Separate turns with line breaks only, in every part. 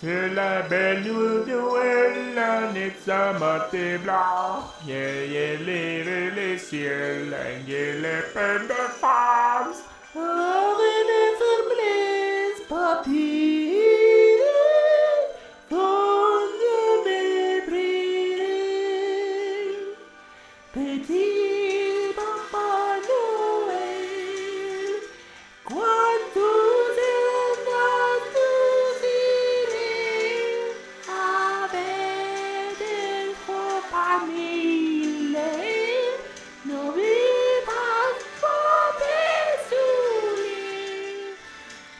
C'est la belle nouvelle année de sa montée blanc. Yeah, yeah, lève les ciels, lève les peines de femmes. Avec les faiblesses parties, font de mes prières. Petit Papa Noël, quanto de natus iris avete in copa mille, novitas potesuli.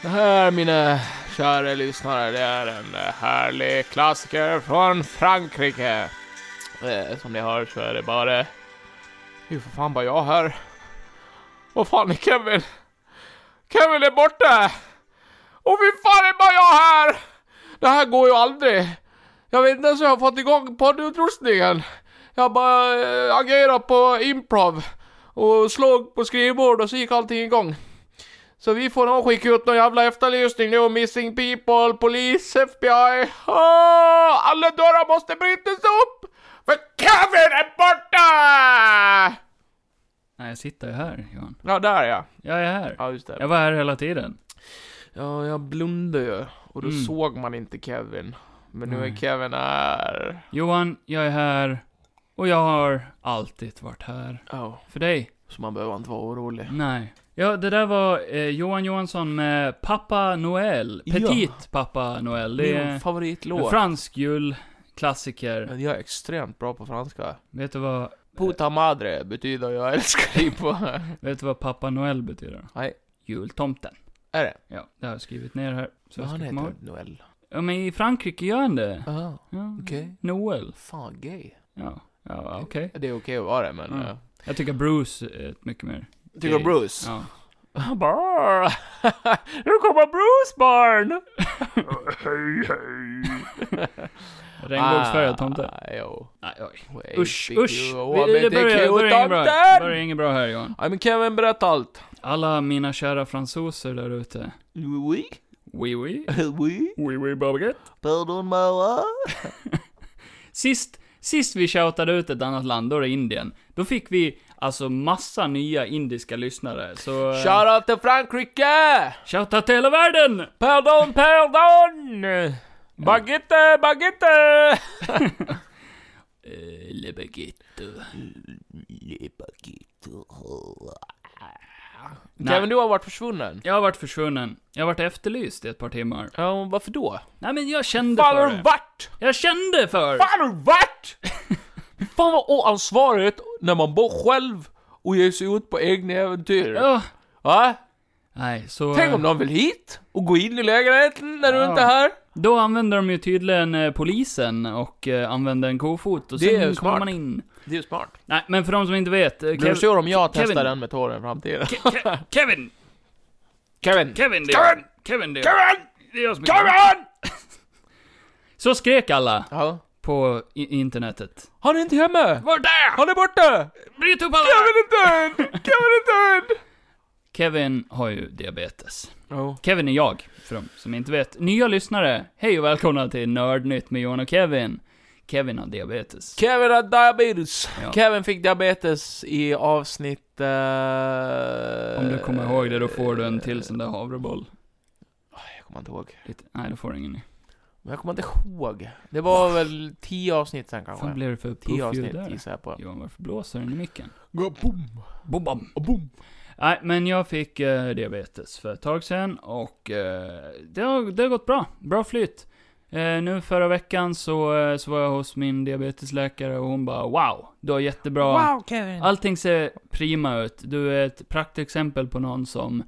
Det här, mina kära lyssnare, det är en härlig klassiker från Frankrike. Eh, som ni hör så är det bara... Hur för fan bara jag här? Vad fan är Kevin? Kevin är borta! Och fy fan är bara jag här! Det här går ju aldrig. Jag vet inte ens hur jag har fått igång poddutrustningen. Jag bara eh, agerade på improv. Och slog på skrivbord och så gick allting igång. Så vi får nog skicka ut någon jävla efterlysning nu, missing people, polis, FBI. Åh, alla dörrar måste brytas upp! För Kevin är borta!
Nej, jag sitter ju här, Johan.
Ja, där ja.
Jag är här.
Ja, just det.
Jag var här hela tiden.
Ja, jag blundade ju. Och då
Mm.
såg man inte Kevin. Men nu är
Nej.
Kevin här.
Johan, jag är här. Och jag har alltid varit här.
Ja,
För dig.
så man behöver inte vara orolig.
Nej. Ja, det där var eh, Johan Johansson med Pappa Noel.
Ja.
Petit Pappa Noel. Det är
Min favoritlåt.
en fransk julklassiker.
jag är extremt bra på franska.
Vet du vad,
Puta madre betyder jag älskar dig på.
vet du vad Pappa Noel betyder?
Nej.
Jultomten.
är det?
Ja, det har jag skrivit ner här. Så
Ja,
jag
han
ska komma ihåg.
heter Noel.
Ja, men i Frankrike gör han det.
Ah,
Ja.
okej.
Noel.
Fan, gay.
Ja, ja okej.
Det är okej att vara det, men...
Mm.
eh,
Jag tycker Bruce är mycket mer.
Tycker
Gay.
Bruce?
Ja.
Brr. nu kommer Bruce barn!
Hej, hej.
Regnbågsfärgad tomte.
Ah, jo.
Nej, oj. Usch,
Usch,
usch. Det, det börjar, börjar inget bra. Det börjar inget bra här Johan.
Nej men Kevin, berätta allt.
Alla mina kära fransoser där ute.
Oui,
Oui, oui.
oui.
Oui, oui, baguette.
Pardon, mamma.
Sist, sist vi shoutade ut ett annat land, då var det Indien. Då fick vi alltså massa nya indiska lyssnare, så... eh,
Shoutout till Frankrike!
Shoutout till hela världen!
Pardon, pardon! Baguette, baguette!
Eh, Le baguette. Nej.
Kevin, du har varit försvunnen.
Jag har varit försvunnen. Jag har varit efterlyst i ett par timmar.
Ja, varför då?
Nej men jag kände
Fan har
för
du
det.
varit?
Jag kände för det.
Fan har du varit? Fan vad oansvarigt när man bor själv och ger sig ut på egna äventyr.
Ja.
Va?
Nej, så...
Tänk om
eh,
någon vill hit och gå in i lägenheten när du inte är här?
Då använder de ju tydligen eh, polisen och eh, använder en kofot och
Det
sen
är ju
kommer
smart.
man in.
Det är ju smart.
Nej, men för de som inte vet. eh,
Blir du
Kev-
sur om jag
Kevin.
testar den metoden i framtiden?
Ke- Ke- Kevin!
Kevin!
Kevin! Det
Kevin!
är, Kevin! Det är,
Kevin!
det är jag som är
Kevin!
Så skrek alla
Ja.
på i- internetet.
Han är inte hemma!
Vart är
Han är borta!
Bryt upp alla!
Kevin är död! Kevin är död!
Kevin har ju diabetes.
Ja.
Kevin är jag, för de som inte vet. Nya lyssnare, hej och välkomna till Nördnytt med Johan och Kevin. Kevin har diabetes.
Kevin har diabetes.
Ja.
Kevin fick diabetes i avsnitt... eh,
Om du kommer ihåg det, då får du en till sån där havreboll.
Jag kommer inte ihåg.
Lite, nej, då får du ingen ny.
Men jag kommer inte ihåg. Det var väl tio avsnitt sen
Vad
kanske.
fan blev det för
tio
puffljud
avsnitt
där?
gissar jag på.
Johan, varför blåser den i micken?
Gå boom,
Bom, bom.
och boom.
Nej, men jag fick eh, diabetes för ett tag sedan och eh, det, har, det har gått bra. Bra flyt. Eh, nu förra veckan så, eh, så var jag hos min diabetesläkare och hon bara wow, du har jättebra.
Wow Kevin!
Allting ser prima ut. Du är ett praktexempel på någon som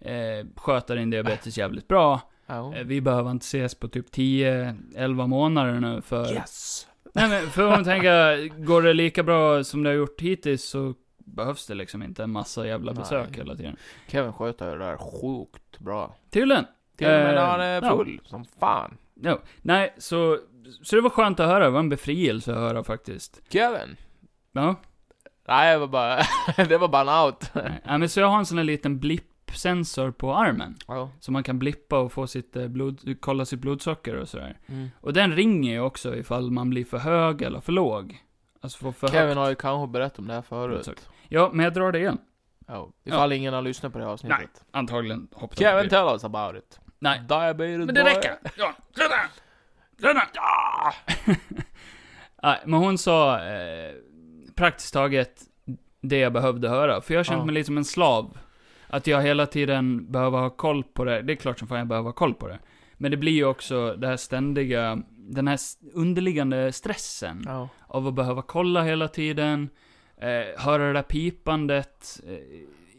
eh, sköter din diabetes jävligt bra.
Ja.
Eh, vi behöver inte ses på typ 10-11 månader nu för
Yes!
Nej men för om man tänker, går det lika bra som det har gjort hittills så behövs det liksom inte en massa jävla
Nej.
besök hela tiden.
Kevin sköter det där sjukt bra.
Tydligen.
Till och med när
Eh,
han är
ja.
full, som fan.
No. Nej, så, så det var skönt att höra. Det var en befrielse att höra faktiskt.
Kevin?
Ja.
Nej, det var bara, det var bara en out.
Nej, men så jag har en sån här liten blipp blippsensor på armen.
Ja.
Så man kan blippa och få sitt eh, blod, kolla sitt blodsocker och sådär.
Mm.
Och den ringer ju också ifall man blir för hög eller för låg. Alltså får för högt
Kevin har ju kanske berättat om det här förut.
blodsocker. Ja, men jag drar det igen.
Ja. Ifall ingen har lyssnat på det här avsnittet.
Nej. Antagligen hoppar jag förbi.
Kevin, tell us about it.
Nej.
Diabetes
Men det
boy.
räcker! Ja, sådär! Sådär! Ja! Nej, men hon sa eh, praktiskt taget det jag behövde höra. För jag har känt
Ja.
mig lite som en slav. Att jag hela tiden behöver ha koll på det. Det är klart som fan jag behöver ha koll på det. Men det blir ju också det här ständiga, den här s- underliggande stressen
Ja.
av att behöva kolla hela tiden, eh, höra det där pipandet. Eh,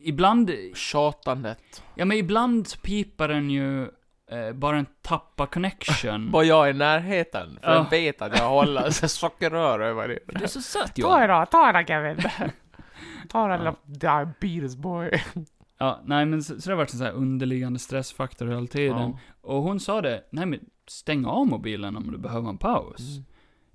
ibland,
Tjatandet.
ja men ibland pipar den ju eh, bara en tappa connection.
Bara jag är i närheten. För
Ja.
jag vet att jag håller så sockerrör över det.
Du är så söt
Ta
Johan.
den då, ta den Kevin. Ta den
Ja.
ja. diabetes boy.
Ja, nej men så, så det har varit en sån här underliggande stressfaktor hela tiden.
Ja.
Och hon sa det, nej men stäng av mobilen om du behöver en paus.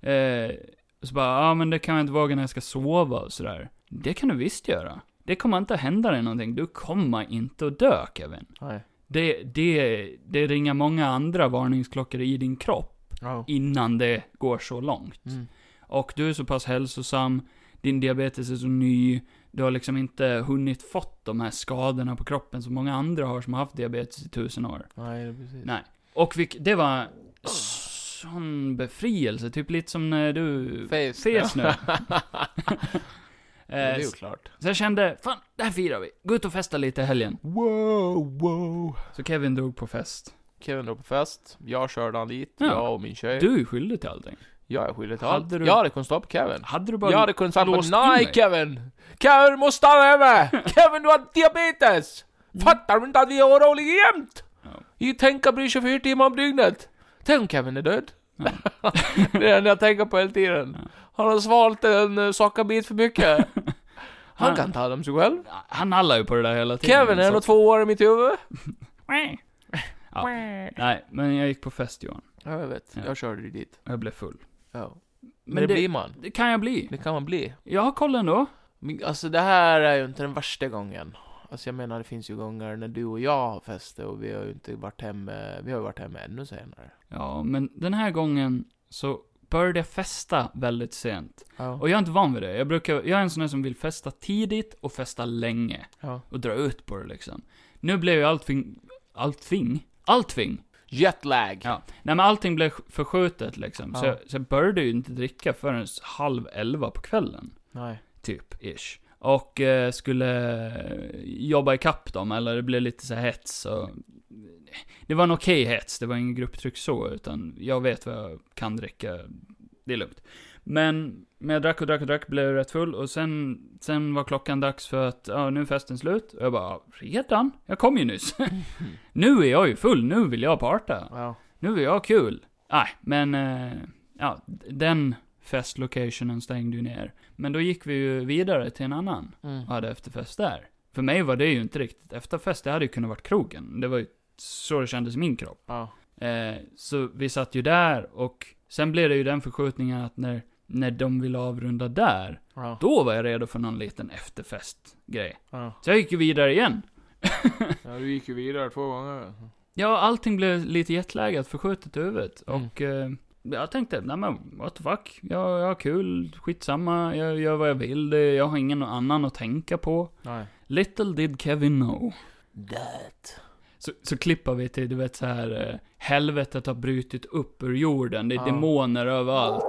Mm.
Eh, så bara, ja ah, men det kan jag inte våga när jag ska sova och sådär. Det kan du visst göra. Det kommer inte att hända dig någonting. Du kommer inte att dö Kevin.
Nej.
Det, det, det ringer många andra varningsklockor i din kropp
Ja.
innan det går så långt.
Mm.
Och du är så pass hälsosam, din diabetes är så ny, du har liksom inte hunnit fått de här skadorna på kroppen som många andra har som har haft diabetes i tusen år.
Nej, det är precis.
Nej. Och vilk, det var sån befrielse, typ lite som när du...
Face.
Fes nu.
det är
eh,
ju klart.
så jag kände, fan, det här firar vi. Gå ut och festa lite i helgen.
Wow, wow.
Så Kevin drog på fest.
Kevin drog på fest. Jag körde han dit.
Ja.
Jag och min tjej.
Du är skyldig till allting.
Jag är skyldig till
Hade
allt.
du-
Jag hade kunnat stoppa Kevin.
Hade du bara...
Jag hade kunnat sagt
låst in
bara
mig."
Nej Kevin! Kevin du måste stanna hemma! Kevin du har diabetes! Fattar du inte att vi är oroliga jämt?
Mm. Ja.
Vi tänker på dig 24 timmar om dygnet. Tänk om Kevin är död?
Ja.
det är det jag tänker på hela tiden. Han har svalt en eh, sockerbit för mycket. Han
Han-
kan ta hand om sig själv.
Han nallar ju på det där hela tiden.
Kevin är
Så-
ändå två år i mitt huvud.
Ja. Nej, men jag gick på fest Johan.
Ja, jag vet.
Ja.
Jag körde ju dit.
Och jag blev full.
Ja. Men,
Men,
det,
det,
blir man.
det kan jag bli.
Det kan man bli.
Jag har koll ändå.
Men, alltså det här är ju inte den värsta gången. Alltså jag menar det finns ju gånger när du och jag har fester och vi har ju inte varit hemma, vi har ju varit hemma ännu senare.
Ja, men den här gången så började jag festa väldigt sent.
Ja.
Och jag är inte van vid det. Jag, brukar, jag är en sån här som vill festa tidigt och festa länge.
Ja.
Och dra ut på det liksom. Nu blev ju allting... Allting? Allting?
Jetlag!
Ja. Nej men allting blev förskjutet liksom. Så,
Ja.
jag, så jag började ju inte dricka förrän halv elva på kvällen.
Nej.
typ, ish. Och eh, skulle eh, jobba ikapp dem, eller det blev lite så här hets och... Det var en okej hets, det var ingen grupptryck så, utan jag vet vad jag kan dricka, det är lugnt. Men, men jag drack och drack och drack, blev rätt full och sen, sen var klockan dags för att, ja nu är festen slut. Och jag bara, redan? Jag kom ju nyss. nu är jag ju full, nu vill jag parta.
Ja.
Nu är jag ha kul. Nej, men eh, ja, d- den festlocationen stängde ju ner. Men då gick vi ju vidare till en annan
Mm.
och hade efterfest där. För mig var det ju inte riktigt efterfest, det hade ju kunnat varit krogen. Det var ju så det kändes i min kropp.
Ja.
Eh, så vi satt ju där och sen blev det ju den förskjutningen att när, när de ville avrunda där,
Ja.
då var jag redo för någon liten efterfestgrej.
Ja.
Så jag gick ju vidare igen.
ja, du gick ju vidare två gånger.
Ja, allting blev lite jetlagat, förskjutet i huvudet.
Mm.
Och eh, jag tänkte, nej men what the fuck. Jag, jag har kul, skitsamma, jag gör vad jag vill. Det- Jag har ingen annan att tänka på.
Nej.
Little did Kevin know.
Det.
Så, så klippar vi till, du vet så här eh, helvetet har brutit upp ur jorden, det är
Ja.
demoner överallt.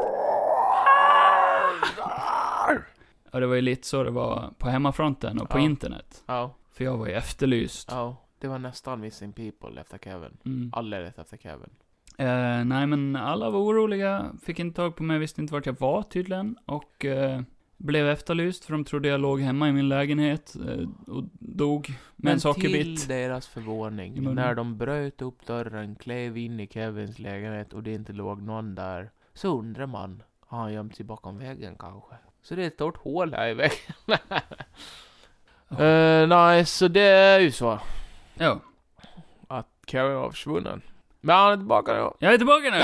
Ja, det var ju lite så det var på hemmafronten och på
Ja.
internet.
Ja.
För jag var ju efterlyst.
Ja. Det var nästan Missing People efter Kevin.
Mm.
Alldeles efter Kevin.
Eh, nej, men alla var oroliga, fick inte tag på mig, visste inte vart jag var tydligen. Och eh, blev efterlyst för de trodde jag låg hemma i min lägenhet eh, och dog med en
till
sockerbit.
deras
I
förvåning,
munnen.
när de bröt upp dörren, klev in i Kevins lägenhet och det inte låg någon där, så undrar man, har han gömt sig bakom väggen kanske? Så det är ett stort hål här i väggen. Eh, nej, så det är ju så
Ja,
att Kevin var försvunnen. Men han är tillbaka nu.
jag är tillbaka nu!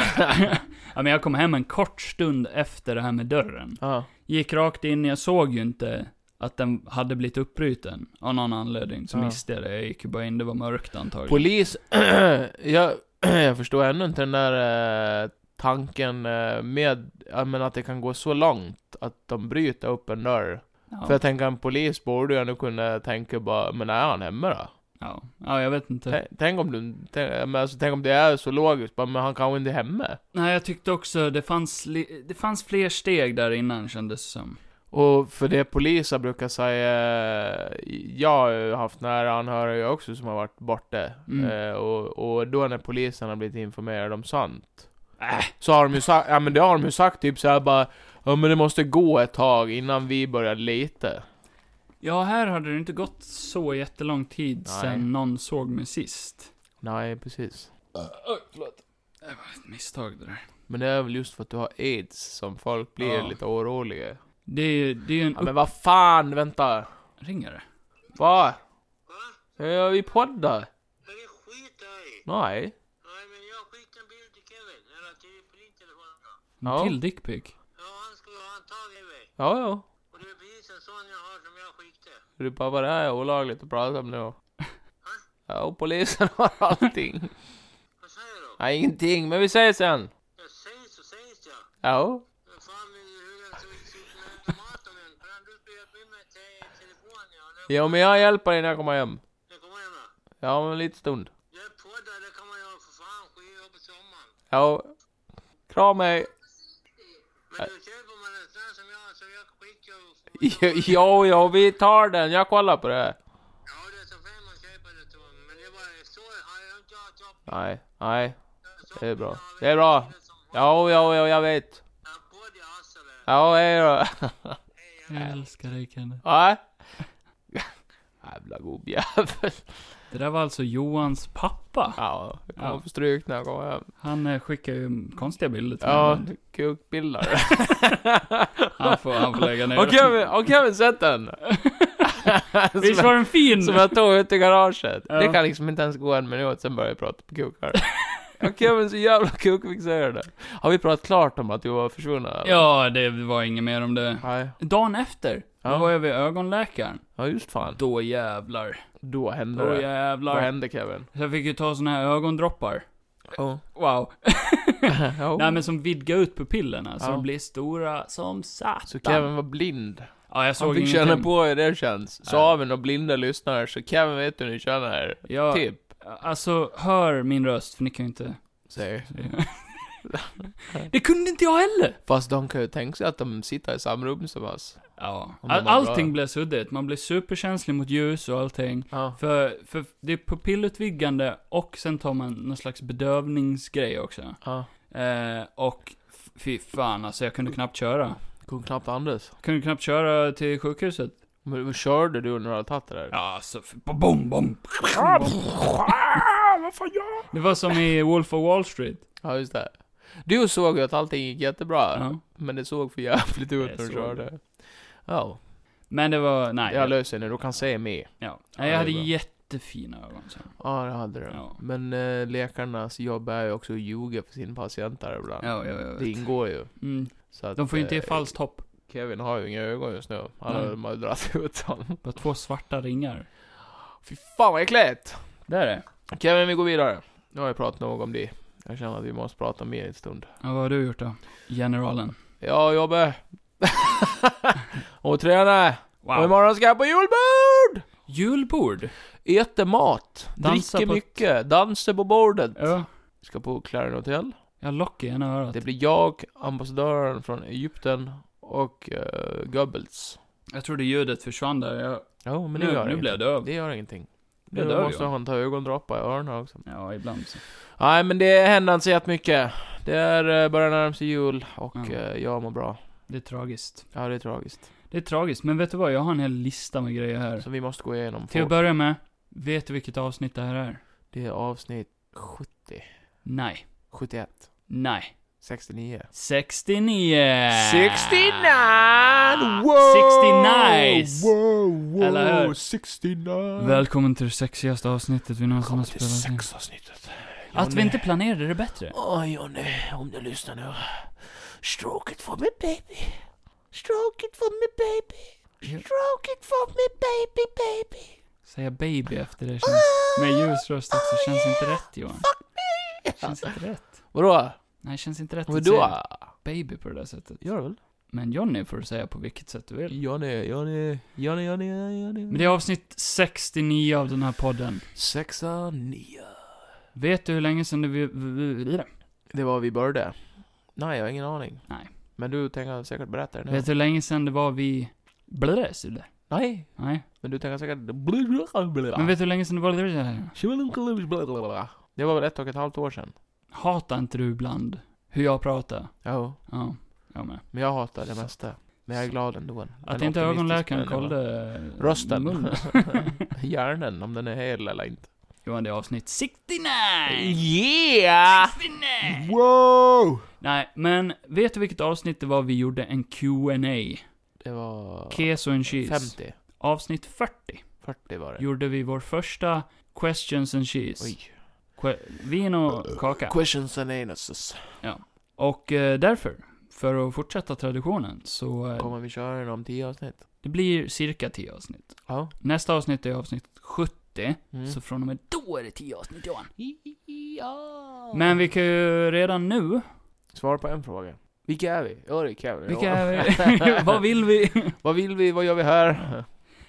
ja, men jag kom hem en kort stund efter det här med dörren.
Ja,
Gick rakt in, jag såg ju inte att den hade blivit uppbruten av någon anledning. Så
Ja.
missade jag det. Jag gick ju bara in, det var mörkt antagligen.
Polis, jag, jag förstår ännu inte den där eh, tanken eh, med, ja, men att det kan gå så långt att de bryter upp en dörr.
ja.
För jag tänker en polis borde ju ändå kunna tänka bara, men är han hemma då?
ja. ja, jag vet inte.
Tänk, tänk om du, tänk, men alltså, tänk om det är så logiskt, bara, men han kanske inte är hemma.
Nej, jag tyckte också det fanns, li- det fanns fler steg där innan kändes det som.
Och för det poliser brukar säga, jag har ju haft nära anhöriga också som har varit borta.
Mm.
Eh, och, och då när polisen har blivit informerad om sånt.
Äh.
Så har de ju sagt, ja men det har de ju sagt typ såhär bara, ja men det måste gå ett tag innan vi börjar leta.
Ja, här hade det inte gått så jättelång tid
Nej.
sedan någon såg mig sist.
Nej, precis.
Oj, förlåt. Det var ett misstag det där.
Men det är väl just för att du har aids som folk blir
Ja.
lite oroliga.
Det är ju, det är ju en
Ja men vad fan, vänta.
uppringare.
Vad? Eh, vi poddar.
Men det skiter jag i.
Nej.
Nej, men jag skickade en bild till Kevin, eller till polistelefonen då.
Ja.
Till dickpic.
Ja, han skulle ha antagit mig.
Ja, ja.
Och det är precis en sån jag har som jag skickade.
Du pappa, det här är olagligt att prata om nu. Ja, och polisen har allting.
Vad säger du?
Nej, ingenting, men vi ses sen.
Jag sägs så sägs jag.
Ja.
Men fan, men hur den såg ut med automaten än. För han du skulle hjälpa mig med te- telefonen, ja. Det,
Ja, men jag hjälper dig när jag kommer hem.
det kommer jag med.
Ja, om en liten stund.
Jag poddar, det kan man göra för fan. Skitjobb på sommaren.
Ja. Kram mig.
Men då köper man en sån här som jag, så jag skickar och får...
Jo, jo, vi tar den. Jag kollar på det.
Ja, det är så fel man köper det till Men det var så, har jag inte haft jobb.
Nej, nej. Det är bra. Det är bra. Jo, jo, jo, jag vet.
Jag poddar, alltså. det.
Ja, hej då. Äh.
Jag älskar dig Kenneth.
Nej. Jävla gubbjävel.
Det där var alltså Johans pappa.
Ja, jag kommer
Ja.
få stryk när jag kommer hem.
Han eh, skickar ju konstiga bilder till
Ja,
mig.
kukbilder.
Han får, han får lägga ner
Har
den.
Kevin, har Kevin sett den? som,
Visst var
jag,
den fin?
som jag tog ut i garaget.
Ja.
Det kan liksom inte ens gå en minut, sen börjar jag prata på kukar. Har Kevin så jävla kukfixerad. Har vi pratat klart om att du var försvunnen? eller?
Ja, det var inget mer om det.
Nej.
Dagen efter, då
Ja.
var jag vid ögonläkaren.
Ja, just fan.
Då jävlar.
Då hände
Då
det. Vad
jävlar.
hände Kevin?
Så jag fick ju ta såna här ögondroppar.
Oh.
Wow. Nej
oh.
men som vidgar ut pupillerna, så
Ja.
de blir stora som satan.
Så Kevin var blind.
Ja, jag
Han
såg
fick
ingenting.
känna på hur det känns. Så har vi några blinda lyssnare, så Kevin vet hur ni känner.
Ja,
Typ.
alltså, hör min röst, för ni kan ju inte...
Säger.
det kunde inte jag heller!
Fast de kan ju tänka sig att de sitter i samma rum som oss.
Ja.
Om det var
All,
bra.
allting blir suddigt, man blir superkänslig mot ljus och allting.
Ja.
För, för det är pupillutvidgande och sen tar man någon slags bedövningsgrej också.
Ja.
Eh, och f- fy fan alltså, jag kunde knappt köra.
Kunde knappt andas.
Jag kunde knappt köra till sjukhuset.
Men vad körde du när du hade tagit det där?
Ja, alltså, f- bom, bom, bom.
Ah, vad fan gör jag?
Det var som i Wolf of Wall Street.
Ja, just det. Du såg ju att allting gick jättebra.
Ja.
Men det såg för jävligt ut
Jag
när du
såg
körde. Ja.
Men det var, nej.
Jag löser det nu, du kan se mig.
Ja.
Ja,
Nej,
det är
jag hade
bra.
jättefina ögon så.
Ja, det hade du.
Ja.
Men eh, läkarnas jobb är ju också att ljuga för sina patienter ibland.
Ja, ja, ja.
Det ingår ju.
Mm.
Så att,
De får ju inte ge
eh,
falskt hopp.
Kevin har ju inga ögon just nu. Han
Nej.
har de har ju dragit ut dem.
Bara två svarta ringar.
Fy fan vad äckligt!
Det är det.
Kevin, vi går vidare. Nu har jag pratat nog om det. Jag känner att vi måste prata mer en stund.
Ja, vad har du gjort då? Generalen.
Ja, jobbar. och tränar. Och
Wow.
imorgon ska jag på julbord!
Julbord.
Äter mat,
Dansa
dricker
på-
mycket, dansar på bordet.
Ja.
Ska på Clarion Hotel.
Jag lock i ena örat.
Det blir jag, ambassadören från Egypten och uh, Goebbels.
Jag trodde ljudet försvann där. Jag...
Ja, men det
Nu,
gör
nu
ingenting.
blev jag döv.
Det gör ingenting.
Det
Nu
dör
måste
jag.
han ta ögondroppar i öronen också.
Ja, ibland så.
Nej, men det händer inte så jättemycket. Det är eh, börjar närma sig jul och
Ja.
eh, jag mår bra.
Det är tragiskt.
Ja, det är tragiskt.
Det är tragiskt, men vet du vad? Jag har en hel lista med grejer här.
Så vi måste gå igenom
Till att
fort.
börja med, vet du vilket avsnitt det här är?
Det är avsnitt 70,
Nej.
71,
Nej.
69.
69!
69! Wow!
69!
Wow, wow,
Eller hur?
69!
Välkommen till det sexigaste avsnittet vi någonsin har
Välkommen till
spelat in.
sexavsnittet.
Att vi inte planerade det bättre.
Åh Jonny, om du lyssnar nu. Stråket för mig baby. Stråket för mig baby.
Stroke it for me baby baby.
Säga baby efter det känns... Med ljus röst också, känns inte rätt Johan.
Fuck
Känns inte rätt.
Vadå?
Nej, känns inte rätt att
Vadå?
säga baby på det där sättet.
Gör det väl?
Men Johnny får du säga på vilket sätt du vill.
Johnny, Johnny, Johnny, Johnny, Johnny.
Men det är avsnitt 69 av den här podden.
Sexa, nio.
Vet du hur länge sedan du... vi- vi- vi-
Det var vi började. Nej, jag har ingen aning.
Nej.
Men du tänker säkert berätta det nu.
Vet du hur länge sedan det var vi... Blödes, eller?
Nej,
Nej.
men du tänker säkert...
Men vet du hur länge sedan det var det?
Det var väl ett och ett halvt år sedan?
Hatar inte du ibland hur jag pratar?
Jo.
Ja, jag med.
Men jag hatar det mesta. Men jag är glad ändå.
Att
Eller
inte
optimistisk,
ögonläkaren
men ändå.
kollade...
Rösten.
munnen.
Hjärnan, om den är hel eller inte.
Johan, det är avsnitt 69!
Yeah!
69!
Wow!
Nej, men vet du vilket avsnitt det var vi gjorde en Q&A?
Det var...
Keso and cheese.
50.
Avsnitt 40
40 var det.
gjorde vi vår första questions and cheese.
Oj.
Que- vin och kaka.
Questions and anuses.
Och eh, därför, för att fortsätta traditionen, så eh,
Kommer vi köra den om 10 avsnitt?
det blir cirka 10 avsnitt.
Ja.
Nästa avsnitt är avsnitt 70,
Mm.
så från och med då är det 10 avsnitt Johan.
Ja.
Men vi kan ju redan nu,
Svar på en fråga. Vilka är vi? Ja, det kan vi.
vilka
Ja.
är vi? vad vill vi?
Vad vill vi? Vad gör vi här?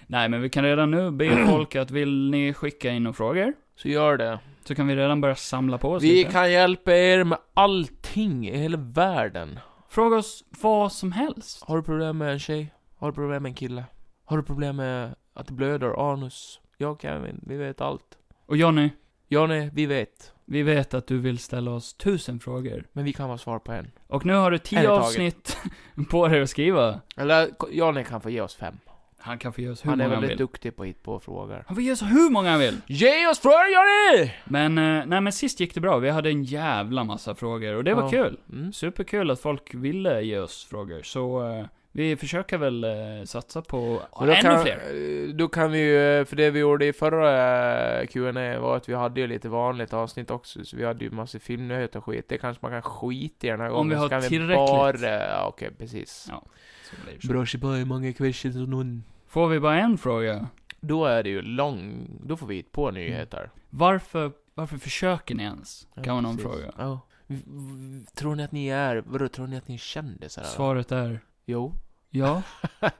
Nej, men vi kan redan nu be folk att vill ni skicka in några frågor?
Så gör det.
Så kan vi redan börja samla på oss
Vi
lite.
kan hjälpa er med allting i hela världen.
Fråga oss vad som helst.
Har du problem med en tjej? Har du problem med en kille? Har du problem med att det blöder anus? Jag och Kevin, vi vet allt.
Och Johnny,
Johnny, vi vet.
vi vet att du vill ställa oss tusen frågor.
Men vi kan vara svar på en.
Och nu har du
En i
tio
taget.
avsnitt på dig att skriva.
Eller k- Johnny kan få ge oss fem.
Han kan få ge oss hur
Han är
många han
väldigt
vill.
duktig på att hitta på frågor.
Han får ge oss hur många han vill!
Ge oss frågor Johnny!
Men, eh, nej men sist gick det bra. Vi hade en jävla massa frågor och det var
Ja.
kul.
Mm.
Superkul att folk ville ge oss frågor. Så eh, vi försöker väl eh, satsa på
Men
ännu
kan,
fler.
eh, då kan vi ju, eh, för det vi gjorde i förra eh, Q&A var att vi hade ju lite vanligt avsnitt också, så vi hade ju massa filmnyheter och skit. Det kanske man kan skita i den här gången.
vi har
så kan
tillräckligt.
bara- ja, Okej, precis.
Ja. Så blir det så.
Brorsi på hur många questions och någon.
Får vi bara en fråga?
Då är det ju lång, då får vi hit på nyheter.
Varför, varför försöker ni ens?
Ja,
Mm. Kan man någon
precis.
fråga.
Ja. V- v- Tror ni att ni är, vadå tror ni att ni är kändisar? eller?
Svaret är
Jo.
ja.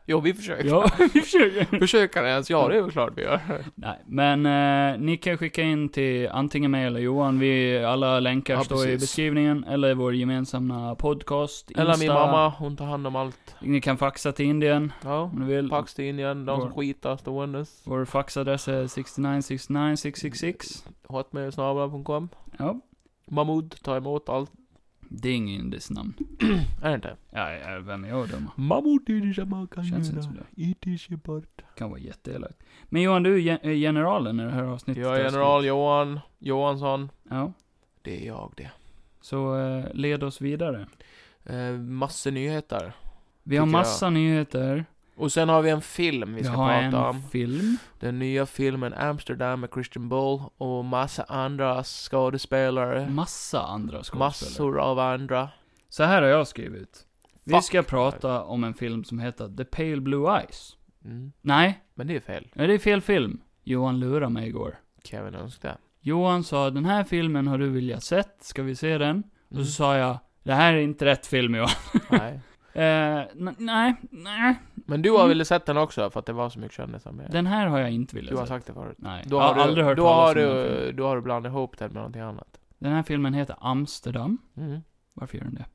Jo, vi försöker.
Ja, vi försöker.
Försöker ens, ja det är väl klart vi gör.
Nej, men eh, ni kan skicka in till antingen mig eller Johan. Vi, alla länkar
Ja,
står i
precis.
beskrivningen. Eller vår gemensamma podcast, Insta.
Eller min mamma, hon tar hand om allt.
Ni kan faxa till Indien
Ja.
om ni vill.
Pax till Indien, de som
Vår-
skitar ståendes.
Vår faxadress är 6969666.
Hotmail.com.
Ja.
Mahmoud, ta emot allt.
Det är ingen indiskt namn.
Är det inte?
Ja, ja, vem är jag då?
Mahmoud är det samma kan
Känns inte som det.
Itische bort.
Kan vara jätteelakt. Men Johan, du är gen- är generalen i det här avsnittet.
Jag är general Johan Johansson.
Ja.
Det är jag det.
Så eh, led oss vidare.
Eh, massor nyheter.
Vi har
Tycker jag.
massa nyheter.
Och sen har vi en film vi
Vi
ska
har en
prata om.
film.
Den nya filmen Amsterdam med Christian Bull och massa andra skådespelare.
Massa andra Mm, skådespelare.
Massor av andra.
Så här har jag skrivit. Vi
Fuck.
ska prata om en film som heter The Pale Blue Eyes.
Mm.
Nej,
Men det är fel.
det är fel film. Johan lurade mig igår.
Kevin önskade.
Johan sa den här filmen har du velat sett, ska vi se den? Och
Mm.
så sa jag, det här är inte rätt film Johan.
Nej.
eh, n- nej, nej.
Men du har väl sett den också för att det var så mycket kändisar med.
Mm. Den här har jag inte velat
Du har
sett.
sagt det förut.
Nej,
Då
jag har
har,
aldrig
du,
hört
då, har
talas om den filmen.
du, då har du blandat ihop den med någonting annat.
Den här filmen heter Amsterdam.
Mm.
Varför gör den det?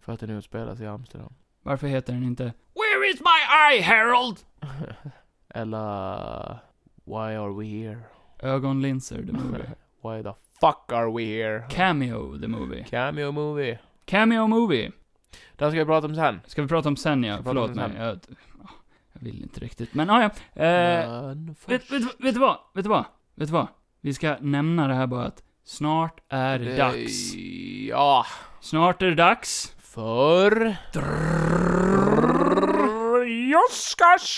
För att den utspelas i Amsterdam.
Varför heter den inte Where is my eye Harold?
Eller... Why are we here?
Ögonlinser, the movie.
Why the fuck are we here?
Cameo, the movie.
Cameo movie.
Cameo movie.
Den ska vi prata om sen.
Ska vi prata om sen ja?
vi prata om
Förlåt mig.
sen?
Jag, jag vill inte riktigt. Men ah, ja. eh,
Men
vet,
först-
vet, vet du vad? Vet du vad? Vet du vad? Vi ska nämna det här bara att snart är det dags.
Eh, Ja.
Snart är det dags.
För...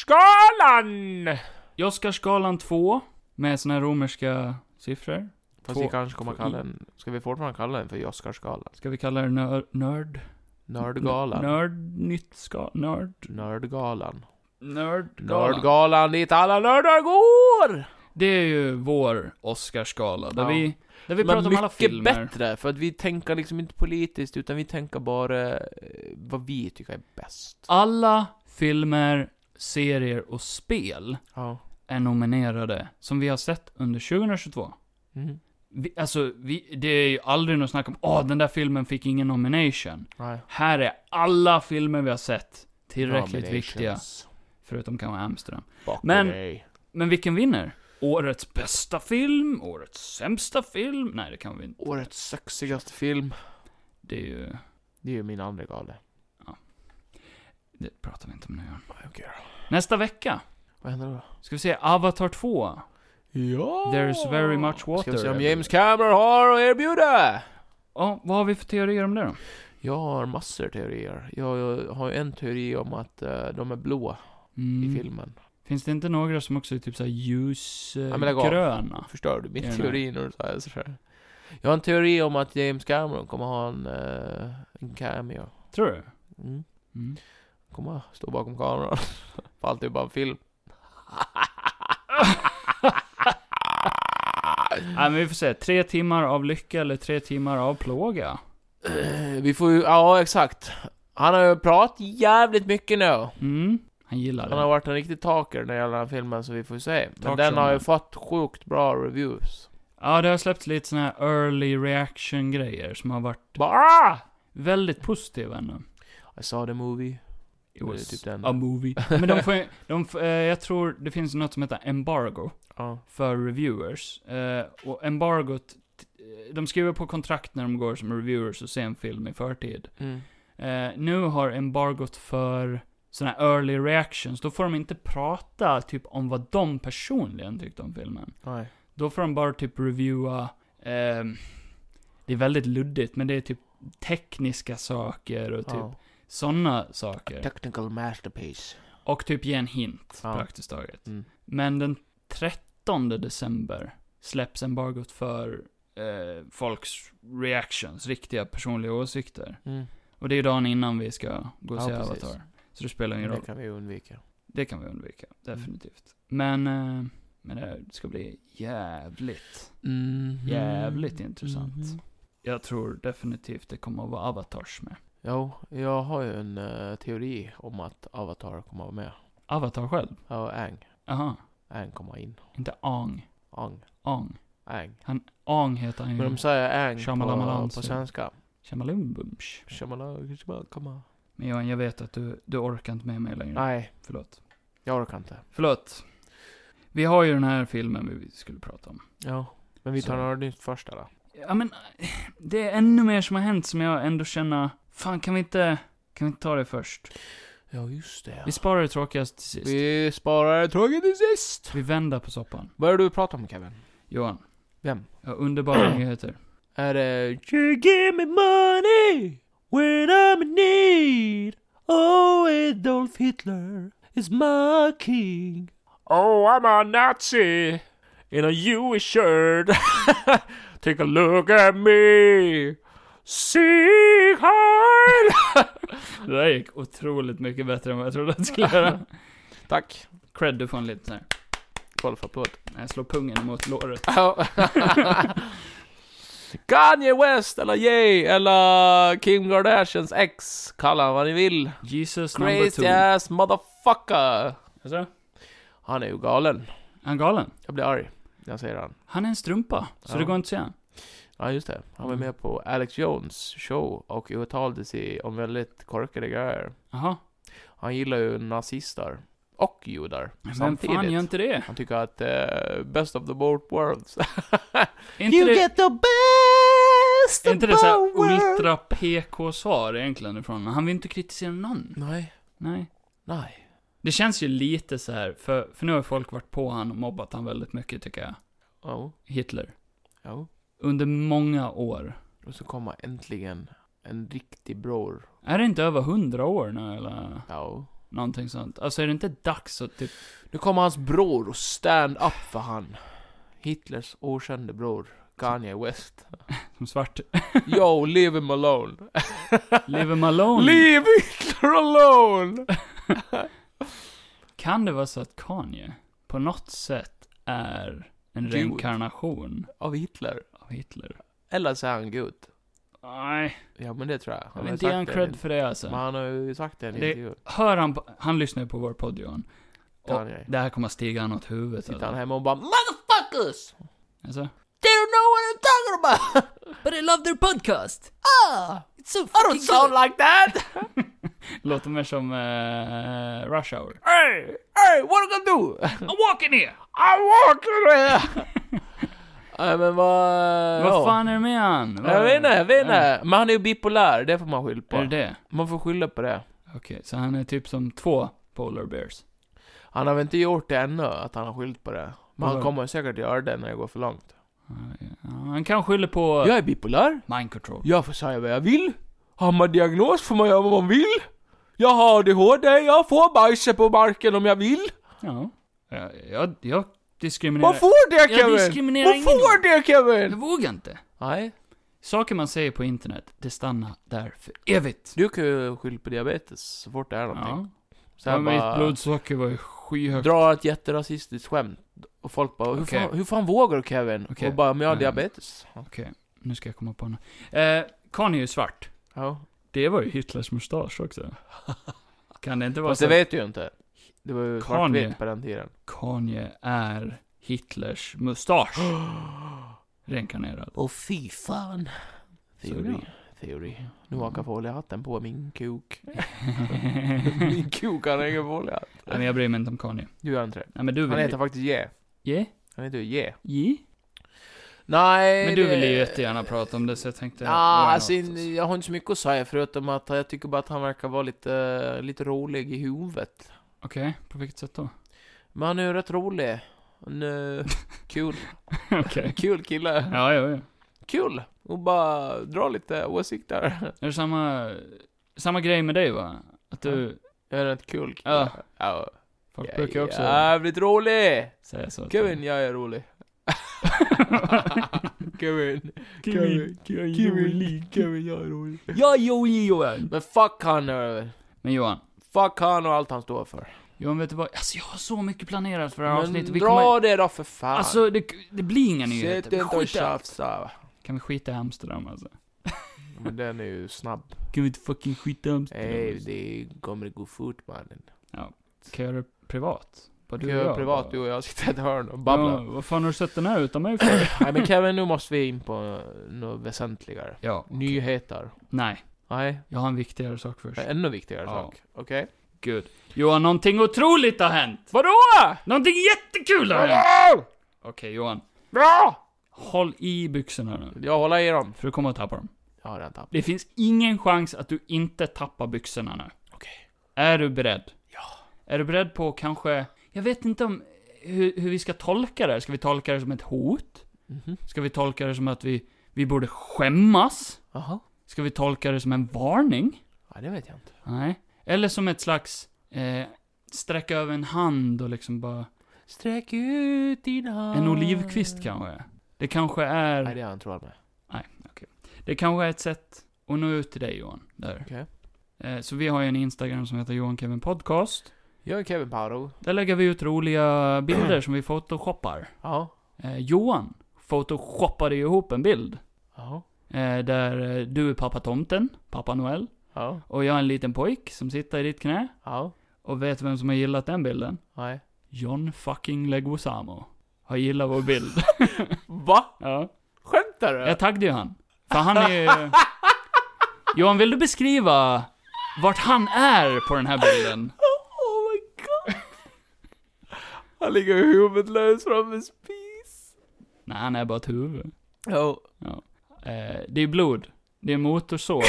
Oscarsgalan!
Oscarsgalan 2 med såna här romerska siffror.
Fast vi
Två-
kanske kommer
två-
kalla den... Ska vi fortfarande kalla den för Oscarsgalan?
Ska vi kalla det nör, nörd?
Nördgalan.
Nörd, nytt ska, nörd.
Nördgalan.
Nördgalan.
Nördgalan dit alla nördar går!
Det är ju vår Oscarsgala, där
Ja.
vi, där vi
Men
pratar om alla filmer.
bättre, för att vi tänker liksom inte politiskt, utan vi tänker bara eh, vad vi tycker är bäst.
Alla filmer, serier och spel
Ja.
är nominerade, som vi har sett under 2022.
Mm.
Vi, alltså, vi, det är ju aldrig något snack om åh, den där filmen fick ingen nomination.
Nej.
Här är alla filmer vi har sett tillräckligt
Nominations.
viktiga, förutom kanske Amsterdam.
Bak
Men-
med dig.
Men vilken vinner? Årets bästa film? Årets sämsta film? Nej, det kan vi inte.
Årets sexigaste film.
Det är ju...
Det är ju min andra gala.
Det pratar vi inte om nu. Johan.
Okej då.
Nästa vecka
Vad händer då?
ska vi se Avatar 2.
Ja!
There's very much water.
Ska vi se om James Cameron har att erbjuda?
Ja, vad har vi för teorier om det då?
Jag har massor teorier. Jag har ju en teori om att eh, de är blå
Mm.
i filmen.
Finns det inte några som också är typ såhär
Ja, men lägg av.
ljusgröna?
Förstör du min
Ja, nej.
teori när du säger sådär? Jag har en teori om att James Cameron kommer ha en, eh, en cameo.
Tror du?
Mm.
Mm.
Kommer stå bakom kameran. För allt är bara en film.
Nej, men vi får se. Tre timmar av lycka eller tre timmar av plåga?
Eh, Vi får ju, ja exakt. Han har ju pratat jävligt mycket nu.
Mm. Han gillar
Han har
det.
varit en riktig taker när det gäller den här filmen så vi får se. Men den
Talkshow.
har ju fått sjukt bra reviews.
Ja, det har släppts lite såna här early reaction-grejer som har varit
Bara!
väldigt positiva ändå.
I saw the movie.
It
Det är
was
typ den.
a movie. Men de får ju- de, f- eh, jag tror det finns något som heter embargo
Ja.
för reviewers. Eh, och embargot, eh, de skriver på kontrakt när de går som reviewers och ser en film i förtid.
Mm.
Eh, nu har embargot för såna här early reactions, då får de inte prata typ om vad de personligen tyckte om filmen.
Nej.
Då får de bara typ reviewa, ehm, det är väldigt luddigt, men det är typ tekniska saker och typ
Ja.
sådana saker.
Technical masterpiece.
Och typ ge en hint,
Ja.
praktiskt taget.
Mm.
Men den 13 december släpps embargot för eh, folks reactions, riktiga personliga åsikter.
Mm.
Och det är dagen innan vi ska gå och
Ja,
se
precis.
Avatar. Så det spelar ingen
Det
roll.
kan vi undvika.
Det kan vi undvika,
Mm.
definitivt. Men, eh, men det ska bli jävligt, Mm-hmm.
Mm. Mhm.
jävligt intressant. Jag tror definitivt det kommer att vara Avatars med.
Jo, jag har ju en eh, teori om att Avatar kommer vara med.
Avatar själv?
Ja, Ang.
Aha.
Ang kommer in.
Inte Ang.
Ang.
Ang.
Ang.
Han, Ang heter han ju.
Men de säger Ang på,
Shamalamalans.
på svenska.
Tjammalumbums.
Shamalala- shamalakama.
Men Johan, jag vet att du, du orkar inte med mig längre.
Nej,
Förlåt.
jag orkar inte.
Förlåt. Vi har ju den här filmen vi skulle prata om.
Ja. Men vi
Så.
tar något nytt först då.
Ja men, det är ännu mer som har hänt som jag ändå känner, fan kan vi inte, kan vi inte ta det först?
Ja, just det.
Vi sparar det tråkigaste till sist.
Vi sparar tråget till sist.
Vi vänder på soppan.
Vad är det du pratar om Kevin?
Johan,
Vem?
jag har underbara nyheter.
Är det You give me money when I'm in need Oh Adolf Hitler is my king Oh I'm a nazi in a Jewish shirt Take a look at me Sieg Heil
Det där gick otroligt mycket bättre än vad jag trodde att det skulle göra.
Tack,
Cred, du får en liten sån här.
golfapplåd
Jag slår pungen mot låret.
Kanye West eller Jay eller Kim Kardashians ex Kalla han vad ni vill
Jesus number
Crazy
two.
ass motherfucker.
Alltså,
Han är ju galen.
är han galen?
Jag blir arg när jag säger han.
Han är en strumpa, så
Ja.
det går inte att säga.
Ja, just det. Han var
Mm.
med på Alex Jones show och uttalade sig om väldigt korkade grejer.
Jaha.
Han gillar ju nazister och judar
Men
samtidigt.
fan gör inte det?
Han tycker att eh, best of the both worlds.
Är inte det,
the best
är inte det såhär ultra PK-svar egentligen ifrån? Han vill inte kritisera någon.
Nej,
Nej.
nej.
Det känns ju lite så här, för, för nu har folk varit på han och mobbat han väldigt mycket tycker jag.
Jo,
Hitler.
jo.
Under många år.
Och så kommer äntligen en riktig bror.
Är det inte över hundra år nu eller
Ja.
någonting sånt? Alltså är det inte dags att typ...
Nu kommer hans bror och stand up för han. Hitlers okände bror, Kanye West.
Som svart.
Yo, leave him alone.
Leave him alone.
Leave Hitler alone!
Kan det vara så att Kanye på något sätt är en
Jude.
reinkarnation
Av Hitler.
av Hitler?
Eller så är han gud.
Nej,
Ja, men det tror jag.
jag
har
vill
ju
inte ge han
sagt
cred för det
Men
alltså.
han har ju sagt det i en
Det-
intervju.
Hör han på, han lyssnar ju på vår podd Johan. Och
Kanye.
det här kommer att stiga han åt huvudet.
Sitter han
Alltså.
hemma och bara Motherfuckers!
Alltså,
Do you know what I'm talking about?
But I love their podcast. Ah, it's so
I don't
fucking
sound
good.
like that!
låter mer som eh, Rush Hour.
Hey! Hey! What are you gonna do?
I'm walking here!
I'm walking here! Nej men vad...
Vad
ja.
fan är det med han? Vad-
Jag vet inte, jag vet inte. Men han är ju bipolär, det får man skylla på.
Är det det?
Man får skylla på det.
Okej, så han är typ som två Polar Bears.
Han har väl inte gjort det ännu, att han har skyllt på det. Men han
Vadå?
kommer säkert göra det när det går för långt.
Ja, han kan skylla på
Jag är bipolär.
mind control.
Jag får säga vad jag vill. Har man diagnos får man göra vad man vill. Jag har ADHD, jag får bajsa på marken om jag vill.
Ja. Jag, jag, jag diskriminerar.
Man får det
Jag
Kevin!
diskriminerar
man
ingen.
får det
Jag
Kevin!
vågar inte.
Nej,
Saker man säger på internet, det stannar där för evigt.
du kan ju skylla på diabetes så fort det är någonting.
Ja.
Så
ja
jag
mitt
bara
blodsocker var ju skyhögt.
drar ett jätterasistiskt skämt. Och folk bara, hur,
Okej.
fan, hur fan vågar du Kevin?
Okej.
Och bara, men jag har
Mm.
diabetes.
Okej, nu ska jag komma på något. Eh, Kanye är ju svart.
Ja.
Det var ju Hitlers mustasch också. Kan det inte vara
Fast
så
det
att
vet du ju inte. Det var ju
Kanye.
svartvitt på den tiden.
Kanye är Hitlers mustasch? Reinkarnerad.
Och fy fan. Theory.
Såg
Theory. Nu har foliehatten på min kuk. min kuk har ingen foliehatt.
Nej, men jag bryr mig inte om Kanye.
Du gör inte det.
Nej, men du
Han
vill
heter faktiskt Ye.
Yeah?
Han heter ju Ye.
Yeah?
Nej.
Men du
det-
ville ju jättegärna prata om det, så jag tänkte...
Ja,
why not,
alltså,
alltså.
jag har inte så mycket att säga förutom att jag tycker bara att han verkar vara lite, lite rolig i huvudet.
Okej, på vilket sätt då?
Men han är ju rätt rolig. En eh, kul,
Okej.
kul kille.
Ja, ja, ja.
Kul! Och bara dra lite åsikter.
Är det samma, samma grej med dig va? Att du,
Jag är en rätt kul kille.
Ja.
Ja.
folk
Jag
brukar
är
ju också
Jävligt rolig!
säga så. att-
Kevin, jag är rolig. Kevin. Kevin. Kevin. Kevin, jag är rolig.
Ja, jo, Johan.
Men fuck han eh,
Men Johan,
Fuck han och allt han står för.
Johan vet du vad? Alltså jag har så mycket planerat för det här
Men
avsnittet. Vi
dra
kommer,
det då för fan.
alltså det, det blir inga nyheter.
Sitt
Vi
inte och
skiter i allt.
tjafsa.
Kan vi skita i Amsterdam alltså?
Men den är ju snabb.
Kan vi inte fucking skita i Amsterdam?
Ey,
alltså?
det kommer gå fort mannen.
Kan jag göra det privat? Bara
Du
du och
är
jag?
privat,
bara.
du och jag sitter i ett hörn och babblar.
Ja, vad fan har du sett den här utan mig för?
Nej men Kevin, nu måste vi in på eh, något väsentligare.
ja, okej.
Nyheter.
Nej,
Nej,
jag har en viktigare sak först.
en ännu viktigare
Ja.
sak. Okej?
Gud. Johan, någonting otroligt har hänt!
Vadå?
Någonting jättekul har hänt! Okej Johan,
Bra!
håll i byxorna nu.
Jag håller i dem.
För du kommer att tappa dem.
Jag har redan tappat.
Det finns ingen chans att du inte tappar byxorna nu.
Okej.
Är du beredd? Ja. Är du beredd på kanske... Jag vet inte om... Hur, hur vi ska tolka det här. Ska vi tolka det som ett hot?
Mhm.
Ska vi tolka det som att vi, vi borde skämmas?
Jaha.
Ska vi tolka det som en varning?
Ja, det vet jag inte.
Nej. Eller som ett slags... Eh, sträcka över en hand och liksom bara...
Sträck ut din hand.
En olivkvist kanske? Det kanske
Ah. Nej,
är...
det har jag inte råd med.
Det kanske är ett sätt att nå ut till dig Johan. Där.
Okej.
Eh, så vi har ju en Instagram som heter Johan Kevin Podcast.
Jag är Kevin Paro.
Där lägger vi ut roliga bilder som vi photoshoppar.
Ja.
Eh, Johan photoshoppade ju ihop en bild.
Ja.
Eh, där eh, du är pappa tomten, pappa Noel.
Ja.
Och jag är en liten pojk som sitter i ditt knä.
Ja.
Och vet vem som har gillat den bilden?
Nej.
John fucking Leguizamo. Har gillat vår bild.
Va?
ja.
Skämtar du?
Jag taggade ju han. För han är ju... Johan, vill du beskriva vart han är på den här bilden?
Oh my god. Han ligger huvudlös framför spis.
Nej, han är bara ett huvud.
Ja.
Eh, det är blod. Det är motorsåg.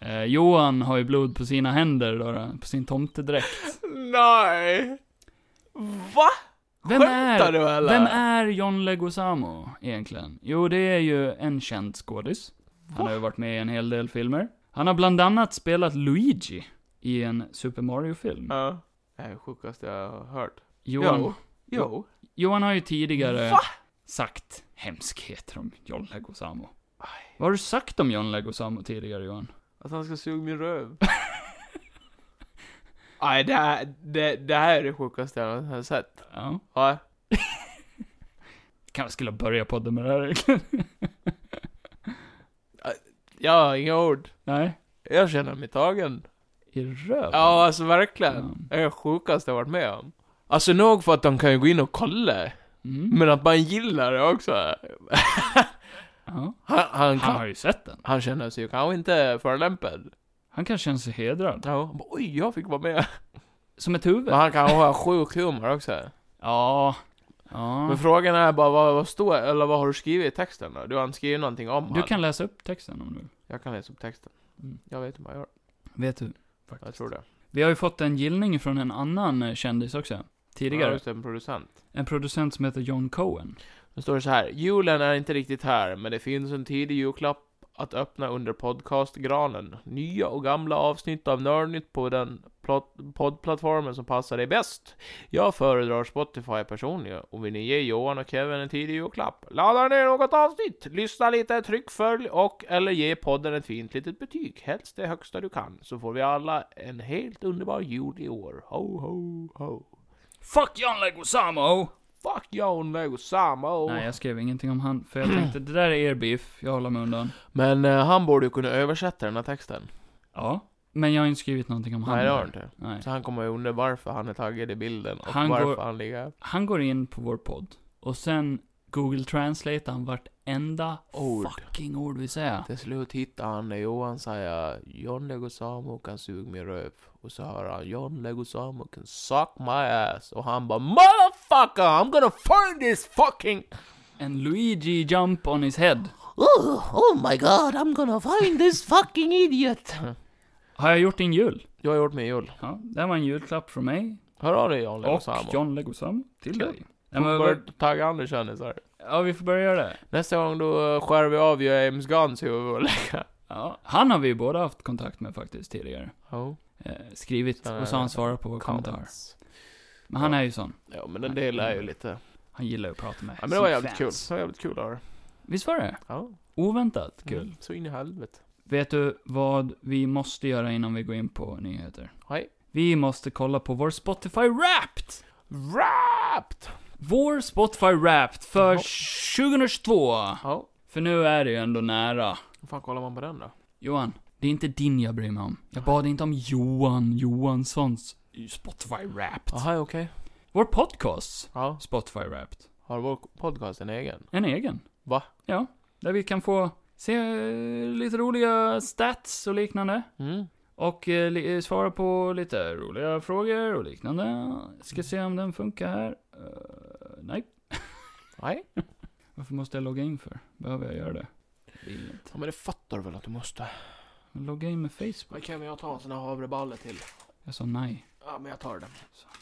eh, Johan har ju blod på sina händer då, då på sin tomtedräkt.
Nej. Va?
Vem
Skämtar
är,
du eller?
vem är John Leguizamo egentligen? Jo, det är ju en känd skådis. Han har ju varit med i en hel del filmer. Han har bland annat spelat Luigi i en Super Mario-film.
Ja. Det är det sjukaste jag har hört. Alltså,
Johan,
Jo. Jo.
Johan har ju tidigare
Va?
sagt hemskheter om John Leguizamo. Vad har du sagt om John Leguizamo tidigare, Johan?
Att han ska suga min röv. Nej, det här, det, det här är det sjukaste jag har sett.
Ja.
Ja.
Kanske skulle börja podden med det här egentligen.
Jag har inga ord.
Nej.
Jag känner mig tagen.
I röven?
Ja, alltså verkligen. Det är det sjukaste jag varit med om. Alltså nog för att de kan ju gå in och kolla,
Mm.
men att man gillar det också.
ja.
Han, han,
Han har
kan,
ju sett den.
han känner sig ju kanske inte förolämpad.
Han kan känna sig hedrad.
Ja, han bara, oj, jag fick vara med.
Som ett huvud.
Men han kanske har sjuk humor också.
Ja. Ja.
Men frågan är bara, vad, vad står, eller vad har du skrivit i texten då? Du har inte skrivit någonting om
Du
han.
kan läsa upp texten om du vill.
Jag kan läsa upp texten.
Mm.
Jag vet vad jag gör.
Vet du?
Jag tror det.
Vi har ju fått en gillning från en annan eh, kändis också.
Ja,
Tidigare.
just det, en producent.
En producent som heter John Cohen.
Då står det så här. Julen är inte riktigt här, men det finns en tidig julklapp att öppna under podcastgranen. Nya och gamla avsnitt av Nördnytt på den plot- poddplattformen som passar dig bäst. Jag föredrar Spotify personligen och vill ni ge Johan och Kevin en tidig julklapp? Ladda ner något avsnitt, lyssna lite, tryck följ och eller ge podden ett fint litet betyg. Helst det högsta du kan, så får vi alla en helt underbar jul i år. Ho, ho, ho.
Fuck John Leguizamo!
Fuck John Leguizamo!
Nej, jag skrev ingenting om han, för jag tänkte det där är er beef, jag håller mig undan.
Men eh, han borde ju kunna översätta den här texten.
Ja. Men jag har inte skrivit någonting om han.
Nej, det har
där.
han inte.
Nej.
Så han kommer ju undra varför han är taggad i bilden och
Han
varför
går-
han ligger...
Han går in på vår podd, och sen Google translatear han vartenda
Ord.
fucking ord vi säger.
Till slut hittar han när Johan säger John Leguizamo kan suga min röv. Och så hör han John Leguizamo can suck my ass. Och han bara Motherfucker! I'm gonna find this fucking...
En Luigi jump on his head.
Oh, oh my god! I'm gonna find this fucking idiot!
Har jag gjort din jul?
Jag har gjort min jul.
Ja, det här var en julklapp från mig.
Hör av dig John
Och
Leguizamo.
John Leguizamo till dig. Nej, men,
Börja
vad-
tagga andra kändisar.
ja, vi får börja göra det.
Nästa gång då eh, skär vi av James Gunns huvud och
Ja, han har vi ju båda haft kontakt med faktiskt tidigare.
Ja,
Eh, skrivit,
Så här,
och så har han svarat på vår kommentar.
comments.
Men han är ju sån.
Ja, men den delen är ju lite...
Han gillar ju att prata med
Ja, men det var
sina
jävligt kul.
fans.
Det var jävligt kul Mm. att höra.
Visst var det?
Ja,
Oväntat kul.
kul. Så in i helvete.
Vet du vad vi måste göra innan vi går in på nyheter?
Hej.
Vi måste kolla på vår Spotify Wrapped!
Wrapped!
Vår Spotify Wrapped för
Ja.
2022!
Ja,
För nu är det ju ändå nära.
hur fan kollar man på den då?
Johan, det är inte din jag bryr mig om. Jag bad inte om Johan Johanssons Spotify Wrapped.
Jaha, okej.
Vår podcast,
Ja.
Spotify Wrapped,
Har vår podcast en egen?
en egen.
Va?
Ja, där vi kan få se eh, lite roliga stats och liknande.
Mm.
Och eh, li- eh, svara på lite roliga frågor och liknande. Ska se om den funkar här. Eh, nej.
Nej.
Varför måste jag logga in för? Behöver jag göra det? Jag vill inte.
Ja, men det fattar du väl att du måste?
Logga in med Facebook?
Vad kan jag ta en sån här havreballe till?
Jag sa nej.
Ja, men jag tar den.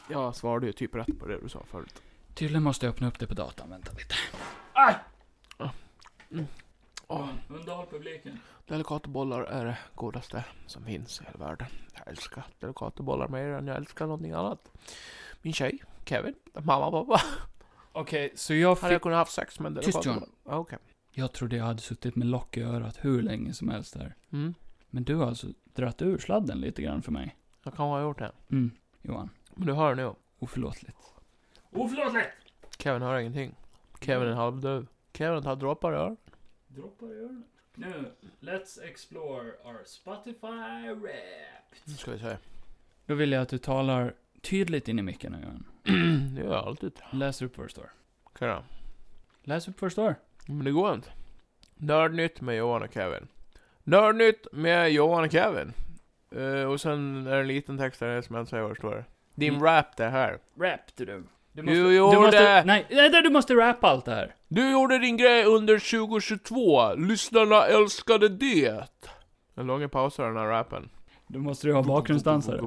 Jag svarade ju typ rätt på det du sa förut.
Tydligen måste jag öppna upp det på datan. Vänta lite.
Åh,
Underhåll publiken.
delikata bollar är det godaste som finns i hela världen. Jag älskar delikata bollar mer än jag älskar någonting annat. Min tjej, Kevin, mamma och pappa.
Okej, så jag
Hade
fick...
jag kunnat haft sex med en
Tyst,
delikat
John.
boll? Ja, Ah, Okej.
Jag trodde jag hade suttit med lock i örat hur länge som helst där.
Mm.
Men du har alltså dratt ur sladden lite grann för mig.
Jag kan ha gjort det.
Mm, Johan.
Men du hör nu.
Oförlåtligt.
Kevin hör ingenting. Kevin är halvdöv. Kevin tar droppar i öronen.
Droppar i öronen. Nu, let's explore our Spotify rap.
Nu ska vi se.
Då vill jag att du talar tydligt in i micken nu Johan.
Det gör jag alltid.
Läs upp vad det står.
Okej då.
Läs upp vad det står.
Men det går inte. Nördnytt med Johan och Kevin. Nördnytt med Johan och Kevin. Eh, och sen är det en liten text där som jag inte säger vad det står. Din
Mm.
rap det här.
Rap du. Du
måste- Du gjorde-
måste, nej, nej, du måste rappa allt det här.
Du gjorde din grej under 2022. Lyssnarna älskade det. En lång paus i den här rappen.
Då måste du ha bakgrundsdansare.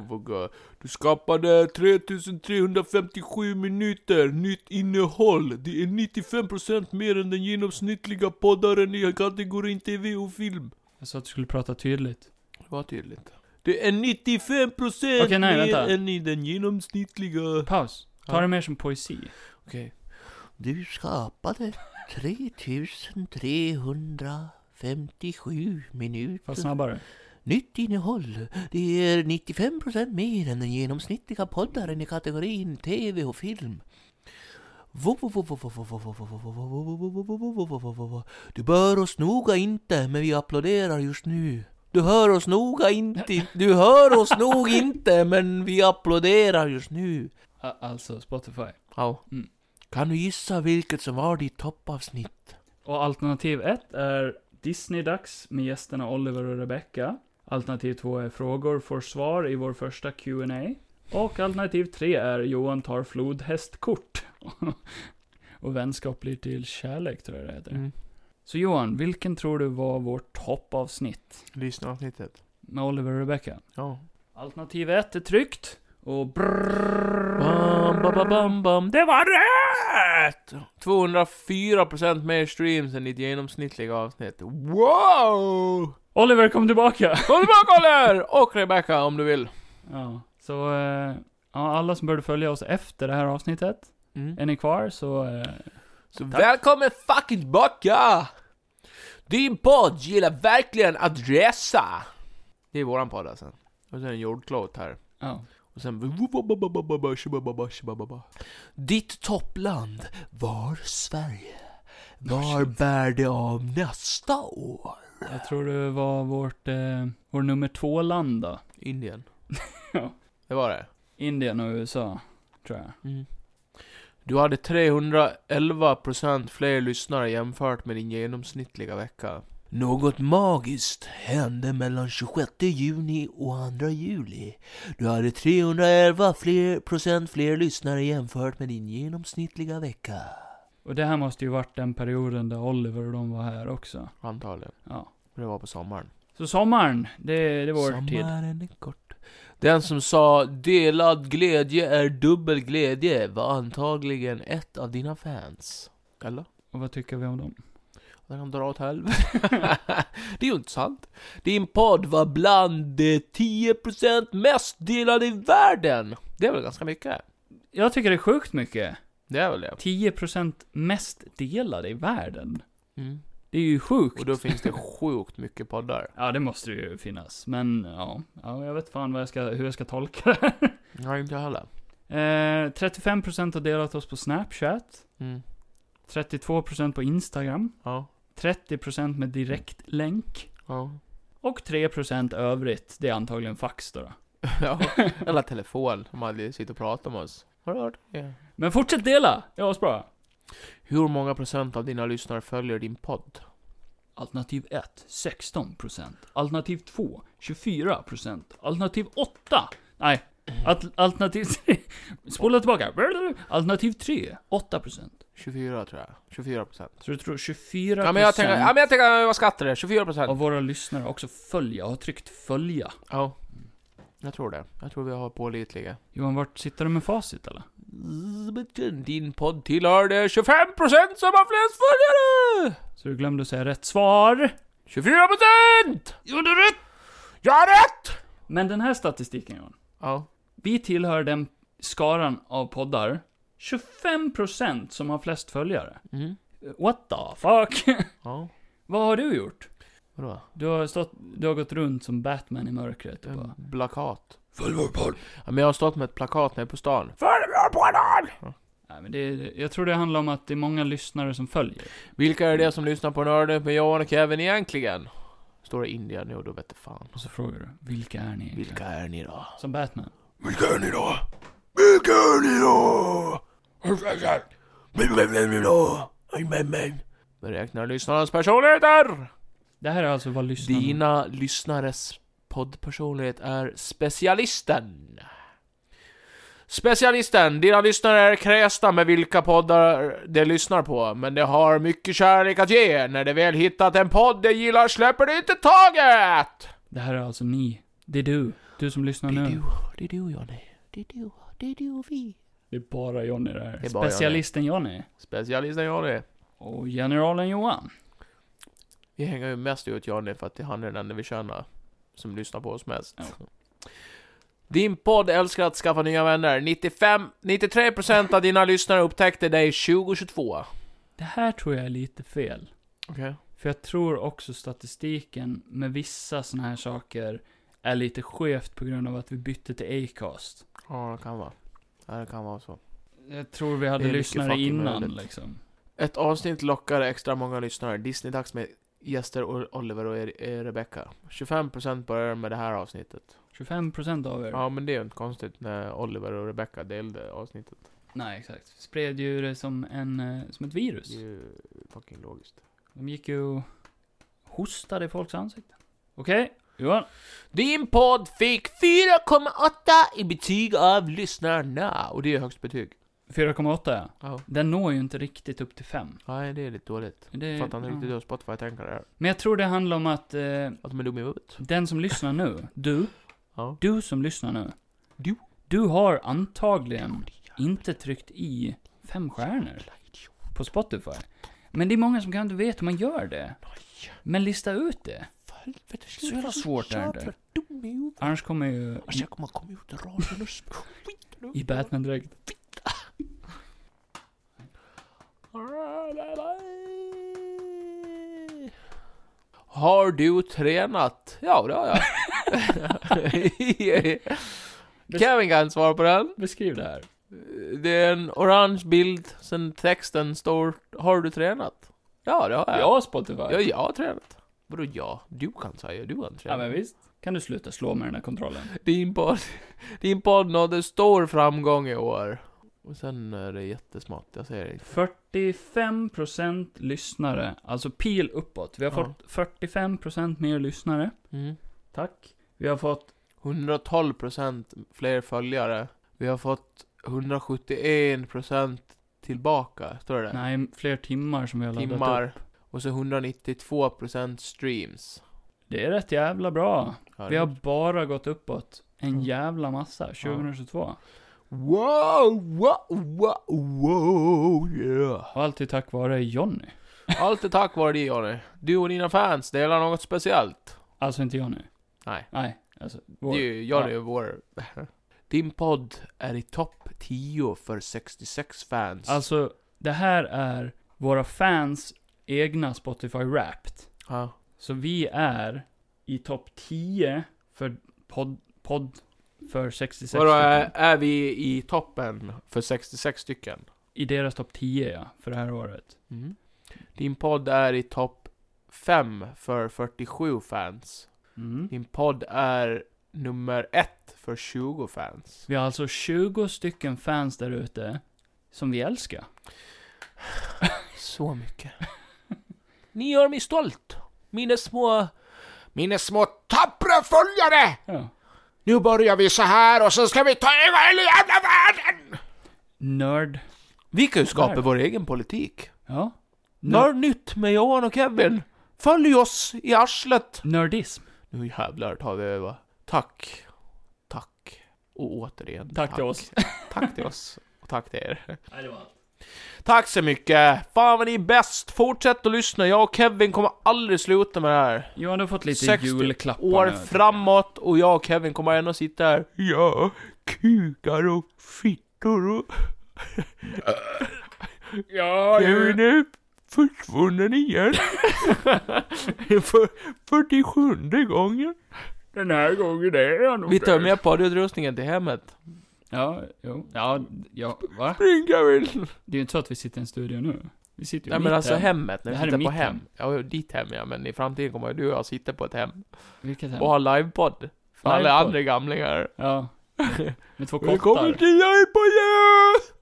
Du skapade 3357 minuter nytt innehåll. Det är 95% mer än den genomsnittliga poddaren i kategorin TV och film.
Jag sa att du skulle prata tydligt.
Det var tydligt. Det är 95%
Okej, nej,
mer
vänta.
än i den genomsnittliga... Okej.
Paus. Ta
Ja.
det mer som poesi.
Du skapade 3357 minuter
Fast snabbare.
Nytt innehåll. Det är 95% mer än den genomsnittliga poddaren i kategorin TV och film. Du bör oss noga inte, men vi applåderar just nu. Du hör oss noga inte, du hör oss nog inte, men vi applåderar just nu.
A- Alltså Spotify.
Ja.
Mm.
Kan du gissa vilket som var ditt toppavsnitt?
Och alternativ ett är Disney-dags med gästerna Oliver och Rebecca. Alternativ två är frågor får svar i vår första Q&A. Och alternativ tre är Johan tar flodhästkort. och vänskap blir till kärlek, tror jag det heter.
Mm.
Så Johan, vilken tror du var vårt toppavsnitt
Lyssnaravsnittet.
med Oliver och Rebecca?
Ja.
Alternativ ett är tryckt. Och brrrr.
Bam, bam, bam, bam, bam. Det var rätt! 204% mer streams än ditt genomsnittliga avsnitt. Wow!
Oliver kom tillbaka!
Kom tillbaka Oliver! Och Rebecca om du vill.
Ja, så eh, ja, alla som började följa oss efter det här avsnittet,
Mm.
är ni kvar så... Eh,
Så
Tack.
välkommen fucking tillbaka! Din podd gillar verkligen att resa! Det är våran podd alltså. Och sen jordklot här.
ja.
Och sen...
Ditt toppland var Sverige. Var bär det av nästa år?
Jag tror det var vårt, eh, vår nummer två-land då.
Indien.
Ja.
Det var det.
Indien och USA, tror jag.
Du hade 311% fler lyssnare jämfört med din genomsnittliga vecka.
Något magiskt hände mellan 26 juni och 2 juli. Du hade 311 fler procent fler lyssnare jämfört med din genomsnittliga vecka.
Och det här måste ju varit den perioden där Oliver och de var här också.
Antagligen.
Ja.
Det var på sommaren.
Så sommaren, det, det är vår tid.
Sommaren är kort.
Den som sa 'delad glädje är dubbel glädje' var antagligen ett av dina fans. Eller?
Och vad tycker vi om dem?
Men de drar åt helvete. det är ju inte sant. Din podd var bland de 10% mest delade i världen. Det är väl ganska mycket?
Jag tycker det är sjukt mycket.
Det är väl det.
10% mest delade i världen.
Mm.
Det är ju sjukt.
Och då finns det sjukt mycket poddar.
Ja, det måste ju finnas. Men ja, ja jag vet fan vad jag ska, hur jag ska tolka det här.
Nej, inte jag heller.
Eh, 35% har delat oss på Snapchat.
Mm.
32% på Instagram.
Ja.
30% med direktlänk.
Ja.
Och 3% övrigt. Det är antagligen fax då. då.
ja. Eller telefon, om aldrig sitter och pratar med oss. Har du hört det?
Men fortsätt dela! Det var bra.
Hur många procent av dina lyssnare följer din podd?
Alternativ 1, 16%. Alternativ 2, 24%. Alternativ 8, nej. Al- alternativ 3, spola tillbaka. Alternativ 3, 8%.
24 tror jag. 24 procent.
Så du tror 24%
Ja men jag tänker, ja men jag tänker, vad skattar det? 24 procent.
av våra lyssnare också följa, har tryckt följa.
Ja. Jag tror det. Jag tror vi har pålitliga.
Johan, vart sitter du med facit eller?
Din podd tillhör de 25 procent som har flest följare!
Så du glömde säga rätt svar.
24 procent!
Gjorde rätt!
Jag har rätt!
Men den här statistiken Johan.
Ja.
Vi tillhör den skaran av poddar, 25% som har flest följare.
Mm.
What the fuck?
Ja.
Vad har du gjort?
Vadå?
Du har, stått, du har gått runt som Batman i mörkret
Mm.
och bara...
Plakat. Följ vår podd! Ja, men jag har stått med ett plakat nere på stan. Följ vår podd! Ja.
Nej, men det, jag tror det handlar om att det är många lyssnare som följer.
Vilka är det som lyssnar på Nörden med Johan och Kevin egentligen? Står det Indien nu, då vet du fan.
Och så frågar du, vilka är ni egentligen?
Vilka är ni då?
Som Batman.
Vilka är ni då? Vilka är ni då? Vilka är ni då? Men, men.
Beräknar lyssnarnas personligheter!
Det här är alltså vad lyssnarna...
Dina lyssnares poddpersonlighet är specialisten. Specialisten, dina lyssnare är kräsna med vilka poddar de lyssnar på, men de har mycket kärlek att ge. När de väl hittat en podd de gillar släpper de inte taget!
Det här är alltså ni. Det är du. Du som lyssnar
Det är
nu.
du, det är du Johnny. Det är du, det är du och vi.
Det är bara Johnny det här.
Det är bara
Specialisten Johnny.
Specialisten Johnny.
Och generalen Johan.
Vi hänger ju mest ut Johnny för att han är den enda vi känner som lyssnar på oss mest.
Ja.
Din podd älskar att skaffa nya vänner. 95, 93% av dina lyssnare upptäckte dig 2022.
Det här tror jag är lite fel.
Okej.
För jag tror också statistiken med vissa sådana här saker är lite skevt på grund av att vi bytte till Acast.
Ja, det kan vara. Ja, det kan vara så.
Jag tror vi
Det
hade
är mycket
lyssnare
fucking
innan
möjligt.
liksom.
Ett avsnitt lockar extra många lyssnare. Disney-dags med gäster och Oliver och er, er Rebecca. 25% börjar med det här avsnittet.
25% av er.
Ja, men det är ju inte konstigt när Oliver och Rebecca delade avsnittet.
Nej, exakt. Spred ju det som, en, eh, som ett virus.
Det är ju fucking logiskt.
De gick ju och hostade i folks ansikten. Okej, Johan.
Din podd fick 4,8 i betyg av lyssnarna. Och det är högst betyg.
4,8 ja.
Ja.
Den når ju inte riktigt upp till 5.
Nej, det är lite dåligt.
Eh,
Det,
Fattar inte
ja.
riktigt hur Spotify tänker där.
Men jag tror det handlar om att eh,
Att de är dumma i huvudet.
den som lyssnar nu, du,
Ja.
du som lyssnar nu.
Du.
Du har antagligen inte tryckt i fem stjärnor på Spotify. Men det är många som kanske inte vet hur man gör det. Men lista ut det. Så jävla svårt är det.
Mm.
Annars kommer ju
Alltså jag kommer komma ut ur radion och skiter upp.
i Batman-dräkt.
Har du tränat? Ja, det har jag. Kevin kan svara på den.
Beskriv det här.
Det är en orange bild, sen texten står Har du tränat? Ja, det har jag.
Ja, Spotify.
Ja, jag har tränat. Vadå ja? Du kan säga, du har inte
Ja,
tränat.
men visst. Kan du sluta slå med den här kontrollen?
Din podd, din podd nådde stor framgång i år. Och sen är det jättesmått, jag säger det.
45% lyssnare, alltså pil uppåt. Vi har
Ja.
fått 45% mer lyssnare.
Mm.
Tack. Vi har fått
112% fler följare. Vi har fått 171% tillbaka, står det där?
nej, fler timmar som vi har laddat upp.
Timmar. Och så 192% streams.
Det är rätt jävla bra.
Ja,
Vi har
det-
bara gått uppåt. En
Ja.
jävla massa. 2022.
Wow, wow, wow, wow, yeah.
Och alltid tack vare Jonny.
Allt är tack vare dig, Johnny. Du och dina fans delar något speciellt.
Alltså inte Jonny.
Nej.
Nej, alltså vår.
Det är ju Johnny och vår... Din podd är i topp 10 för 66 fans.
Alltså, det här är våra fans egna Spotify Wrapped.
ja.
Så vi är i topp 10 för podd, podd för 66
Vadå, är,
stycken.
är vi i toppen för 66 stycken?
I deras topp 10 ja, för det här året.
Mm. Din podd är i topp 5 för 47 fans.
Mm.
Din podd är nummer 1 för 20 fans.
Vi har alltså 20 stycken fans där ute som vi älskar.
Så mycket. Ni gör mig stolt. Mina små... Mina små tappra följare!
Ja.
Nu börjar vi så här och så ska vi ta över hela jävla världen!
Nörd.
Vi kan ju
Där.
skapa vår egen politik.
Ja.
När nytt med Johan och Kevin. Följ oss i arslet.
Nördism.
Nu jävlar tar vi över. Tack. Tack. Och återigen.
Tack till oss.
Tack till oss. Och tack till er.
Nej, det var allt.
Tack så mycket. Fan vad ni är bäst. Fortsätt att lyssna. Jag och Kevin kommer aldrig sluta med det här.
Johan, du har fått lite
60
julklappar
År
nu.
framåt och jag och Kevin kommer ändå sitta här. Ja, kukar och fittor och...
Ja, du.
Kevin är försvunnen igen. För 47 gången.
Den här gången är jag nog
Vi tar
där.
med poddeutrustningen till hemmet.
Ja, jo. Ja, ja, va?
Spring Kevin!
Det är ju inte så att vi sitter i en studio nu. Vi sitter ju
Nej
i
men
mitt
alltså
hem.
hemmet,
Det
när vi
här är
sitter på
mitt
hem.
hem.
Ja, ditt hem ja, men i framtiden kommer du och jag sitta på ett hem.
Vilket hem?
Och ha livepodd. För alla
Livepodd.
andra gamlingar.
Ja. Med två
Välkommen
kottar.
till livepodden!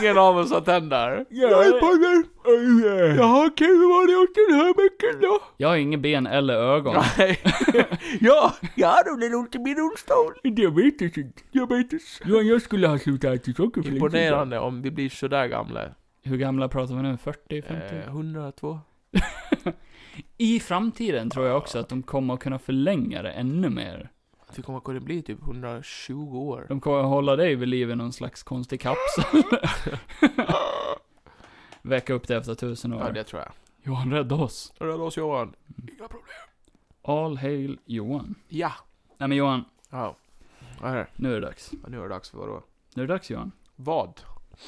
Ingen av oss har tänder. Livepodden! Jaha Kevin, vad har du gjort den här veckan då?
Jag har inga ben eller ögon.
Nej. ja, jag hade väl ont i min rullstol. Diabetes. Diabetes.
Johan, jag skulle ha slutat äta socker
Imponerande om vi blir sådär gamla.
Hur gamla pratar vi nu? 40, 50?
Eh, 102.
I framtiden tror jag också att de kommer att kunna förlänga det ännu mer.
Att vi kommer att kunna bli typ 120 år.
De kommer att hålla dig vid liv i någon slags konstig kapsel. Väcka upp det efter tusen år.
Ja, det tror jag.
Johan, rädda oss.
Röda oss Johan.
All hail Johan.
Ja.
Nej men Johan,
Ja. Här.
nu är det dags.
Nu är det dags för vadå?
Nu är det dags Johan.
Vad?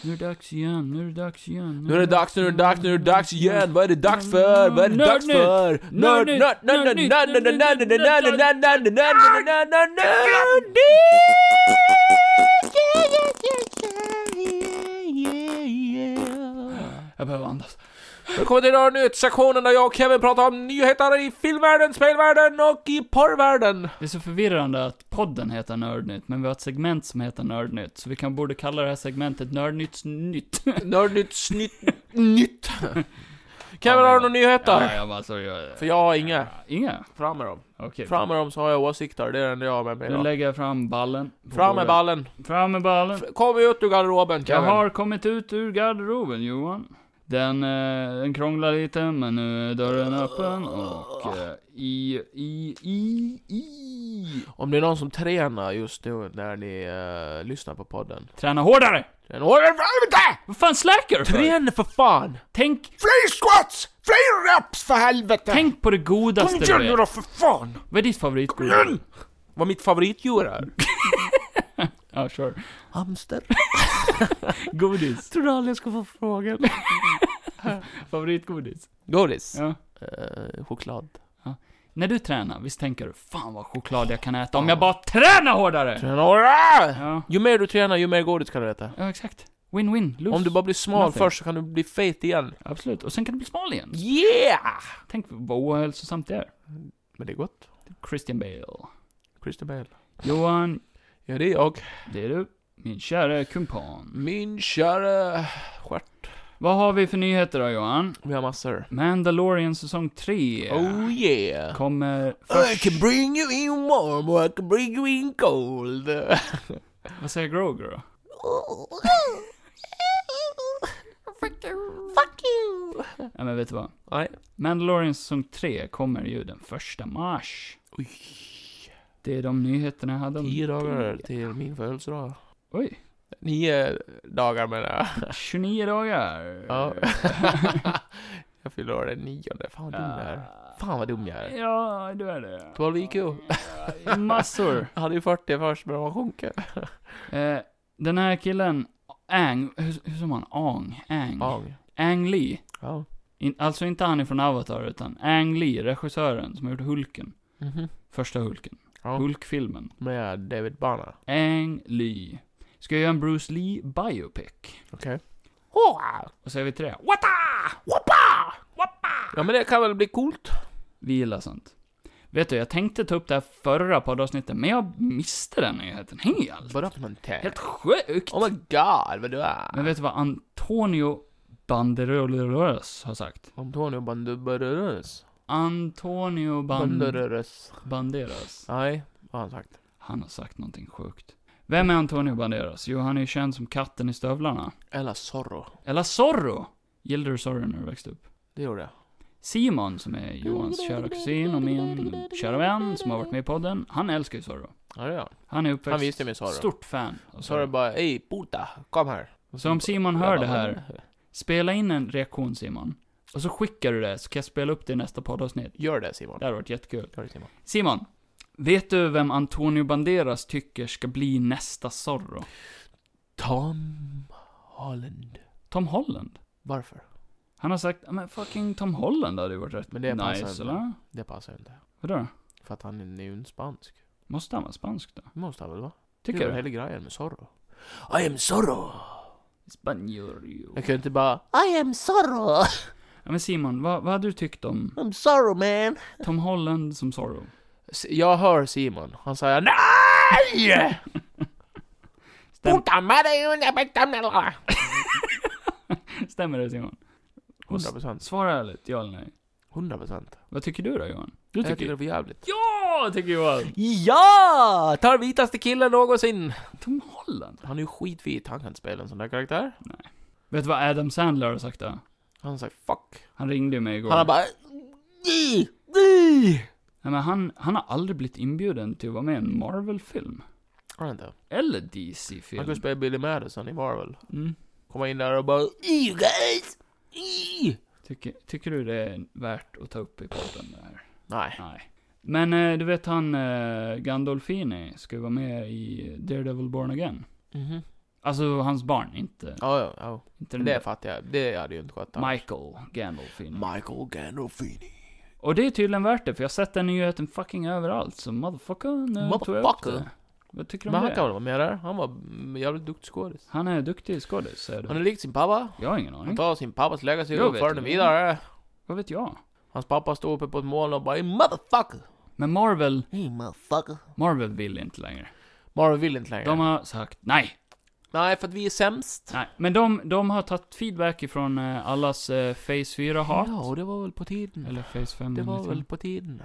Nu är det dags igen, nu är det dags igen.
Nu är det dags, nu är det dags, nu är det dags igen. Vad är det dags för? Vad är det dags för? Nörd, nörd, nörd, nörd, nörd, nörd, nörd, nörd, nörd, nörd, nörd, nörd, nörd, nörd, nörd, nörd, nörd, nörd.
Jag behöver andas.
Välkommen till Nörd Nytt, sektionen där jag och Kevin pratar om nyheter i filmvärlden, spelvärlden och i porrvärlden.
Det är så förvirrande att podden heter Nördnytt, men vi har ett segment som heter Nördnytt, så vi kan borde kalla det här segmentet Nördnytts nytt.
Nörd Nytt, snytt, nytt. Kevin, har du några nyheter?
jag bara så gör
För jag har inga.
Inga?
Fram med dem.
Okej.
Fram med dem så har jag åsikter, det är det enda jag har med mig
Nu
idag.
lägger jag fram ballen. på
Fram med
bordet.
ballen.
Fram med ballen.
Kom ut ur garderoben
Jag
Kevin.
har kommit ut ur garderoben, Johan. Den, eh, den krånglar lite, men nu är dörren öppen och eh, i, i, i, i.
Om det är någon som tränar just nu när ni eh, lyssnar på podden.
Träna hårdare!
Den håller fram inte!
Vad fan släcker du för?
Träna för fan!
Tänk,
Fler squats! Fler reps för helvete!
tänk på det
Kom
godaste
igen
du
nu
vet.
då för fan!
Vad är ditt favoritgodis?
Vad mitt favoritdjur är.
Ja, sure.
Hamster.
Godis.
Tror du aldrig jag ska få frågan?
Favoritgodis.
Godis?
Ja.
Eh, choklad.
När du tränar, visst tänker du 'Fan vad choklad jag kan äta om jag bara tränar hårdare!'
Träna hårdare!
Ja,
Ju mer du tränar, ju mer godis kan du äta.
ja exakt. Win-win, lose.
Om du bara blir smal
Nothing.
först så kan du bli fet igen.
Absolut. Och sen kan du bli smal igen.
Yeah!
Tänk vad ohälsosamt det är.
Men det är gott.
Christian Bale.
Christer Bale.
Johan,
Ja, det är jag.
det är du. Min kära kumpan.
Min kära stjärt.
Vad har vi för nyheter då Johan?
Vi har massor.
Mandalorian säsong 3
Oh yeah!
kommer
I
först.
can bring you in warm or I can bring you in cold.
Vad säger Grogu då?
Fuck you!
Ja men vet du vad?
Nej.
Mandalorian säsong 3 kommer ju den första mars.
Oj.
Det är de nyheterna jag hade om...
Tio dagar till min födelsedag.
Oj.
Nio dagar menar
29 dagar.
jag. Ja. jag fyller år den nionde. Fan vad dum jag är. Fan vad dum jag är.
Ja, du är det.
12 IQ.
Massor.
Jag hade ju 40 först men de har sjunkit.
Eh, den här killen, Ang, hur, hur säger man? Ang? Ang?
Ang.
Ang Lee.
Ja.
In, alltså inte han från Avatar, utan Ang Lee, regissören som har gjort Hulken.
Mhm.
Första Hulken.
Ja.
Hulkfilmen.
Med David Bana.
Ang Lee. Ska göra en Bruce Lee biopic.
Okej.
Och så är vi till det.
Ja men det kan väl bli coolt.
Vi gillar sånt. Vet du, jag tänkte ta upp det här förra poddavsnittet, men jag missade den nyheten alltså. helt.
Vadå för nånting?
Helt sjukt!
Oh my god vad du är.
Men vet du vad Antonio Banderolos har sagt?
Antonio Banderas.
Antonio Ban-
Banderas.
Banderas.
Nej, vad har han sagt?
Han har sagt någonting sjukt. Vem är Antonio Banderas? Jo, han är ju känd som katten i stövlarna.
Eller Zorro.
Eller Zorro! Gillade du Zorro när du växte upp?
Det gjorde jag.
Simon, som är Johans kära kusin och min kära vän som har varit med i podden, han älskar ju Zorro.
Ja det gör han.
Han är uppväxt...
Han visste mig Zorro.
Stort fan av
Zorro
Zorro.
bara, ej puta, kom här.
Så om Simon hör det här, spela in en reaktion Simon. Och så skickar du det, så kan jag spela upp det i nästa poddavsnitt.
Gör det Simon.
Det hade varit jättekul.
Gör det Simon.
Simon, vet du vem Antonio Banderas tycker ska bli nästa Zorro?
Tom Holland.
Tom Holland.
Varför?
Han har sagt, "Ja, men fucking Tom Holland hade ju varit rätt
Men det passar
nice,
inte.
eller?
Det passar ju inte.
Vadå då?
För att han är ju en spansk.
Måste han vara spansk då?
Det måste han väl va? det
Tycker
är
du?
hela grejen med Zorro.
I am Zorro!
Spanjor ju.
Jag kan inte bara...
I am Zorro!
Ja men Simon, vad, vad hade du tyckt om
I'm Zorro man!
Tom Holland som Zorro?
S- Jag hör Simon. Han säger NEJ!
Stäm,
Puta madre una betamela!
stämmer det Simon? Och s-
100 procent.
Svara ärligt, ja eller nej.
100 procent.
Vad tycker du då Johan? Du
Jag tycker
tycker...
det är för jävligt.
Ja, tycker Johan!
Ja! Tar vitaste killen någonsin!
Tom Holland?
Han är ju skitvit. Han kan inte spela en sån där karaktär.
Vet du vad Adam Sandler har sagt då?
Han säger fuck.
Han ringde ju mig igår.
Han har bara... "Nej, nej."
Nej, men han, han har aldrig blivit inbjuden till att vara med i en Marvel-film.
Har han inte?
Eller
Han kunde
DC-film.
spela Billy Madison i Marvel.
Mm.
Komma in där och bara...
You guys! I-
Tycker, tycker du det är värt att ta upp i podden det här?
Nej.
Nej. Men eh, du vet han eh, Gandolfini ska ju vara med i Daredevil eh, Born Again.
Mhm.
Alltså hans barn, inte,
Ja, ja, ja.
inte den
Men Det
där
fattar jag. Det hade ju inte gått. annars.
Michael Gandolfini.
Michael Gandolfini.
Och det är tydligen värt det, för jag har sett den nyheten fucking överallt, så motherfucker, nu tog jag upp
Motherfucker.
det. Vad tycker du
Men
om
han
det?
kan väl vara med där? Han var mm, jävligt duktig skådis.
Han är duktig skådis, säger
Han
du.
är lik sin pappa.
Jag har ingen
Han
aning.
tar sin pappas legacy
Mm. Jag
och
vet
för den
det.
vidare.
Vad vet jag?
Hans pappa stod uppe på ett moln och bara 'Motherfucker!'
Men Marvel,
Hey motherfucker.
Marvel vill inte längre.
Marvel vill inte längre.
De har sagt nej,
Nej, för att vi är sämst.
nej. Men de, de har tagit feedback ifrån eh, allas eh, Phase 4-hat.
Ja, och det var väl på tiden.
Eller liksom. Phase 5
det var
ingenting.
väl på tiden.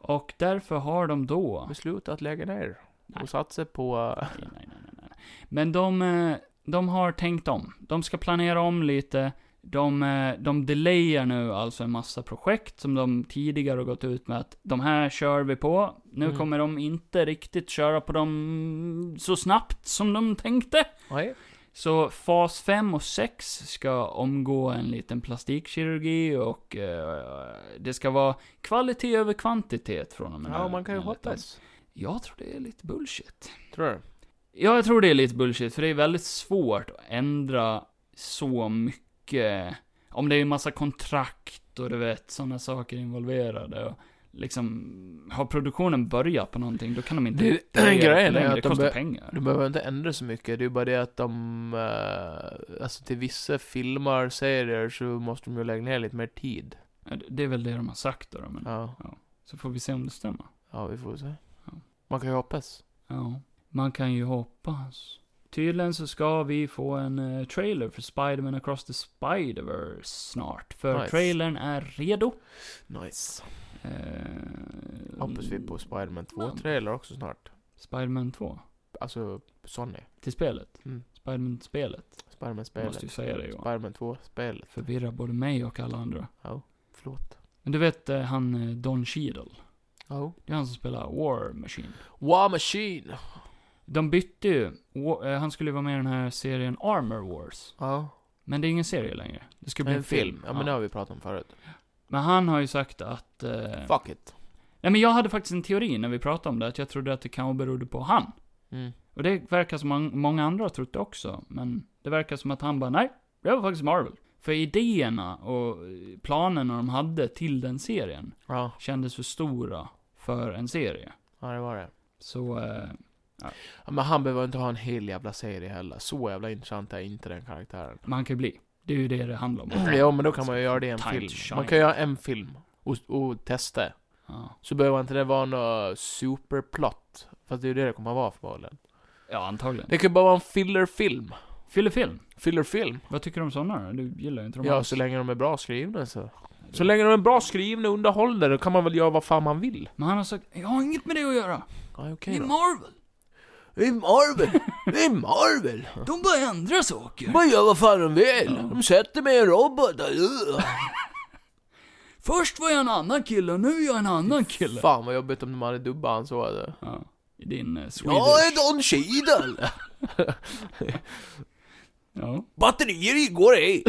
Och därför har de då...
Beslutat att lägga ner. Och satsa på... eh,
Nej, nej, nej, nej, nej. Men de, eh, de har tänkt om. De ska planera om lite. De, eh, de delayar nu alltså en massa projekt som de tidigare har gått ut med att de här kör vi på. Nu
Mm.
kommer de inte riktigt köra på dem så snabbt som de tänkte.
Nej.
Så fas 5 och 6 ska omgå en liten plastikkirurgi och eh, det ska vara kvalitet över kvantitet från och med
Ja,
nu,
man kan ju
enligt dem.
hoppas.
Jag tror det är lite bullshit.
Tror du?
Ja, jag tror det är lite bullshit, för det är väldigt svårt att ändra så mycket. Om det är en massa kontrakt och du vet, sådana saker involverade. Och liksom, har produktionen börjat på någonting, då kan de inte...
Det-
reparera
grejen är
längre.
att
Det
de
kostar
be-
pengar.
De behöver inte ändra så mycket, det är bara det att de... eh, alltså till vissa filmer, serier, så måste de ju lägga ner lite mer tid.
Ja, det- Det är väl det de har sagt då, men
Ja,
så får vi se om det stämmer.
ja vi får se.
Ja.
Man kan ju hoppas.
Ja, man kan ju hoppas. Tydligen så ska vi få en eh, trailer för Spider-Man Across the Spider-Verse snart. För
Nice.
trailern är redo.
Nice.
Eh,
Hoppas vi på Spiderman
Mm.
2-trailer också snart.
Spiderman 2.
Alltså, Sony.
Till spelet.
Mm.
Spiderman-spelet. Jag
Spiderman-spelet.
måste ju säga det Johan.
Spiderman 2-spelet.
Förvirrar både mig och alla andra.
Förlåt.
Men du vet eh, han eh, Don Cheadle.
Ja.
Det är han som spelar War Machine.
War Machine!
De bytte ju. Wa- eh, Han skulle ju vara med i den här serien Armor Wars.
Ja.
Men det är ingen serie längre. Det ska bli
En film. Ja, men det
Ja.
har vi pratat om förut.
Men han har ju sagt att... Eh,
Fuck it.
nej men jag hade faktiskt en teori när vi pratade om det, att jag trodde att det kanske berodde på han.
Mm.
Och det verkar som man, många andra har trott det också, men det verkar som att han bara, nej, det var faktiskt Marvel. För idéerna och eh, planerna de hade till den serien
Ja.
kändes för stora för en serie.
Ja, det var det.
Så, eh,
Ja, men han behöver inte ha en hel jävla serie heller. Så jävla intressant är inte den karaktären.
man kan ju bli. Det är ju det det handlar om.
Mm, Ja, men då kan man ju göra det i en
Mm. Time to
film.
shine.
Man kan göra en film och, och testa.
Ja.
Så behöver inte det vara något superplot. Fast det är ju det det kommer att vara förmodligen.
Ja, antagligen.
Det kan ju bara vara en fillerfilm.
Fyllefilm.
Fillerfilm?
Vad tycker du om sådana då? Du gillar ju inte de
Ja,
alls.
så länge de är bra skrivna så. Så länge de är bra skrivna och underhållande, då kan man väl göra vad fan man vill.
Men han har sagt, jag har inget med det att göra.
Ja,
Det
okej
är
då.
Marvel.
Det är Marvel! Det är Marvel!
De bara ändrar saker.
Man gör vad fan de vill! De sätter mig i en robot! Ugh.
Först var jag en annan kille, nu är jag en annan kille.
Fan vad jobbigt om de hade dubbat han så. Alltså.
Ja. I din eh, Swedish.
Jag är Don Cheadle!
ja.
Batterier går ej!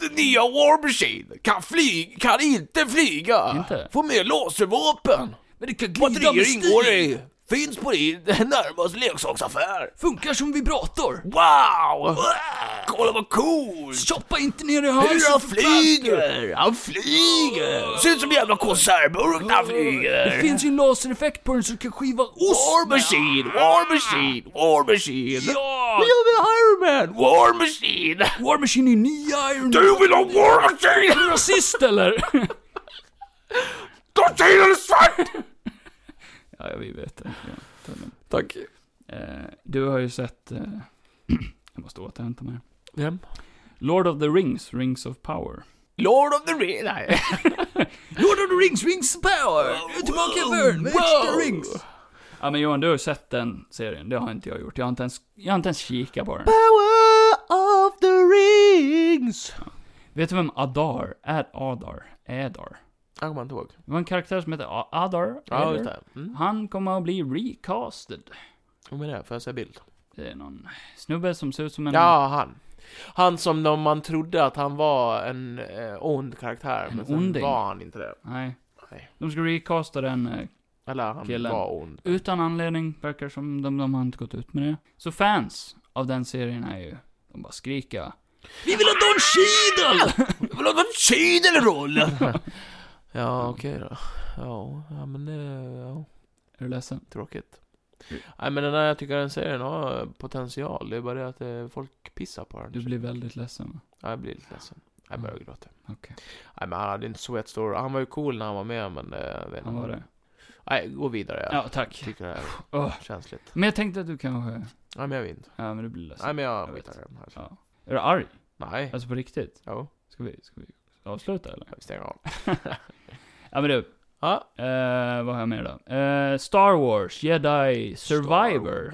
Den nya War Machine kan, flyg, kan inte flyga!
Inte?
Får med laservapen!
Men det kan glida med
Batterier ingår
stil.
ej! Finns på din närmaste leksaksaffär!
Funkar som vibrator.
Wow! Kolla vad coolt!
Choppa inte ner i
Alltså,
Hur
halsen
han
för fan.
flyger! Han flyger! Ser ut som en jävla konservburk när han
Det
flyger!
finns ju en lasereffekt på den så du kan skiva ost
War
med.
Machine! War Machine! War Machine!
Ja!
Jag vill ha Iron Man! War Machine!
War Machine är nya Iron Man.
Du vill ha War Machine!
Är du rasist eller?
Då säger du svart!
ja, vi vet det. Ja, ta det lugnt.
Tack.
Eh, du har ju sett... Eh, jag måste återhämta mig.
Vem?
Lord of the Rings, Rings of Power.
Lord of the Rings! Nej.
Lord of the Rings, Rings of Power! Nu är tillbaka i världen med extra rings!
Ja men Johan, du har ju sett den serien. Det har inte jag gjort. Jag har inte ens, jag har inte ens kikat på den.
Power of the Rings!
Vet du vem Adar är? Adar? Adar?
Jag kommer inte ihåg.
Det var en karaktär som hette A- Adar.
Ja,
Adar.
just det. Mm.
Han kommer att bli recasted.
Vad menar jag? Får jag se bild?
Det är någon snubbe som ser ut som en...
Ja, han. Han som de, man trodde att han var en eh, ond karaktär,
En
men sen
onding.
var han inte det.
Nej.
Nej.
De ska recasta den eh,
Eller han
Killen.
var ond.
Utan anledning, verkar som de, de har inte gått ut med det. Så fans av den serien är ju, de bara skriker.
Vi vill ha Don Cheadle!
Vill du ha en Cheadle-roll?
Ja, okej då. Ja, ja, men det... Ja,
Är du ledsen?
tråkigt.
Mm.
Nej men den där, jag tycker den serien har potential. Det är bara det att eh, folk pissar på den.
Du blir väldigt ledsen. va?
Ja, jag blir lite ledsen. Jag börjar gråta.
Okej.
Nej men han hade inte så jättestor... Han var ju cool när han var med men... eh, Jag vet
Han var
inte.
det.
Nej, gå vidare.
Ja, tack.
Tycker det här
Åh.
är känsligt.
Men jag tänkte att du kanske...
Nej men jag vill inte.
Ja, men du blir ledsen.
Nej men jag
Jag vet.
vet den här.
Ja. Är du arg?
Nej.
Alltså på riktigt?
Jo.
Ska vi, ska vi avsluta eller?
Jag stänger av.
Ja men du.
Ja.
Eh, vad har jag mer då? Eh, Star Wars, Jedi, Survivor.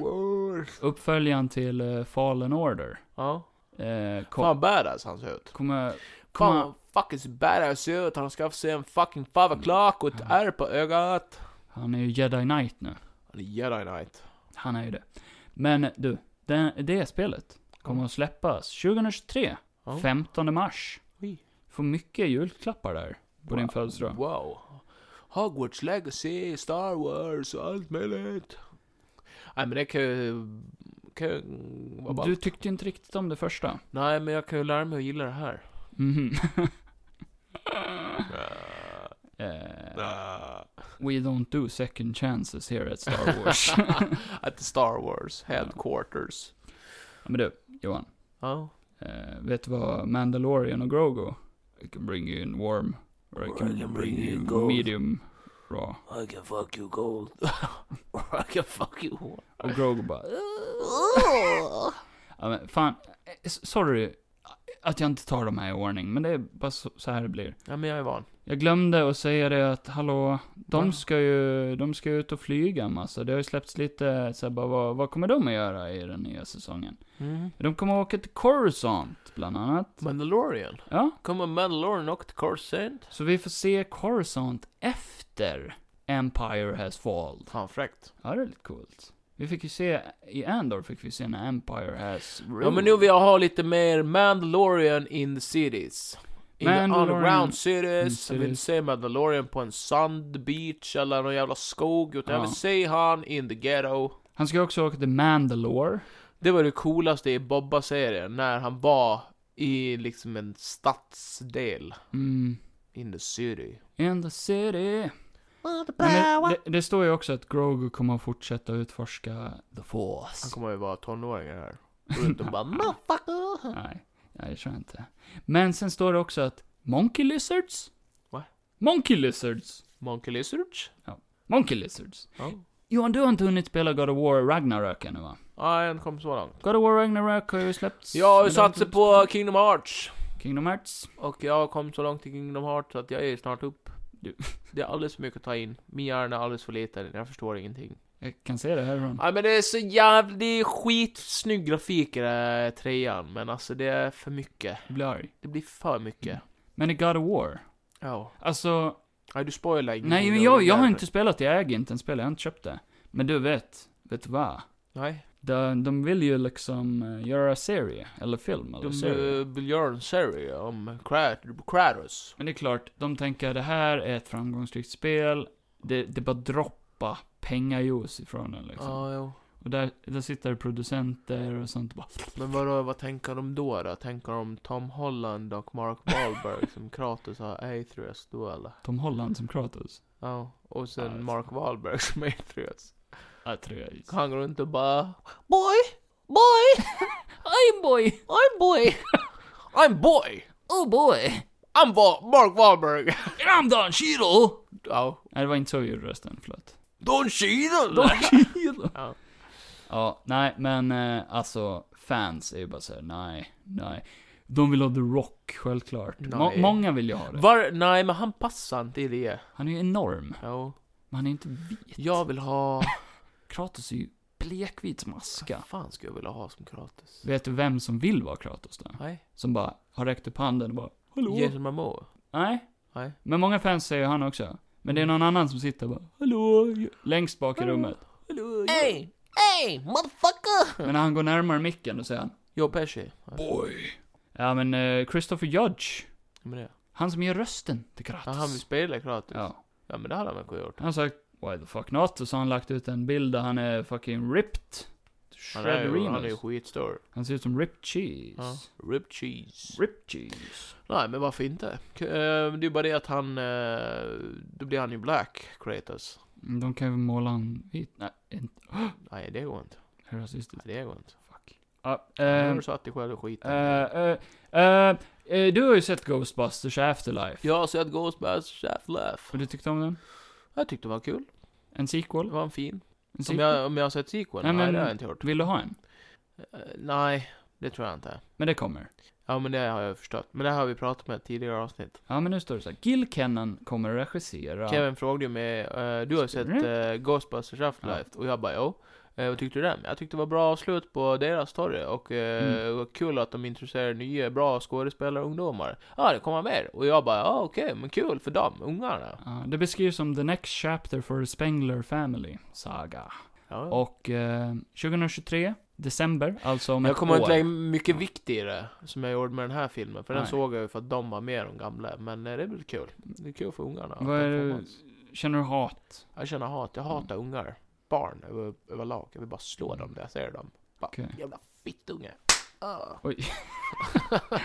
Uppföljaren till eh, Fallen Order.
Ja.
Eh, kom,
Fan badass han ser ut.
kommer...
Fan
kommer
fucking så badass ser ut. Han har skaffat sig en fucking five o'clock och ett
Mm.
ärr på ögat.
han är ju Jedi Knight nu.
Han är Jedi Knight.
Han är ju det. Men du, den, det spelet kommer att släppas 2023.
Ja.
15 mars.
Oj.
Får mycket julklappar där. På din födelsedag.
Wow. Hogwarts Legacy, Star Wars och allt möjligt. Nej men det kan ju... Kan ju vara bara...
Du tyckte inte riktigt om det första.
Nej men jag kan ju lära mig att gilla det här.
Mhm. Eh,
Ah.
we don't do second chances here at Star Wars.
Äh, Att Star Wars headquarters.
Ja, Men du, Johan.
Ja.
Eh, vet du vad Mandalorian och Grogu? I can bring you in warm. Or I can, bring you in
cold.
medium raw.
I can fuck you gold. Or I can fuck you hard.
Och Grogu bara... ja, men fan. eh, s- Sorry att jag inte tar dem här i ordning, men det är bara så, så här det blir.
ja, men jag är van.
Jag glömde att säga det att, hallå, de
Va?
ska ju, de ska ju ut och flyga en massa. Det har ju släppts lite så här, bara, vad, vad kommer de att göra i den nya säsongen?
Mm.
De kommer att åka till Coruscant, bland annat.
Mandalorian.
Ja,
Kommer Mandalorian och till Coruscant?
så vi får se Coruscant efter Empire has fallen.
Fan fräckt.
Ja, det är lite coolt. Vi fick ju se, i Andor fick vi se när Empire has
Ja men nu vill jag ha lite mer Mandalorian in the cities. In the
Mandalorian
underground
in
cities. Jag vill inte
cities.
se Mandalorian på en sandbeach eller någon jävla skog. Utan jag
Ja.
vill se han in the ghetto.
Han ska ju också åka till Mandalore.
Det var det coolaste i Bobba-serien. När han var i liksom en stadsdel.
Mm.
In the city.
In the city. Men det, det, det står ju också att Grogu kommer att fortsätta utforska the
Han
force.
kommer ju vara tonåringar här. Går runt och bara motherfucker.
Nej, nej, jag tror inte. Men sen står det också att Monkey Lizards?
Va?
Monkey Lizards.
Monkey lizards?
Monkey Lizards.
Ja.
Johan, du har inte hunnit spela God of War Ragnarök ännu va?
Ja, jag kom så långt.
God of War Ragnarök har ju släppts.
Jag har ju
eller har
satsat
inte-
på Kingdom Hearts.
Kingdom Hearts.
Och jag har kommit så långt i Kingdom Hearts att jag är snart upp.
Du.
Det är alldeles för mycket att ta in. Min hjärna är alldeles för liten. Jag förstår ingenting.
Jag kan se det härifrån.
Nej men det är så jävla... Det är skitsnygg grafik i den här trean. Men alltså det är för mycket.
Jag blir arg.
Det blir för mycket.
Men i God of War.
Ja.
Alltså,
Nej du spoilar ingenting.
nej men
Det
jag,
var
jag har
därför.
inte spelat, jag äger inte en spel, jag har inte köpt det. Men du vet, vet du vad?
Nej.
De, de vill ju liksom eh, göra serie, eller film, eller
De
serie.
uh, vill göra en serie om Krat- Kratos.
Men det är klart, de tänker det här är ett framgångsrikt spel, det, det bara droppa pengajuice ifrån den liksom.
Ja, jo.
Och där, där sitter det producenter och sånt och bara,
Men vadå, vad tänker de då då? Tänker de Tom Holland och Mark Wahlberg som Kratos har Atreus då eller?
Tom Holland som Kratos.
Ja,
Ja,
och
det är
sen Mark Wahlberg som är Atreus.
Jag tror jag gissar.
Han går runt och bara
Boy! Boy!
Oj boy!
I'm boy!
I'm boy!
Oh boy!
I'm Va- Mark Wahlberg!
I'm Don Cheadle!
ja.
Nej, det var inte så vi gjorde rösten, förlåt.
Don Cheadle!
Ja.
Ja, nej, men eh, alltså fans är ju bara såhär, nej, nej. De vill ha The Rock, självklart. Må-
Nej.
många vill ju ha det.
Var, nej men han passar inte i det.
Han är ju enorm,
Jo.
men han är inte vit.
Jag vill ha...
Kratos är ju blekvit som aska.
Vad fan skulle jag vilja ha som Kratos?
Vet du vem som vill vara Kratos då?
Nej.
Som bara har räckt upp handen och bara, hallå?
Jason Momoa?
Nej.
Nej.
Men många fans säger ju han också. Men det
Mm.
är någon annan som sitter och bara, hallå? Längst bak i rummet.
Hey! Hey! Motherfucker!
Men när han går närmare micken, då säger han,
Joe Pesci? Ja,
oj. Ja men eh, Christopher Judge,
men det.
han som gör rösten till
Ja, han
Kratos.
vill spela Kratos?
Ja.
Ja men det hade han väl kunnat gjort?
Han har sagt Why the fuck not? Och så har han lagt ut en bild där han är fucking ripped.
Han är ju, han är ju
Shredderinos.
skitstor.
Han ser ut som ripped cheese.
Ja. Rip cheese.
Ripped cheese.
Nej, men varför inte? K- eh, Det är ju bara det att han... eh, Då blir han ju black, Kratos.
Mm, De kan ju måla han vit. Nej, inte.
Nej, det går inte.
Är det rasistiskt?
Nej, det går inte.
Fuck. Ja,
Nu har
ehm,
du satt dig själv i skiten.
eh, eh, eh, eh, du har ju sett Ghostbusters Afterlife.
Jag har sett Ghostbusters Half Laugh.
Och du tyckte om den?
Jag tyckte det var kul.
En
Det
sequel?
var en fin.
En
Om
sequel?
jag, om jag har sett sequel?
Nej,
Nej,
men-
det har jag inte gjort.
Vill du ha en?
Eh, Nej, det tror jag inte.
Men det kommer.
Ja, men det har jag förstått. Men det har vi pratat med i ett tidigare avsnitt.
Ja, men nu står det så här. Gil Kennan kommer att regissera.
Kevin frågade ju mig, eh, du har ju sett
Spelar
uh, Ghostbusters Afterlife? Och jag bara, jo. Eh, vad tyckte du den? Jag tyckte det var bra avslut på deras story och eh,
Mm.
det var kul att de intresserade nya bra skådespelare och ungdomar. Ja, ah, det kommer mer. Och jag bara, ja ah, okej, men kul för dem, ungarna.
Ja, det beskrivs som The Next Chapter for the Spengler Family Saga.
Ja.
Och eh, 2023, december, alltså om
jag
ett
kommer
år.
inte lägga mycket vikt i det, som jag gjorde med den här filmen. För den
Nej.
såg jag ju för att de var med de gamla. Men eh, det är väl kul. Det är kul för ungarna. att
Vad
de
är
får
det-
mat.
Känner du hat?
Jag känner hat. Jag hatar ungar. Barn över, överlag. Jag vill bara slå dem där jag ser dem. Bara,
Okej.
Jävla fittunge. Ah.
Ja,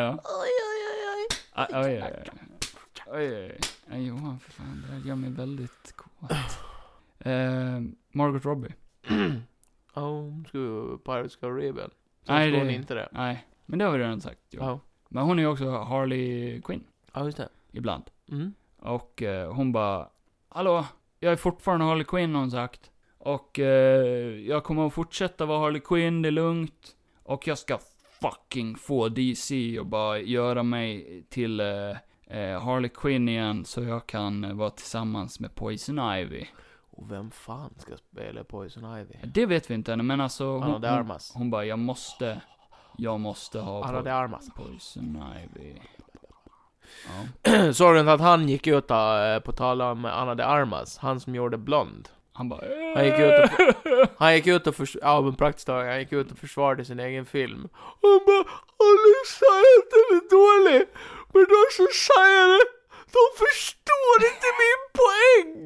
ja. Ah,
Oj, oj, oj, oj.
Aj, aj, aj. Aj, aj, aj. Nej, Johan, för fan, det här gör mig väldigt kåt. Eh, Margaret Robbie.
Ja, hon ska ju Pirates of Caribbean. Så
Nej,
Nej, hon
det-
inte det.
Nej, men det har vi redan sagt. Jo.
Ja,
Men hon är ju också Harley Quinn,
ja just det.
ibland.
Mm.
Och eh, hon bara, hallå, jag är fortfarande Harley Quinn har hon sagt. Och eh, jag kommer att fortsätta vara Harley Quinn, det är lugnt. Och jag ska fucking få DC och bara göra mig till eh, eh, Harley Quinn igen så jag kan eh, vara tillsammans med Poison Ivy.
Och vem fan ska spela Poison Ivy?
Det vet vi inte ännu, men alltså hon,
Anna de
hon,
Armas.
hon bara, jag måste, jag måste ha
Anna de
po-
Armas.
Poison Ivy. Ja.
Såg du inte att han gick ut eh, på tal om Anna de Armas? Han som gjorde Blond.
Han bara, "Äh,
Han gick ut och, han gick ut och förs- ja, men praktiskt taget, han gick ut och försvarade sin egen film. Han bara, Alexa är inte dålig, men de som säger det, de förstår inte min poäng.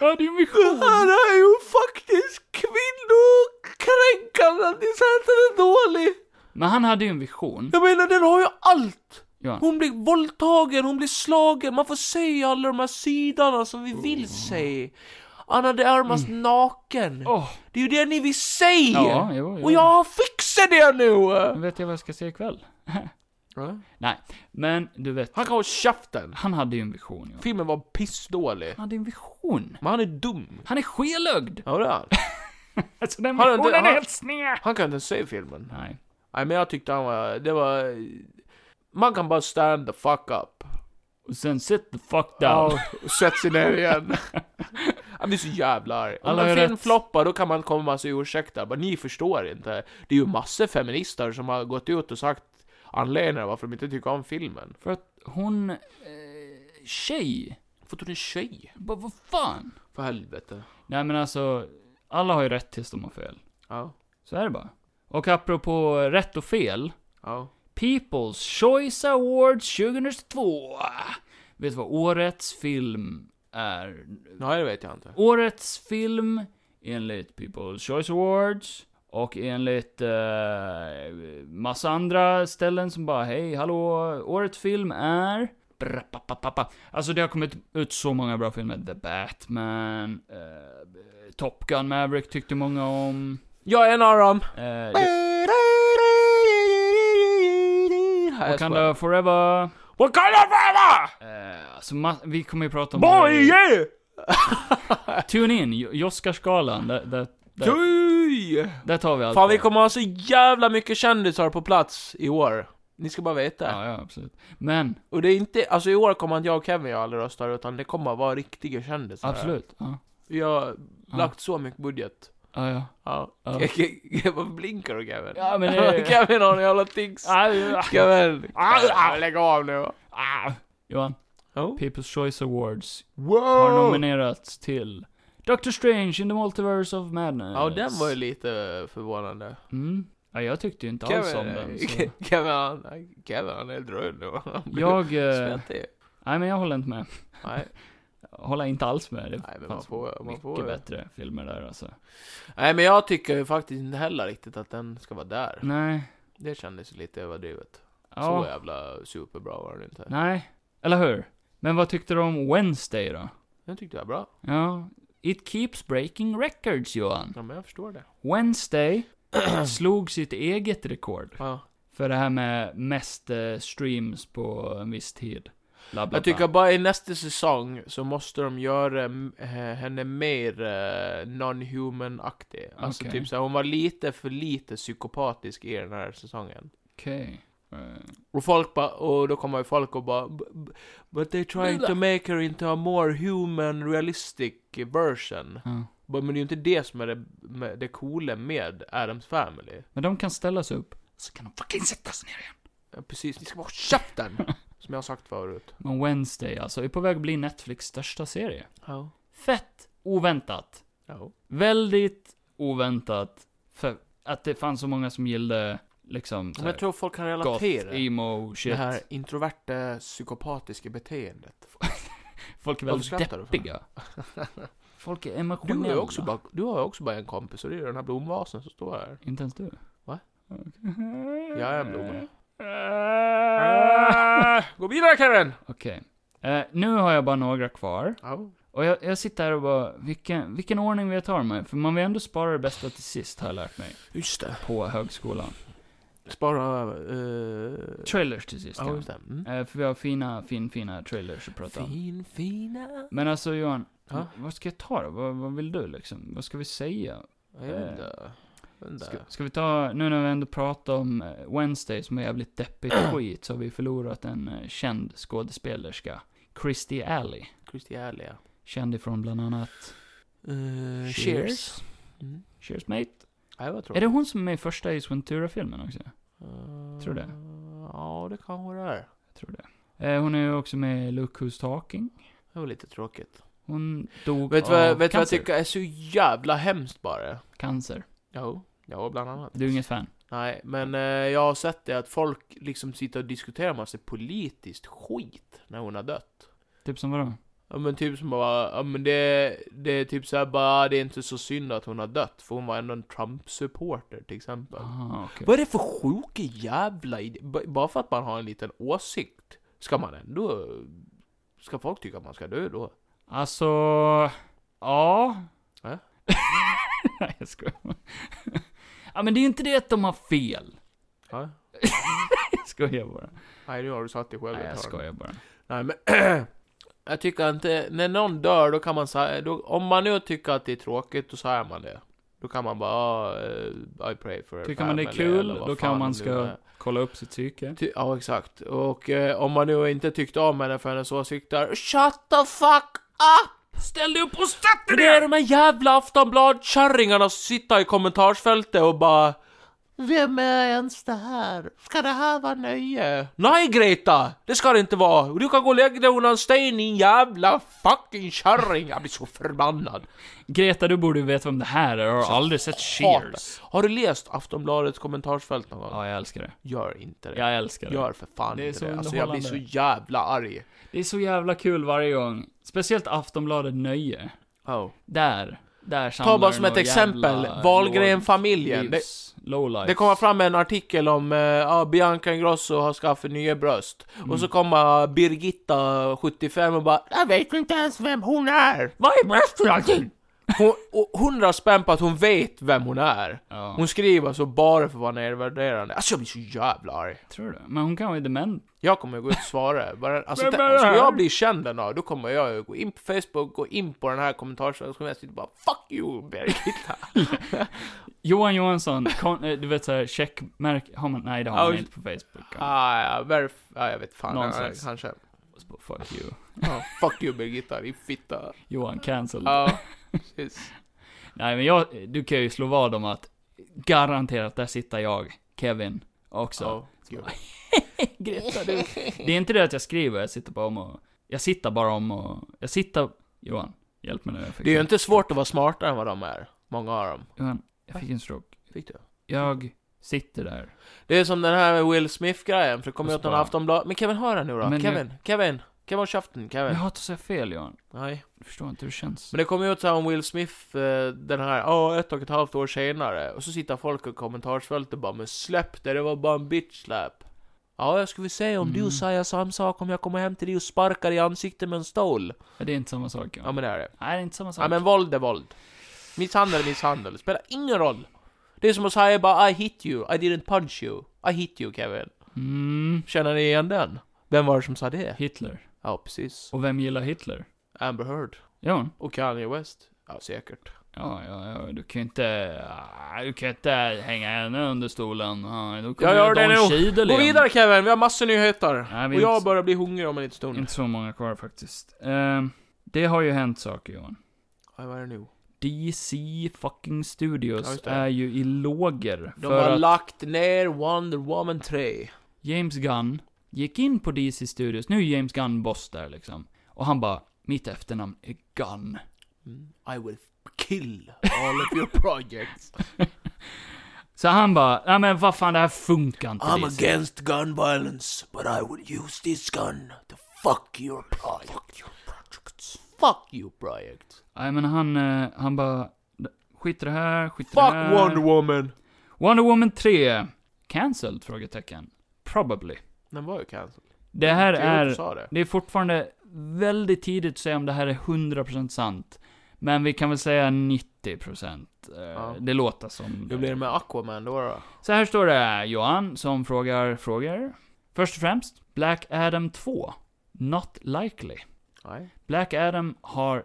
ja det är ju vision.
Det här är ju faktiskt kvinnokränkande att ni säger att den är dålig.
Men han hade ju en vision,
Jag menar, den har ju allt.
Johan.
Hon blir våldtagen, hon blir slagen, man får se alla de här sidorna som vi vill se. Anna de Armas naken.
Åh,
Det är ju det ni vill se!
Ja, jo, jo.
Och jag fixar det
nu
nu!
vet jag vad jag ska se ikväll. Nej, men du vet.
Han kan ha käften!
Han hade ju en vision, Johan.
Filmen var pissdålig.
Han hade en vision.
Men han är dum.
Han är skelögd!
Ja, det är han.
Alltså den
Han är inte-
visionen är
han-
helt sned!
Han kan inte ens se filmen.
Nej.
Nej, men jag tyckte han var... Det var... Man kan bara stand the fuck up.
Och sen sit the fuck down.
Ja, och sätt sig ner igen. Jag blir så jävla arg. Om
Alla har
en film
rätt.
floppar, då kan man komma med massa ursäkter. Bara, ni förstår inte. Det är ju massor feminister som har gått ut och sagt anledningar varför de inte tycker om filmen.
För att hon... Eh, tjej!
För att hon är tjej.
Bara, vad fan?
För helvete.
Nej men alltså, alla har ju rätt tills de har fel.
Ja.
Så är det bara. Och apropå rätt och fel.
Ja.
People's Choice Awards 2022. Vet du vad årets film är?
Nej, det vet jag inte.
Årets film enligt People's Choice Awards och enligt eh, massa andra ställen som bara hej, hallå, årets film är... Bra, pa, pa, pa, pa. Alltså det har kommit ut så många bra filmer. The Batman, eh, Top Gun Maverick tyckte många om.
Jag är en av dem!
Eh, det,
Nej, jag skojar.
Wakanda Forever.
What kind of fella?
Eh, alltså ma- vi kommer ju prata om...
Boy! yeah!
Tune in, J- Oscarsgalan, där, där, där,
Tjoj!
där tar vi allt.
Fan, vi kommer ha så jävla mycket kändisar på plats i år. Ni ska bara veta.
Ja, ja, absolut. Men,
Och det är inte, alltså i år kommer inte jag och Kevin göra alla röster, utan det kommer vara riktiga kändisar.
absolut. Ja,
Vi har lagt så mycket budget.
ja. ja.
Ja.
Ja.
Vad blinkar du Kevin?
Ja, men det-
Kevin har en jävla tics. Kevin. Lägg av nu.
ah. Johan,
Ja.
People's Choice Awards har nominerats till Doctor Strange in the Multiverse of Madness.
Ja, den var ju lite eh, förvånande.
Mm. Ja, jag tyckte ju inte alls om den. Så.
Kevin, eh, Kevin, han, Kevin, han är helt röd nu. Han blir
Jag... eh,
svettig.
Nej, men jag håller inte med.
Nej.
håller jag inte alls med. Det
Nej, men man
fanns
får- man
mycket
får-
bättre filmer där alltså.
Nej, men jag tycker ju faktiskt inte heller riktigt att den ska vara där.
Nej.
Det kändes ju lite överdrivet.
Ja.
Så jävla superbra var den inte.
Nej. Eller hur? Men vad tyckte du om Wednesday då?
Den tyckte jag var bra.
Ja. It keeps breaking records, Johan.
Ja, men jag förstår det.
Wednesday slog sitt eget rekord.
Ja.
För det här med mest eh, streams på en viss tid. Bla, bla,
Jag tycker
bla.
bara i nästa säsong så måste de göra eh, henne mer eh, non-human-aktig. Alltså
Okej.
typ så här, hon var lite för lite psykopatisk i den här säsongen.
Okej. Eh,
Och folk bara, och då kommer ju folk och bara "B- b- But they're trying to make her into a more human realistic version.
ja.
Bara, Men det är ju inte det som är det, med- det coola med Adams Family.
Men de kan ställas upp. Så kan de fucking sättas ner igen.
Ja, Precis, ni ska bara hålla käften! som jag har sagt förut.
Men Wednesday alltså, är på väg att bli Netflix största serie.
Ja.
Fett oväntat.
Ja.
Väldigt oväntat. För att det fanns så många som gillade liksom
Men jag tror folk kan
goth,
relatera.
emo, shit.
Det här introverta, psykopatiska beteendet.
Folk är
Varför
väldigt
skrattar du för?
deppiga. Folk är
Du
emotionella.
har ju också bara, du har ju också bara en kompis och det är den här blomvasen som står här.
Inte ens du?
Va?
Okej.
Jag är en blomma. Ah, Gå vidare Kevin!
Okej. Eh, nu har jag bara några kvar.
Ja.
Och jag, jag sitter här och bara, vilken, vilken ordning vi tar med. För man vill ändå spara det bästa till sist, har jag lärt mig.
Just det.
På högskolan.
Spara... Uh,
Trailers till sist,
ja,
ja.
just det. Mm.
Eh, för vi har fina, fin, fina trailers att prata om.
Fin, fina...
Men alltså Johan,
Ja?
vad ska jag ta då? Vad, vad vill du liksom? Vad ska vi säga?
Jag vet inte. Jag vet inte.
Eh, Ska, ska vi ta, nu när vi ändå pratar om eh, Wednesday som är jävligt deppigt skit, så har vi förlorat en eh, känd skådespelerska. Christy Alley.
Kristi Alia.
Känd ifrån bland annat
Uh,
Cheers.
Mm.
Cheers Mate.
Nej, vad tror
Är
du?
det hon som är med i första Ace Ventura-filmen också?
Eh,
tror det.
Ja, det kanske det är.
Jag tror det. Eh, hon är ju också med i Look Who's Talking.
Det var lite tråkigt.
Hon dog
Vet du
av
vad, vet du vad jag
cancer.
tycker är så jävla hemskt bara?
cancer.
Jo, ja bland annat.
Du är inget fan?
Nej, men eh, jag har sett det att folk liksom sitter och diskuterar massa politiskt skit när hon har dött.
Typ som vadå?
Ja men typ som bara, ja men det, det är typ såhär bara, det är inte så synd att hon har dött, för hon var ändå en Trump-supporter till exempel.
Ah, okej.
Vad är det för sjuka jävla ide- B- Bara för att man har en liten åsikt, ska man ändå... Ska folk tycka att man ska dö då?
Alltså... Ja.
Äh?
Nej, jag skojar. ja, men det är ju inte det att de har fel.
Ja?
Jag skojar bara.
Nej, nu har du satt dig själv
Nej,
i
jag
hörn.
skojar bara.
Nej men... jag tycker inte, när någon dör då kan man säga, då- om man nu tycker att det är tråkigt då säger man det. Då kan man bara, ah, eh, I pray for her
Tycker man det är
family,
kul,
eller vad
då
fan
kan man
det
ska
nu är.
kolla upp sitt psyke.
Ty- Ja, exakt. Och eh, om man nu inte tyckte om henne för hennes åsikter, shut the fuck up! Ställ dig upp och sätt dig ner! Det är de här jävla Aftonblad-kärringarna som sitter i kommentarsfältet och bara Vem är ens det här? Ska det här vara nöje? Nej Greta! Det ska det inte vara! Du kan gå och lägga dig under en sten din jävla fucking kärring! Jag blir så förbannad!
Greta, du borde ju veta om det här är. Jag
Alltså,
har aldrig sett Cheers.
Har du läst Aftonbladets kommentarsfält någon gång?
Ja, jag älskar det.
Gör inte det.
Jag älskar det.
Gör för fan
Det är
inte
så
det. Alltså jag blir så
underhållande.
jävla arg.
Det är så jävla kul varje gång. Speciellt Aftonbladet Nöje.
Oh.
Där. Där samlar
Ta bara som
de
ett
några
exempel,
jävla
Wahlgren-familjen. Det,
lowlives- Lowlifes.
det kommer fram en artikel om eh, ja, Bianca Ingrosso har skaffat nya bröst.
Mm.
Och så kommer Birgitta, 75, och bara Jag vet inte ens vem hon är! Vad är bröst för någonting? Hon, och 100 spänn på att hon vet vem hon är.
Ja.
Hon skriver så bara för att vara nedvärderande. Alltså jag blir så jävla arg.
Tror du? Men hon kan vara dement.
Jag kommer gå ut och svara. Bara, alltså,
Vem
tänk,
är det
ska
här?
jag bli känd den dag, då kommer jag ju gå in på Facebook, gå in på den här kommentarsfältet, och kommer jag sitta och bara 'Fuck you Birgitta'
Johan Johansson, kon, eh, du vet såhär, checkmärk, har man, nej det har man
Ja,
inte på Facebook. Ja.
Ah, ja, verif- ah, jag vet fan.
Någon
Ja,
slags.
kanske.
Alltså, Fuck you.
Ja, fuck you Birgitta, din fitta.
Johan, cancel.
Ja, precis.
Nej men jag, du kan ju slå vad om att, garanterat, där sitter jag, Kevin, också.
Ja, gud.
Greta, du. Det är inte det att jag skriver, jag sitter bara om och, jag sitter bara om och, jag sitter, Johan, hjälp mig nu. Jag fick
Det är ju inte svårt att vara smartare än vad de är. Många av dem.
Johan, jag fick en stroke.
Fick du?
Jag sitter där.
Det är som den här med Will Smith-grejen, för det kom
Och
ju ut någon
spara.
Aftonblad... Men Kevin, hör den nu då.
Men jag-
Kevin, Kevin. Kan-vara-käften, kan
Jag
jag.
hatar att säga fel Johan.
Nej.
Jag förstår inte hur det känns.
Men det kom ju ut så här om Will Smith, eh, den här, ja, ett och ett halvt år senare. Och så sitter folk och kommentarsfältet och bara, men släpp det, det var bara en bitch slap. Ja, jag skulle se om du säger samma sak om jag kommer hem till dig och sparkar i ansiktet med en stol.
Ja, det är inte samma sak
Ja,
Johan.
men det är det.
Nej, det är inte samma sak.
Ja, men våld är våld. Misshandel är misshandel. Det spelar ingen roll. Det är som att säga bara I hit you, I didn't punch you. I hit you Kevin.
Mm,
Känner ni igen den? Vem var det som sa det?
Hitler.
Ja, precis.
Och vem gillar Hitler?
Amber Heard.
Johan?
Och Kanye West. Ja, säkert.
Ja, ja, ja, du kan ju inte... ah, Du kan ju inte hänga henne under stolen. Ja, då kommer
Jag gör det
Don
nu.
Cheadle
Gå
igen.
vidare Kevin, vi har massor nyheter.
Nej, vi
och
är inte-
jag
Mm.
börjar bli hungrig om en liten stund.
Inte så många kvar faktiskt. Ehm, det har ju hänt saker Johan.
Ja, vad är det nu?
DC fucking
Ja,
Studios
just det.
är ju i lågor.
De
För
har
att
lagt ner Wonder Woman 3.
James Gunn gick in på DC Studios, nu är James Gunn boss där liksom. Och han bara, mitt efternamn är Gunn.
I will kill all of your projects.
Så han bara, nej men vad fan det här funkar inte
I'm
DC.
against gun violence, but I will use this gun to fuck your project. Fuck your project. Fuck you project.
Nej men han, eh, han bara, skit i det här, skit i det
Fuck
här.
Wonder Woman.
Wonder Woman 3, cancelled? Frågetecken. Probably.
Den var ju cancelled.
Det här
Det är...
är,
Sa det.
det är fortfarande väldigt tidigt att säga om det här är 100% sant. Men vi kan väl säga 90%. Eh, Det låter som...
Hur blir det med Aquaman då? då?
Så här står det, Johan, som frågar frågor. Först och främst, Black Adam 2. Not likely.
Nej,
Black Adam har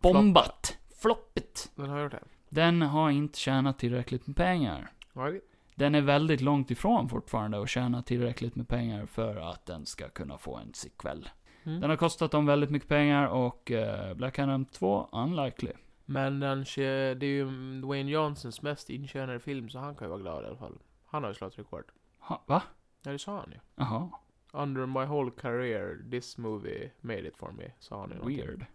bombat. Floppet.
den har gjort det.
Den har inte tjänat tillräckligt med pengar.
Nej.
Den är väldigt långt ifrån fortfarande att tjäna tillräckligt med pengar för att den ska kunna få en sequel.
Mm.
Den har kostat dem väldigt mycket pengar och eh, Black Adam 2, unlikely.
Men den, tje- det är ju Dwayne Johnsons mest intjänade film, så han kan ju vara glad i alla fall. Han har ju slagit rekord.
Ha, va?
Ja, det sa han ju.
Jaha,
Under my whole career, this movie made it for me, sa han ju. någonting.
weird.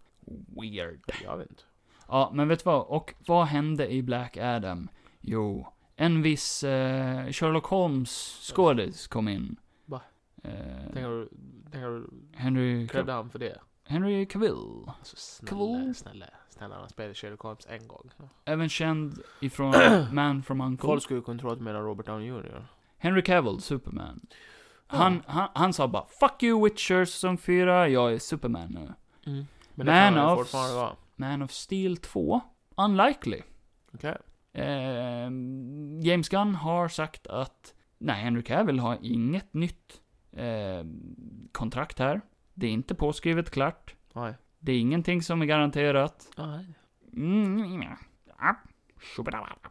Weird.
Jag vet inte.
Ja, men vet du vad? Och vad hände i Black Adam? Jo, en viss eh, Sherlock Holmes-skådis kom in.
Va?
Eh,
Tänker du, tänker du,
Henry,
krävde
Cav-
han för det?
Henry Cavill.
Alltså
Cool.
snälla, snälla, snälla, han spelade Sherlock Holmes en gång.
Även känd ifrån Man from Uncle.
Folk skulle kunna tro att du menar Robert Downey Jr.
Henry Cavill, Superman. Han, han, han sa bara 'Fuck you Witcher säsong 4, jag är Superman nu'
Men
Man
han
of-
fortfarande vara.
Man of Steel 2, unlikely.
Okej.
Eh, James Gunn har sagt att nej, Henry Cavill har inget nytt eh, kontrakt här. Det är inte påskrivet klart.
Nej.
Det är ingenting som är garanterat.
Nej.
Mm, ja. Ja. Shubadabadabada.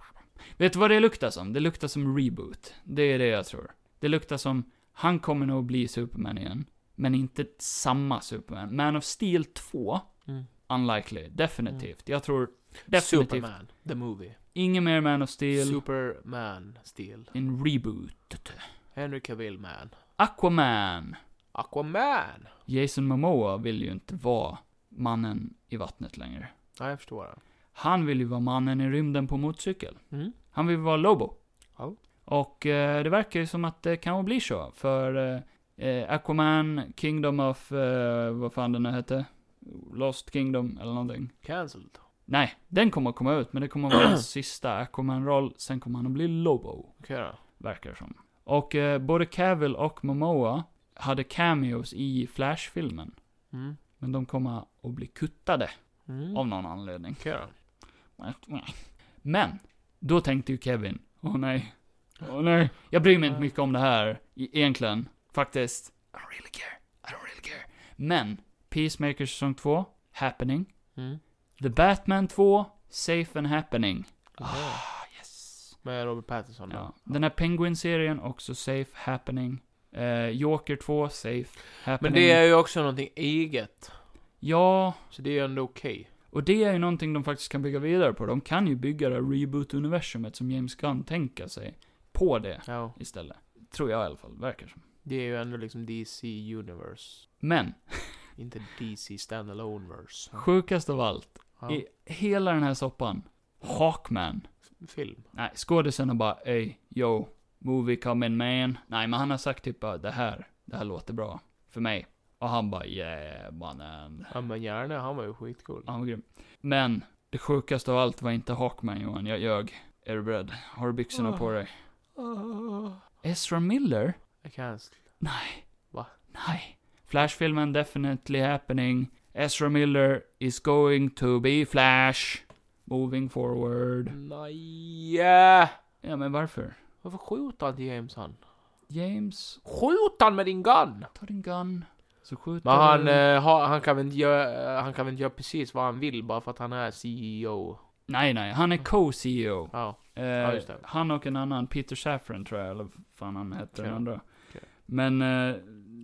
Vet du vad det luktar som? Det luktar som reboot. Det är det jag tror. Det luktar som, han kommer nog bli Superman igen. Men inte samma Superman. Man of Steel 2,
Mm.
unlikely. Definitivt. Jag tror definitivt
Superman, the movie.
ingen mer Man of Steel.
Superman, Steel.
En reboot.
Henry Cavill, man.
Aquaman.
Aquaman!
Jason Momoa vill ju inte vara mannen i vattnet längre.
Ja, jag förstår det.
Han vill ju vara mannen i rymden på motorcykel.
Mm.
Han vill vara Lobo.
Ja.
Och eh, det verkar ju som att det kan bli så, för eh, eh, Aquaman, Kingdom of, eh, vad fan den nu hette? Lost Kingdom eller någonting.
Cancelled.
Nej, den kommer att komma ut, men det kommer att vara hans sista Aquaman-roll, sen kommer han att bli Lobo.
Okej då.
verkar det som. Och eh, både Cavill och Momoa hade cameos i Flash-filmen.
Mm.
Men de kommer att bli kuttade
Mm.
av någon anledning.
Okej då.
Men, då tänkte ju Kevin, åh nej, åh nej, jag bryr mig inte mycket om det här, e- egentligen, faktiskt. I don't really care, I don't really care. Men, Peacemaker säsong 2, happening.
Mm.
The Batman 2, safe and happening.
Med Robert Pattinson då.
Ja. Den här Penguin-serien också safe, happening. Eh, Joker 2, safe, happening.
Men det är ju också någonting eget.
Ja,
Så det är ju ändå okej.
och det är ju någonting de faktiskt kan bygga vidare på. De kan ju bygga det här reboot-universumet som James Gunn tänker sig på det
Ja.
istället. Tror jag i alla fall, verkar som.
Det är ju ändå liksom DC Universe.
Men,
Inte DC Standalone-verse.
sjukast av allt,
Ja.
i hela den här soppan, Hawkman.
Film.
Nej, skådisarna bara, ey, yo, movie coming man. Nej, men han har sagt typ bara, det här, det här låter bra. För mig. Och han bara yeah mannen.
Ja men gärna, han var ju skitcool.
Han var grym. Men det sjukaste av allt var inte Hawkman Johan, jag ljög. Är du beredd? Har du byxorna på dig?
Ah.
Ezra Miller?
Jag cancel.
Nej.
Va?
Nej. Flashfilmen definitely happening. Ezra Miller is going to be Flash. Moving forward.
Nej!
Ja, men varför?
Varför skjuter han till James han?
James,
Skjut han med din gun!
ta din gun. Så skjuter
Men han,
du.
eh, ha, han, kan väl inte göra, han kan väl inte göra precis vad han vill bara för att han är CEO.
Nej, nej, han är co-CEO.
Ja.
Eh,
just det.
han och en annan, Peter Safran tror jag, eller vad fan han hette den
Okej.
andra.
Okej.
Men eh,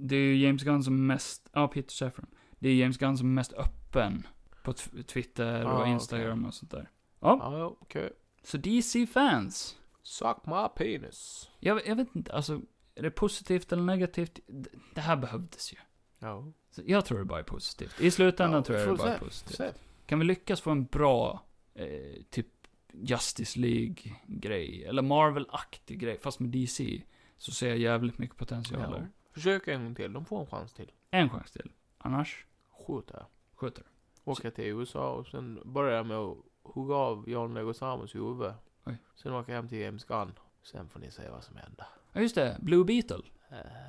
det är ju James Gunn som mest, ja Peter Safran. Det är James Gunn som är mest öppen på tw- Twitter
Ah,
och
okej.
Instagram och sånt där.
Ja, okej.
Så DC-fans.
Suck my penis.
Jag, jag vet inte, alltså, är det positivt eller negativt? D- Det här behövdes ju.
Ja.
Så jag tror det bara är positivt. I slutändan
Ja,
tror jag
får
det bara är
se,
positivt.
se.
Kan vi lyckas få en bra, eh, typ Justice League-grej, eller Marvel-aktig grej, fast med DC, så ser jag jävligt mycket potential
Ja.
där.
Försök en gång till, de får en chans till.
En chans till. Annars,
Skjut det.
skjuter
Åka till USA och sen börjar jag med att hugga av John Leguizamos huvud.
Oj.
Sen åka hem till James Gunn. Sen får ni se vad som händer.
Ja, just det. Blue Beetle.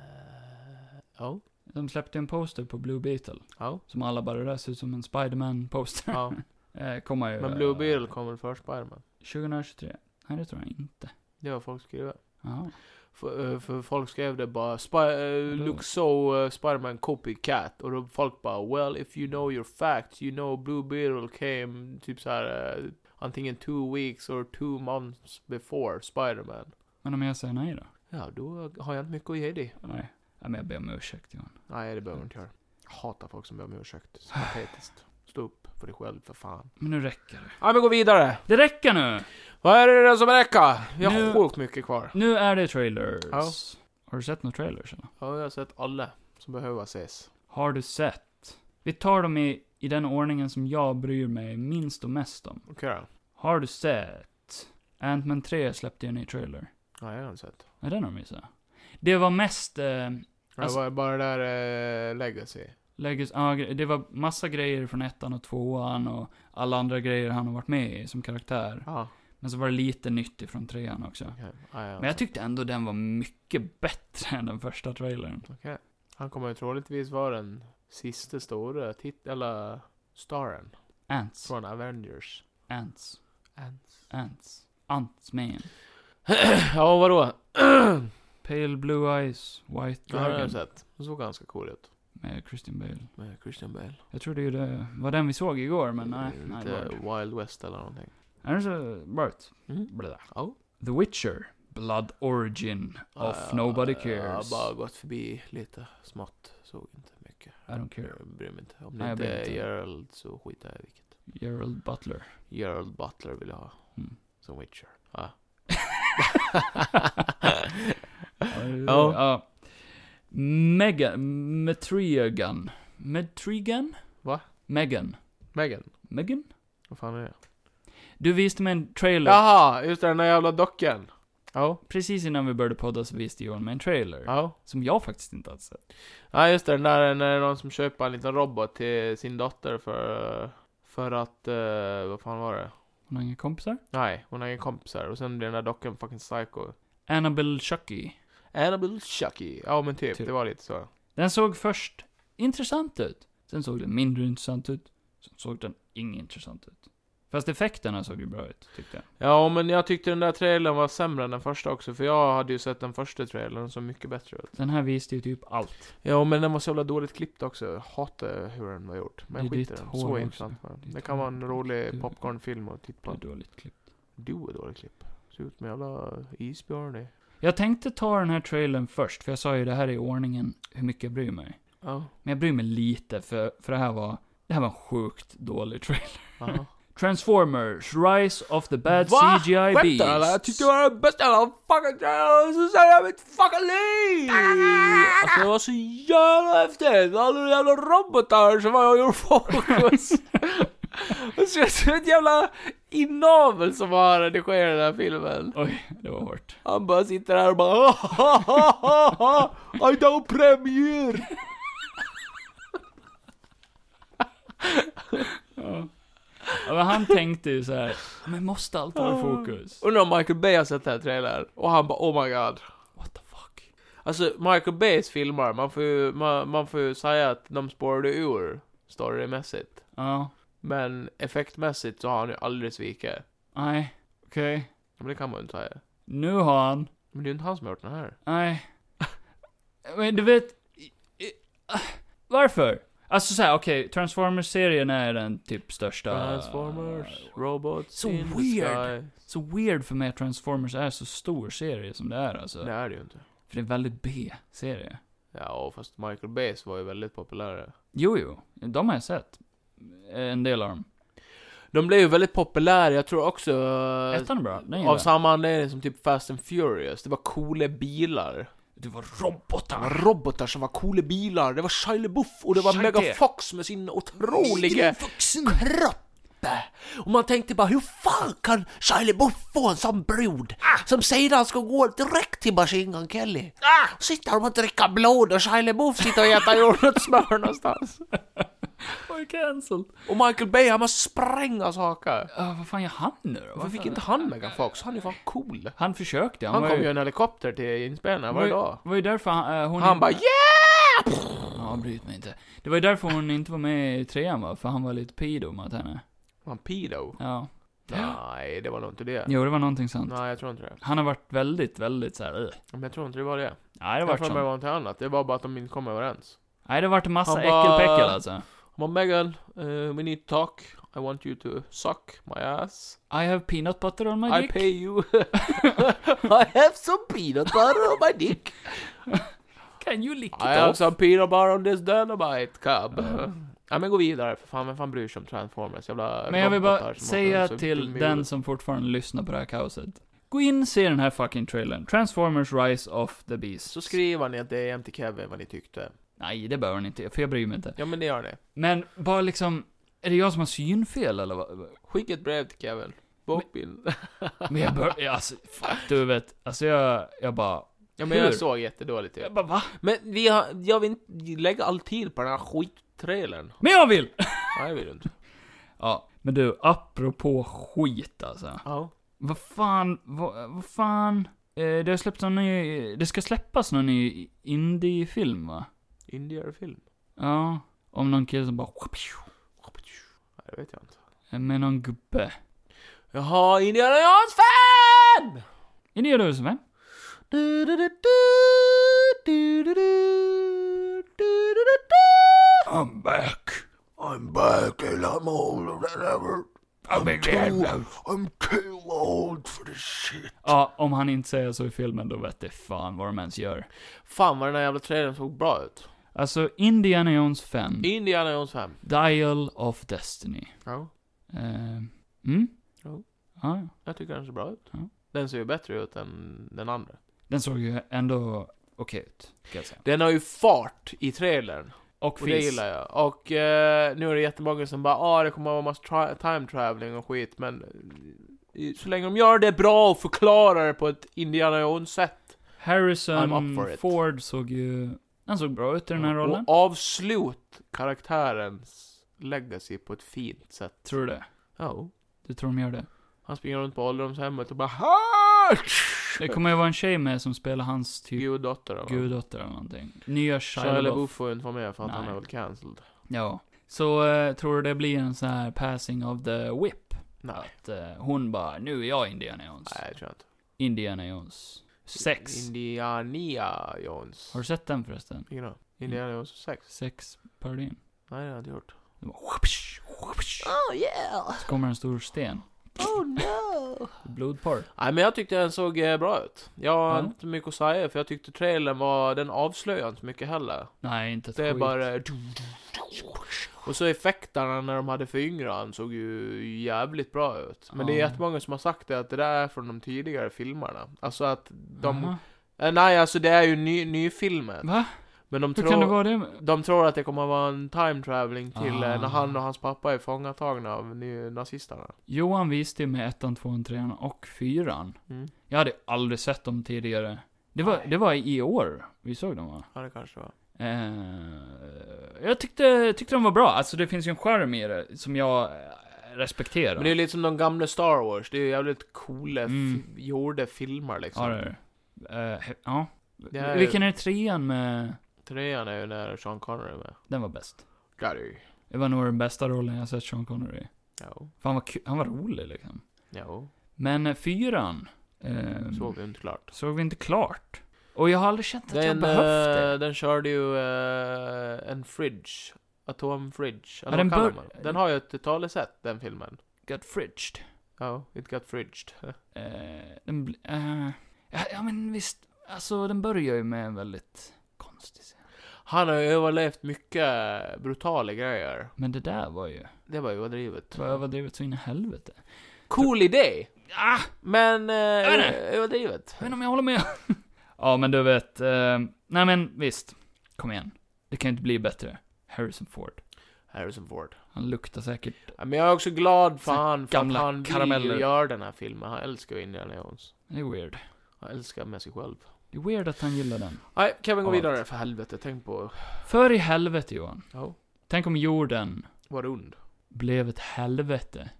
Eh, Ja,
De släppte en poster på Blue Beetle,
ja,
som alla bara, det där ser ut som en Spiderman-poster.
ja.
eh, kommer ju...
Men Blue
eh,
Beetle kommer väl före Spiderman?
2023. Nej, det tror jag inte.
Det har folk skrivit.
Jaha.
För, eh, för folk skrev det bara Spi- eh, Look so eh, Spiderman copycat. Och då folk bara Well if you know your facts you know Blue Beetle came typ så här eh, antingen two weeks or two months before Spiderman.
Men om jag säger nej då?
Ja, då har jag inte mycket att ge dig.
Nej. Ja, men jag ber om ursäkt, Johan.
Nej, det behöver du inte göra. Jag hatar folk som ber om ursäkt. Så Patetiskt. Stå upp för dig själv för fan.
Men nu räcker det.
Ja, men gå vidare!
Det räcker nu!
Vad är det som räcker? Vi
Nu-
har sjukt mycket kvar.
Nu är det trailers.
Ja.
Har du sett några trailers eller?
Ja, jag har sett alla som behöver ses.
Har du sett? Vi tar dem i, i den ordningen som jag bryr mig minst och mest om.
Okej då.
Har du sett? Ant-Man 3 släppte ju en ny trailer.
Nej, jag har inte sett.
Nej, den har de missat. Det var mest... Eh,
Det
Alltså-
var bara det där eh, Legacy.
Legos, ah, gre- det var massa grejer från ettan och tvåan och alla andra grejer han har varit med i som karaktär.
Ja.
Men så var det lite nytt ifrån trean också.
Okej. Ja, ja.
Men jag tyckte ändå den var mycket bättre än den första trailern.
Han kommer ju troligtvis vara den sista stora tit- eller staren
Ants.
från Avengers.
Ants.
Ants.
Ants. Ants-man.
Ja, vadå?
Pale Blue Eyes, White
Det har
Dragon
jag sett. Det såg ganska cool ut.
med Christian Bale.
Med Christian Bale.
Jag tror det är det var den vi såg igår, men nej.
Lite
nej det var det.
Wild West eller någonting.
Är det så bra ut?
Mm.
Blä.
Ja.
The Witcher, Blood Origin of Nobody
Jag
Cares.
har bara gått förbi lite smått. Såg inte mycket.
I don't care.
Jag bryr mig inte. Om
Nej,
det
jag
inte
bryr mig
är
inte.
Gerald så skiter jag i vilket.
Gerald Butler.
Gerald Butler vill jag ha.
Mm.
Som Witcher. Ja.
Ja. ja. Mega, Metrigan. Metrigan?
Va?
Megan.
Megan.
Megan?
Vad fan är det?
Du visste mig en trailer.
Jaha! Just det, den där jävla dockan. Ja.
Precis innan vi började podda så visste Johan mig en trailer.
Ja.
Som jag faktiskt inte hade sett.
Ja just det, den där när det är någon som köper en liten robot till sin dotter för... För att... eh, vad fan var det?
Hon har inga kompisar.
Nej, hon har inga kompisar. Och sen blir den där dockan fucking psycho.
Annabelle Chucky.
Annabelle Chucky. Ja men typ,
Typ.
det var lite så.
Den såg först intressant ut. Sen såg den mindre intressant ut. Sen såg den inget intressant ut. Fast effekterna såg ju bra ut, tyckte jag.
Ja men jag tyckte den där trailern var sämre än den första också. För jag hade ju sett den första trailern som mycket bättre ut.
Den här visste ju typ allt.
Ja men den var så jävla dåligt klippt också. Jag hatar hur den var gjort. Men
Det är
skit i
ditt
den.
hår
Så
också.
intressant var den.
Ditt
Det kan vara en
hår.
rolig
Du-
popcornfilm att
Det
titta
är
på.
dåligt klippt.
Du är dålig klipp. Ser ut som en jävla isbjörn i.
Jag tänkte ta den här trailern först, för jag sa ju det här är i ordningen hur mycket jag bryr mig.
Ja.
Men jag bryr mig lite, för, för det här var... Det här var en sjukt dålig trailer.
Aha.
Transformers, Rise of the Bad
Va?
CGI Beasts.
Skämtar eller? Jag tyckte det var det bästa jävla fucking trailern som sett i mitt fucking liv! Alltså det var så jävla häftigt! Alla de jävla robotar som var ur fokus! Det ser ut som ett jävla inavel som har redigerat den här filmen.
Oj, det var hårt.
Han bara sitter där och bara "Ah, ah, ah, ah, I don't premiere!
men han tänkte ju så här. men måste allt vara i fokus?
Undrar om Michael Bay har sett den här trailern. Och han bara oh my god.
What the fuck?
Alltså Michael Bays filmer, man får ju, man, man får ju säga att de spårade ur storymässigt.
Ja,
Men effektmässigt så har han ju aldrig svikit.
nej, okej.
Men det kan man ju inte säga.
Nu har han,
Men det är ju inte han som har gjort den här.
nej. Men du vet, i- i- ah, varför? Alltså såhär, okej, Transformers-serien är den typ största...
Transformers, robots
So
in
weird.
the sky.
Så weird för mig att Transformers är så stor serie som det är alltså.
Det är det ju inte.
För det är en väldigt B-serie.
Ja, fast Michael Bays var ju väldigt populära.
Jo, jo, de har jag sett. En del av dem.
De blev ju väldigt populära, jag tror också...
Ettan är bra, den gillar
Av
jag.
samma anledning som typ Fast and Furious. Det var coola bilar.
Det var
Det
robotar!
var robotar som var coola bilar. Det var Shia LaBeouf och det var
Shia
Mega
T.
Fox med sin otroliga kropp. Och man tänkte bara, hur fan kan Shia LaBeouf få en sån brud?
Ah.
Som sedan ska gå direkt till Machine Gun Kelly. Ah! Sitter de och dricker blod och Shia LaBeouf sitter och äter jordnötssmör någonstans.
Var cancelled.
Och Michael Bay, han måste spränga saker.
Ah, vad fan gör han nu då?
Varför
Varför-
fick inte han Mega Fox? Han är fan cool.
Han försökte, han,
Han
var
kom
ju...
ju i en helikopter till inspelningen
var ju-
varje dag.
var ju därför han, eh, hon...
Han bara yeah!
Ja, bryt mig inte. Det var ju därför hon inte var med i trean va? För han var lite pedo mot henne.
Han pedo.
Ja.
Nej, det var nog inte det.
Jo, det var någonting sånt.
Nej, jag tror inte det.
Han har varit väldigt, väldigt såhär, uh.
Men jag tror inte det var det.
Nej, det
Jag
har
har
varit
för mig
sånt.
var någonting annat. Det var bara att de inte kom överens.
Nej, det har varit en massa
Han bara-
äckelpäckel alltså.
Han bara Megan, eh, we need to talk. I want you to suck my ass.
I have peanut butter on my
I
dick.
pay you. I have some peanut butter on my dick.
Can you lick it
I have
off?
some peanut butter on this dynamite cub. Ja men gå vidare för fan, vem fan bryr sig om Transformers? Jävla
Men jag vill
robotar
bara
som
säga
åker runt så
till
dumhuvud.
den som fortfarande lyssnar på det här kaoset. Gå in och se den här fucking trailern. Transformers Rise of the Beast.
Så skriver ni ett DM till Kevin vad ni tyckte.
Nej, det behöver ni inte, för jag bryr mig inte.
Ja men det gör ni.
Men bara liksom, är det jag som har synfel eller vad?
Skicka ett brev till Kevin. Bokbild.
Men jag bör, alltså, fuck du vet. Alltså jag, jag bara,
Ja men jag
hur?
såg jättedåligt ut.
jag bara va?
Men vi har, jag vill inte lägga all tid på den här skittrailern.
Men jag vill!
Nej det vill du inte.
Ja, men du, apropå skit alltså.
Ja.
Vad fan, vad, vad fan? Eh, det har släppts någon ny, det ska släppas någon ny indie-film va?
Indierfilm?
Ja, om någon kille som bara,
Nej det vet jag inte.
med någon gubbe.
Jaha, Indiana Jones fan!
Är det du som är?
Du, du, du, du, du, du, du, du, du, du,
I'm back. I'm back and I'm older than ever. I'm, too, I'm too old for this shit.
Ja, om han inte säger så i filmen då vet det fan vad de ens gör.
du. Fan vad den här jävla trailern såg bra ut.
Alltså, Indiana Jones 5,
Indiana Jones fan.
Dial of Destiny.
Ja.
Eh, mm?
Jo.
Ja,
Jag tycker den ser bra ut.
Ja.
Den ser ju bättre ut än den andra.
den såg ju ändå okej ut, kan jag säga.
Den har ju fart i trailern.
Och
Och det
finns.
gillar jag. Och eh, nu är det jättemånga som bara ah det kommer att vara massa tra- time traveling och skit men eh, i- så länge de gör det bra och förklarar det på ett Indiana Jones-sätt I'm up
Harrison
for it. Mm.
Ford såg ju... Han såg bra ut i den här
och
rollen.
avslut karaktärens legacy på ett fint sätt.
Tror du det?
Ja.
Du tror de gör det?
Han springer runt på ålderdomshemmet och bara ha!
Det kommer ju vara en tjej med som spelar hans typ
Guddotter eller nåt.
guddotter eller någonting. Nya
Shia LaBeouf
Shia
får ju inte vara med för att han
Nej.
är väl cancelled.
Ja. Så eh, tror du det blir en sån här passing of the whip?
Nej.
Att eh, hon bara, nu är jag Indiana Jones.
Nej, det tror jag inte.
Indiana Jones. Sex.
Indiana Jones.
Har du sett den förresten?
Ingen aning. Indiana Jones 6?
Sex parodin.
Nej, det har jag inte gjort.
Det bara whoopsh, whoopsh.
Oh yeah!
Så kommer en stor sten.
Oh no!
Blodporr.
Nej men jag tyckte den såg eh, bra ut. Jag har
Ja.
inte mycket att säga för jag tyckte trailern var, den avslöjade inte mycket heller.
Nej, inte ett
Det är
skit.
bara... eh, Och så effekterna när de hade föryngran såg ju jävligt bra ut. Men det är
Ja.
jättemånga som har sagt det att det där är från de tidigare filmerna. Alltså att de...
Aha.
Eh, Nej alltså det är ju ny, ny filmen.
Va?
Men de
Hur kan det
tror...
vara det?
De tror att det kommer att vara en time traveling till eh,
Ah.
när han och hans pappa är fångatagna av ny- nazisterna.
Johan visste ju med ettan, tvåan, trean och fyran.
Mm.
Jag hade aldrig sett dem tidigare. Det var, det var i år vi såg dem va?
Ja det kanske var.
Eh, jag tyckte, tyckte de var bra. Alltså det finns ju en charm i det som jag eh, respektera.
Men det är ju lite som de gamla Star Wars, det är ju jävligt coola,
Mm.
f- gjorda filmer liksom.
Ja, det är det. Eh, he- ja.
Det är-
Vilken är trean med...
Trean är ju när Sean Connery är med.
Den var bäst.
Det är det ju.
Det var nog den bästa rollen jag sett Sean Connery i.
Jo,
För han var, ku- han var rolig liksom.
jo.
Men eh, fyran... Eh,
Såg vi inte klart.
såg vi inte klart. Och jag har aldrig känt att jag
Den,
behövt det.
eh, den körde ju eh, en fridge. Atomfridge.
Ja,
Eller
den
vad kallar
bör-
man? Den har ju ett talesätt, den filmen.
Got fridged.
Ja, it got fridged.
Eh, den bl- eh, ja, ja, men visst. Alltså, den börjar ju med en väldigt konstig scen.
Han har ju överlevt mycket brutala grejer.
Men det där var ju...
Det var ju överdrivet.
Det var överdrivet så in i helvete.
Cool idé!
Ah!
Men eh,
är det?
överdrivet.
Jag vet inte om jag håller med. ja, men du vet. Eh, nej, men visst. Kom igen. Det kan ju inte bli bättre. Harrison Ford.
Harrison Ford.
Han luktar säkert.
Ja, Men jag är också glad för
Så
han, för att
gamla
han vill
karameller.
ju göra den här filmen. Han älskar ju Indiana Jones.
Det är weird.
Han älskar med sig själv.
Det är weird att han gillar den.
Nej, Kevin gå
Allt.
vidare för helvete. Tänk på...
För i helvete, Johan.
Ja,
Tänk om jorden
var ond.
blev ett helvete.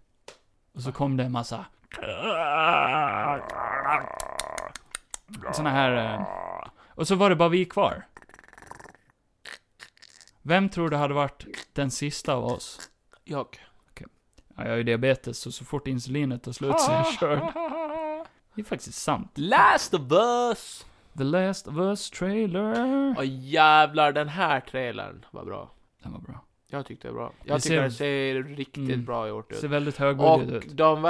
Och så kom det en massa såna här... eh, Och så var det bara vi kvar. Vem tror du hade varit den sista av oss?
Jag.
Ja, jag har ju diabetes, så så fort insulinet tar slut
Ah.
så är jag körd. Det är faktiskt sant.
Last of us!
The Last of Us trailer.
Åh jävlar, den här trailern var bra.
Den var bra.
Jag tyckte det var bra. Jag
Det
tycker
ser-
det ser riktigt
Mm.
bra gjort ut.
Ser väldigt högbudget
Och
ut.
de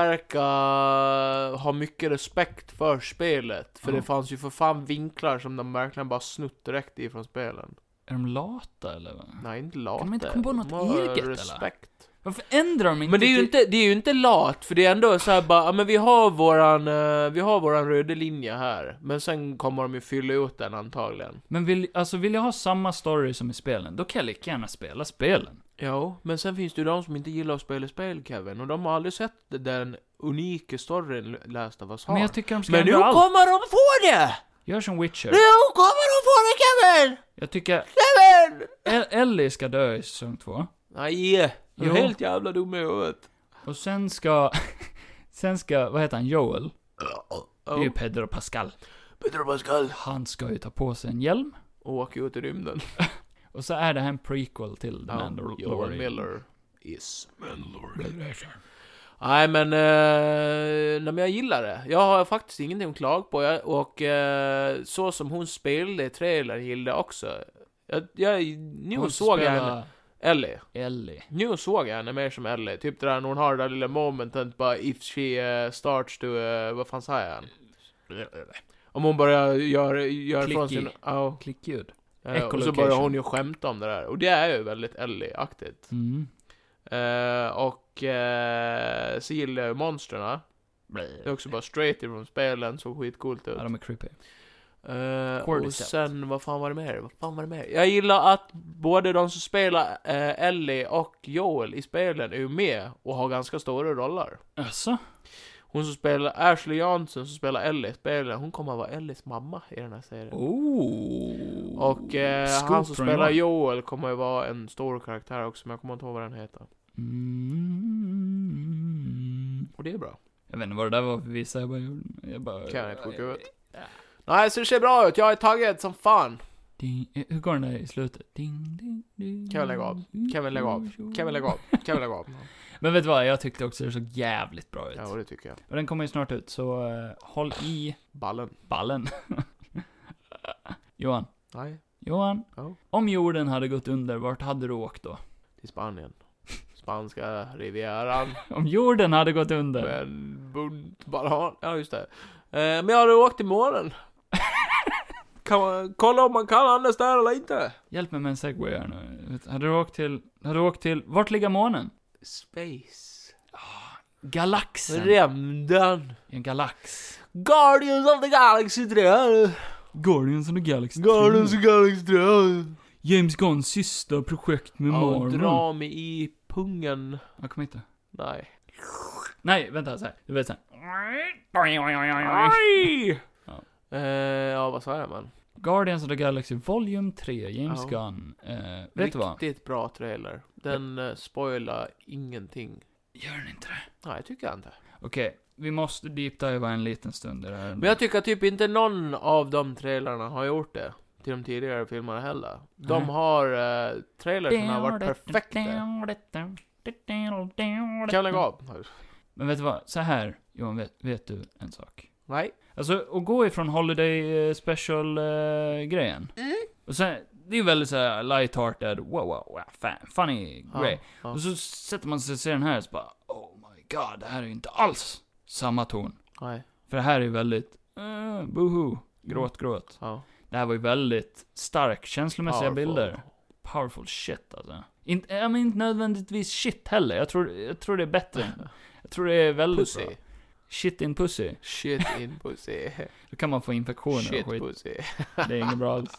verkar ha mycket respekt för spelet. För
Ja.
det fanns ju för fan vinklar som de verkligen bara snott direkt ifrån spelen.
Är de lata eller? Vad?
Nej, inte lat.
de inte komma på något eget, eller?
respekt.
Varför ändrar de inte?
Men det är ju
till-
inte, det är ju inte lat, för det är ändå så här bara, ja, men vi har våran, eh, vi har våran röda linje här. Men sen kommer de ju fylla ut den antagligen.
Men vill, alltså vill jag ha samma story som i spelen, då kan jag lika gärna spela spelen.
Ja, men sen finns det ju de som inte gillar att spela spel, Kevin. Och de har aldrig sett den unika storyn Last of Us har.
Men jag tycker de ska
Ah. Men nu
ändra allt.
kommer de få det!
Gör som Witcher.
Nu kommer de få det, Kevin!
Jag tycker
Kevin!
El- Ellie ska dö i säsong två.
Nej, du är
Jo.
helt jävla dum i huvudet.
Och sen ska... sen ska, vad heter han, Joel? Det är ju
Ja,
Pedro Pascal.
Pedro Pascal.
Han ska ju ta på sig en hjälm.
Och åker ut i rymden. Och
Och så är det här en prequel till The
ja, Joel
Mandalorian.
Miller is Nej men, eh, nej, men jag gillar det. Jag har faktiskt ingenting att klaga på. Jag, och eh, så som hon spelade i trailern gillade jag också. Jag, jag, nu
Hon
såg jag
spelar
henne, Ellie.
Ellie.
Nu såg jag henne mer som Ellie. Typ det där när hon har det där lilla momentet bara if she eh, starts to, eh, vad fan säger han? Om hon börjar göra gör ifrån
Klicky.
sin... Ja.
Klickljud.
ja, ja. Och så
Echolocation.
börjar hon ju skämta om det där. Och det är ju väldigt Ellie-aktigt.
Mm.
Eh, och eh, så gillar jag ju monstren. Det är också bara straight ifrån spelen, såg skitcoolt ut.
Ja, de är creepy.
Eh, och
Cordyceps.
sen, vad fan var det mer? Vad fan var det mer? Jag gillar att både de som spelar eh, Ellie och Joel i spelen är ju med och har ganska stora roller.
Alltså,
Hon som spelar Ashley Johnson som spelar Ellie i spelen, hon kommer att vara Ellies mamma i den här serien.
Oh.
Och eh,
Scoop
han som
från
spelar
Johan.
Joel kommer att vara en stor karaktär också, men jag kommer inte ihåg vad den heter.
Mm.
Och det är bra.
Jag vet inte vad det där var för visa, jag bara gjorde... Jag bara...
Kan jag inte skicka ut. Nej, så det ser bra ut. Jag är taggad som fan.
Ding, eh, hur går den där i slutet? Ding, ding, ding,
Kan vi lägga av? Kan vi lägga av? Kan vi lägga av? Kan vi lägga av?
Men vet du vad, jag tyckte också det såg jävligt bra ut.
Ja, och det tycker jag.
Och den kommer ju snart ut, så eh, håll i
Ballen.
ballen. Johan,
Nej,
Johan.
Ja.
Om jorden hade gått under, vart hade du åkt då?
till Spanien. Spanska rivieran.
Om jorden hade gått
Med
under?
en bunt banan. Ja, just det. Eh, men jag hade åkt till månen. kan man, kolla om man kan andas där eller inte.
Hjälp mig med en segway här nu. Vet- Hade du åkt till, hade du åkt till, vart ligger månen?
Space.
Galaxen.
Rymden.
En galax.
Guardians of the Galaxy 3.
Guardians of the Galaxy
Guardians of the Galaxy 3.
James Gunns sista projekt med
Ja, och
Marvel.
dra mig i pungen.
Jag kommer inte.
Nej.
Nej, vänta så här. Du vet så här.
Aj!
Ja.
Eh, ja, vad sa jag man?
Guardians of the Galaxy Volume 3, James
Ja.
Gunn. Eh, vet du vad?
Riktigt bra trailer. Den eh, spoilar ingenting.
Gör den inte det?
Nej, tycker jag inte.
Okej, vi måste deepdiva en liten stund i det här.
Men jag tycker typ inte någon av de trailerna har gjort det. Till de tidigare filmerna heller. De
Nej.
har... Eh, trailersen har varit perfekta. Kan jag lägga av?
Men vet du vad? Så här, Johan, vet, vet du en sak?
Nej.
Alltså, att gå ifrån Holiday eh, Special-grejen.
Mm.
Och sen, det är ju väldigt såhär light-hearted, wow, wow, wow, fan, funny
Ja,
grej.
ja.
Och så sätter man sig och ser den här och så bara, oh my god, det här är ju inte alls samma ton.
Nej.
För det här är ju väldigt, uh, boho, gråt, gråt.
Ja.
Det här var ju väldigt stark, känslomässiga
Powerful.
bilder. Powerful shit alltså. Inte, jag menar inte nödvändigtvis shit heller, jag tror, jag tror det är bättre. än- Jag tror det är väldigt
Pussy.
bra. Shit in pussy.
Shit in pussy.
Då kan man få infektioner
Shit
och skit.
pussy.
Det är inget bra alls.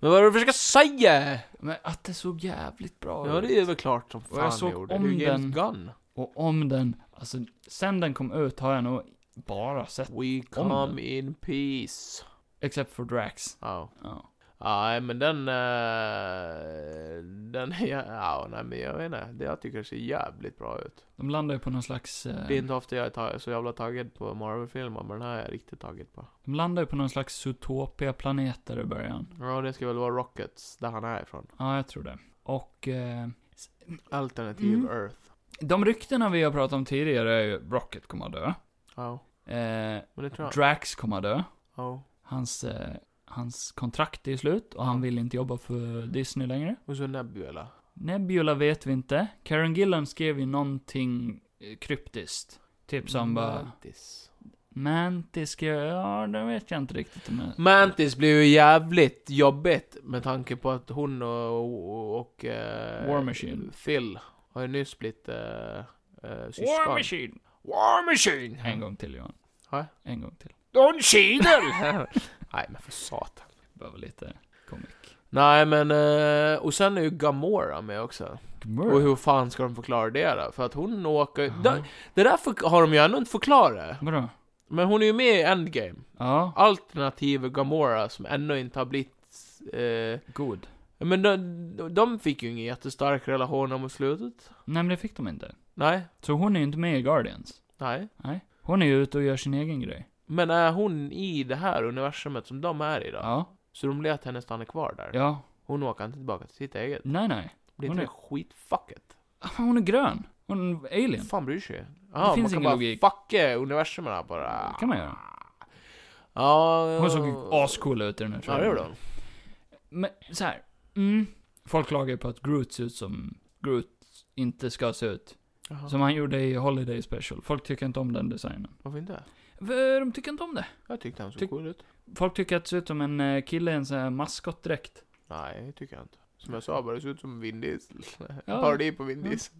Men vad är det du försöker säga?
Men att det såg jävligt bra
Ja,
ut.
det är väl klart som fan
jag såg
det gjorde.
om
det är ju James
den.
Gunn.
Och om den, alltså sen den kom ut har jag nog bara sett,
We
Om den.
come in peace.
except för Drax.
Ja.
Ja.
Nej, men den... eh, den ja, ja, nej, men jag vet inte. Det jag tycker ser jävligt bra ut.
De landar ju på någon slags, eh,
Det är inte ofta jag är ta- så jävla taggad på Marvel-filmer, men den här är jag riktigt taggad på.
de landar ju på någon slags Zootopia-planet där i början.
Ja, det ska väl vara Rockets, där han är ifrån.
Ja, jag tror det. Och, eh,
Alternativ
Mm.
Earth.
de ryktena vi har pratat om tidigare är ju Rocket kommer att dö.
Ja,
Eh,
men det tror jag.
Drax kommer att dö.
Ja.
Hans, eh, hans kontrakt är slut och han vill inte jobba för Disney längre.
Och så Nebula.
Nebula vet vi inte. Karen Gillan skrev ju någonting eh, kryptiskt. Typ
Mm,
som bara...
Mantis.
Mantis skrev... Ja, det vet jag inte riktigt om jag...
Mantis blir ju jävligt jobbigt med tanke på att hon och... och, och eh,
War Machine.
Phil har ju nyss blivit eh, eh, syskon.
War Machine!
War Machine!
En gång till Johan.
Ja.
En gång till.
Don Cheadle! Nej men för satan.
Behöver lite komik.
Nej men, eh, och sen är ju Gamora med också. Och
Gmurr.
hur fan ska de förklara det då? För att hon åker... Det, det där för, har de ju ändå inte förklarat.
Vadå?
Men hon är ju med i Endgame.
Ja,
Alternativ Gamora som ännu inte har blivit... Eh,
god.
men de, de fick ju ingen jättestark relation om slutet.
Nej, men det fick de inte.
Nej,
Så hon är ju inte med i Guardians.
nej.
Nej. Hon är ju ute och gör sin egen grej.
Men är hon i det här universumet som de är i då?
Ja.
Så de lät henne stanna kvar där.
Ja.
Hon åker inte tillbaka till sitt eget.
Nej, nej.
Blir
Hon
inte
är-
det skitfucket?
Ah, Hon är grön. Hon är alien.
Fan bryr sig? Ja,
finns
man kan
ingen
bara
logik.
fucka universum här bara.
Det kan man göra.
Ja, ja.
Hon såg ju
Oh.
ascool ut i den här
Ja, det gjorde hon.
Men så här. Mm. Folk klagar ju på att Groot ser ut som Groot inte ska se ut.
Jaha.
Som han gjorde i Holiday Special. Folk tycker inte om den designen.
Varför inte?
V- De tycker inte om det.
Jag tyckte han såg
Tyck-
cool ut.
Folk tycker att det ser ut som en eh, kille i en sån här maskotdräkt.
Nej, det tycker jag inte. Som jag sa bara, det ser ut som Vin Diesel.
Ja.
Parodi på Vin Diesel.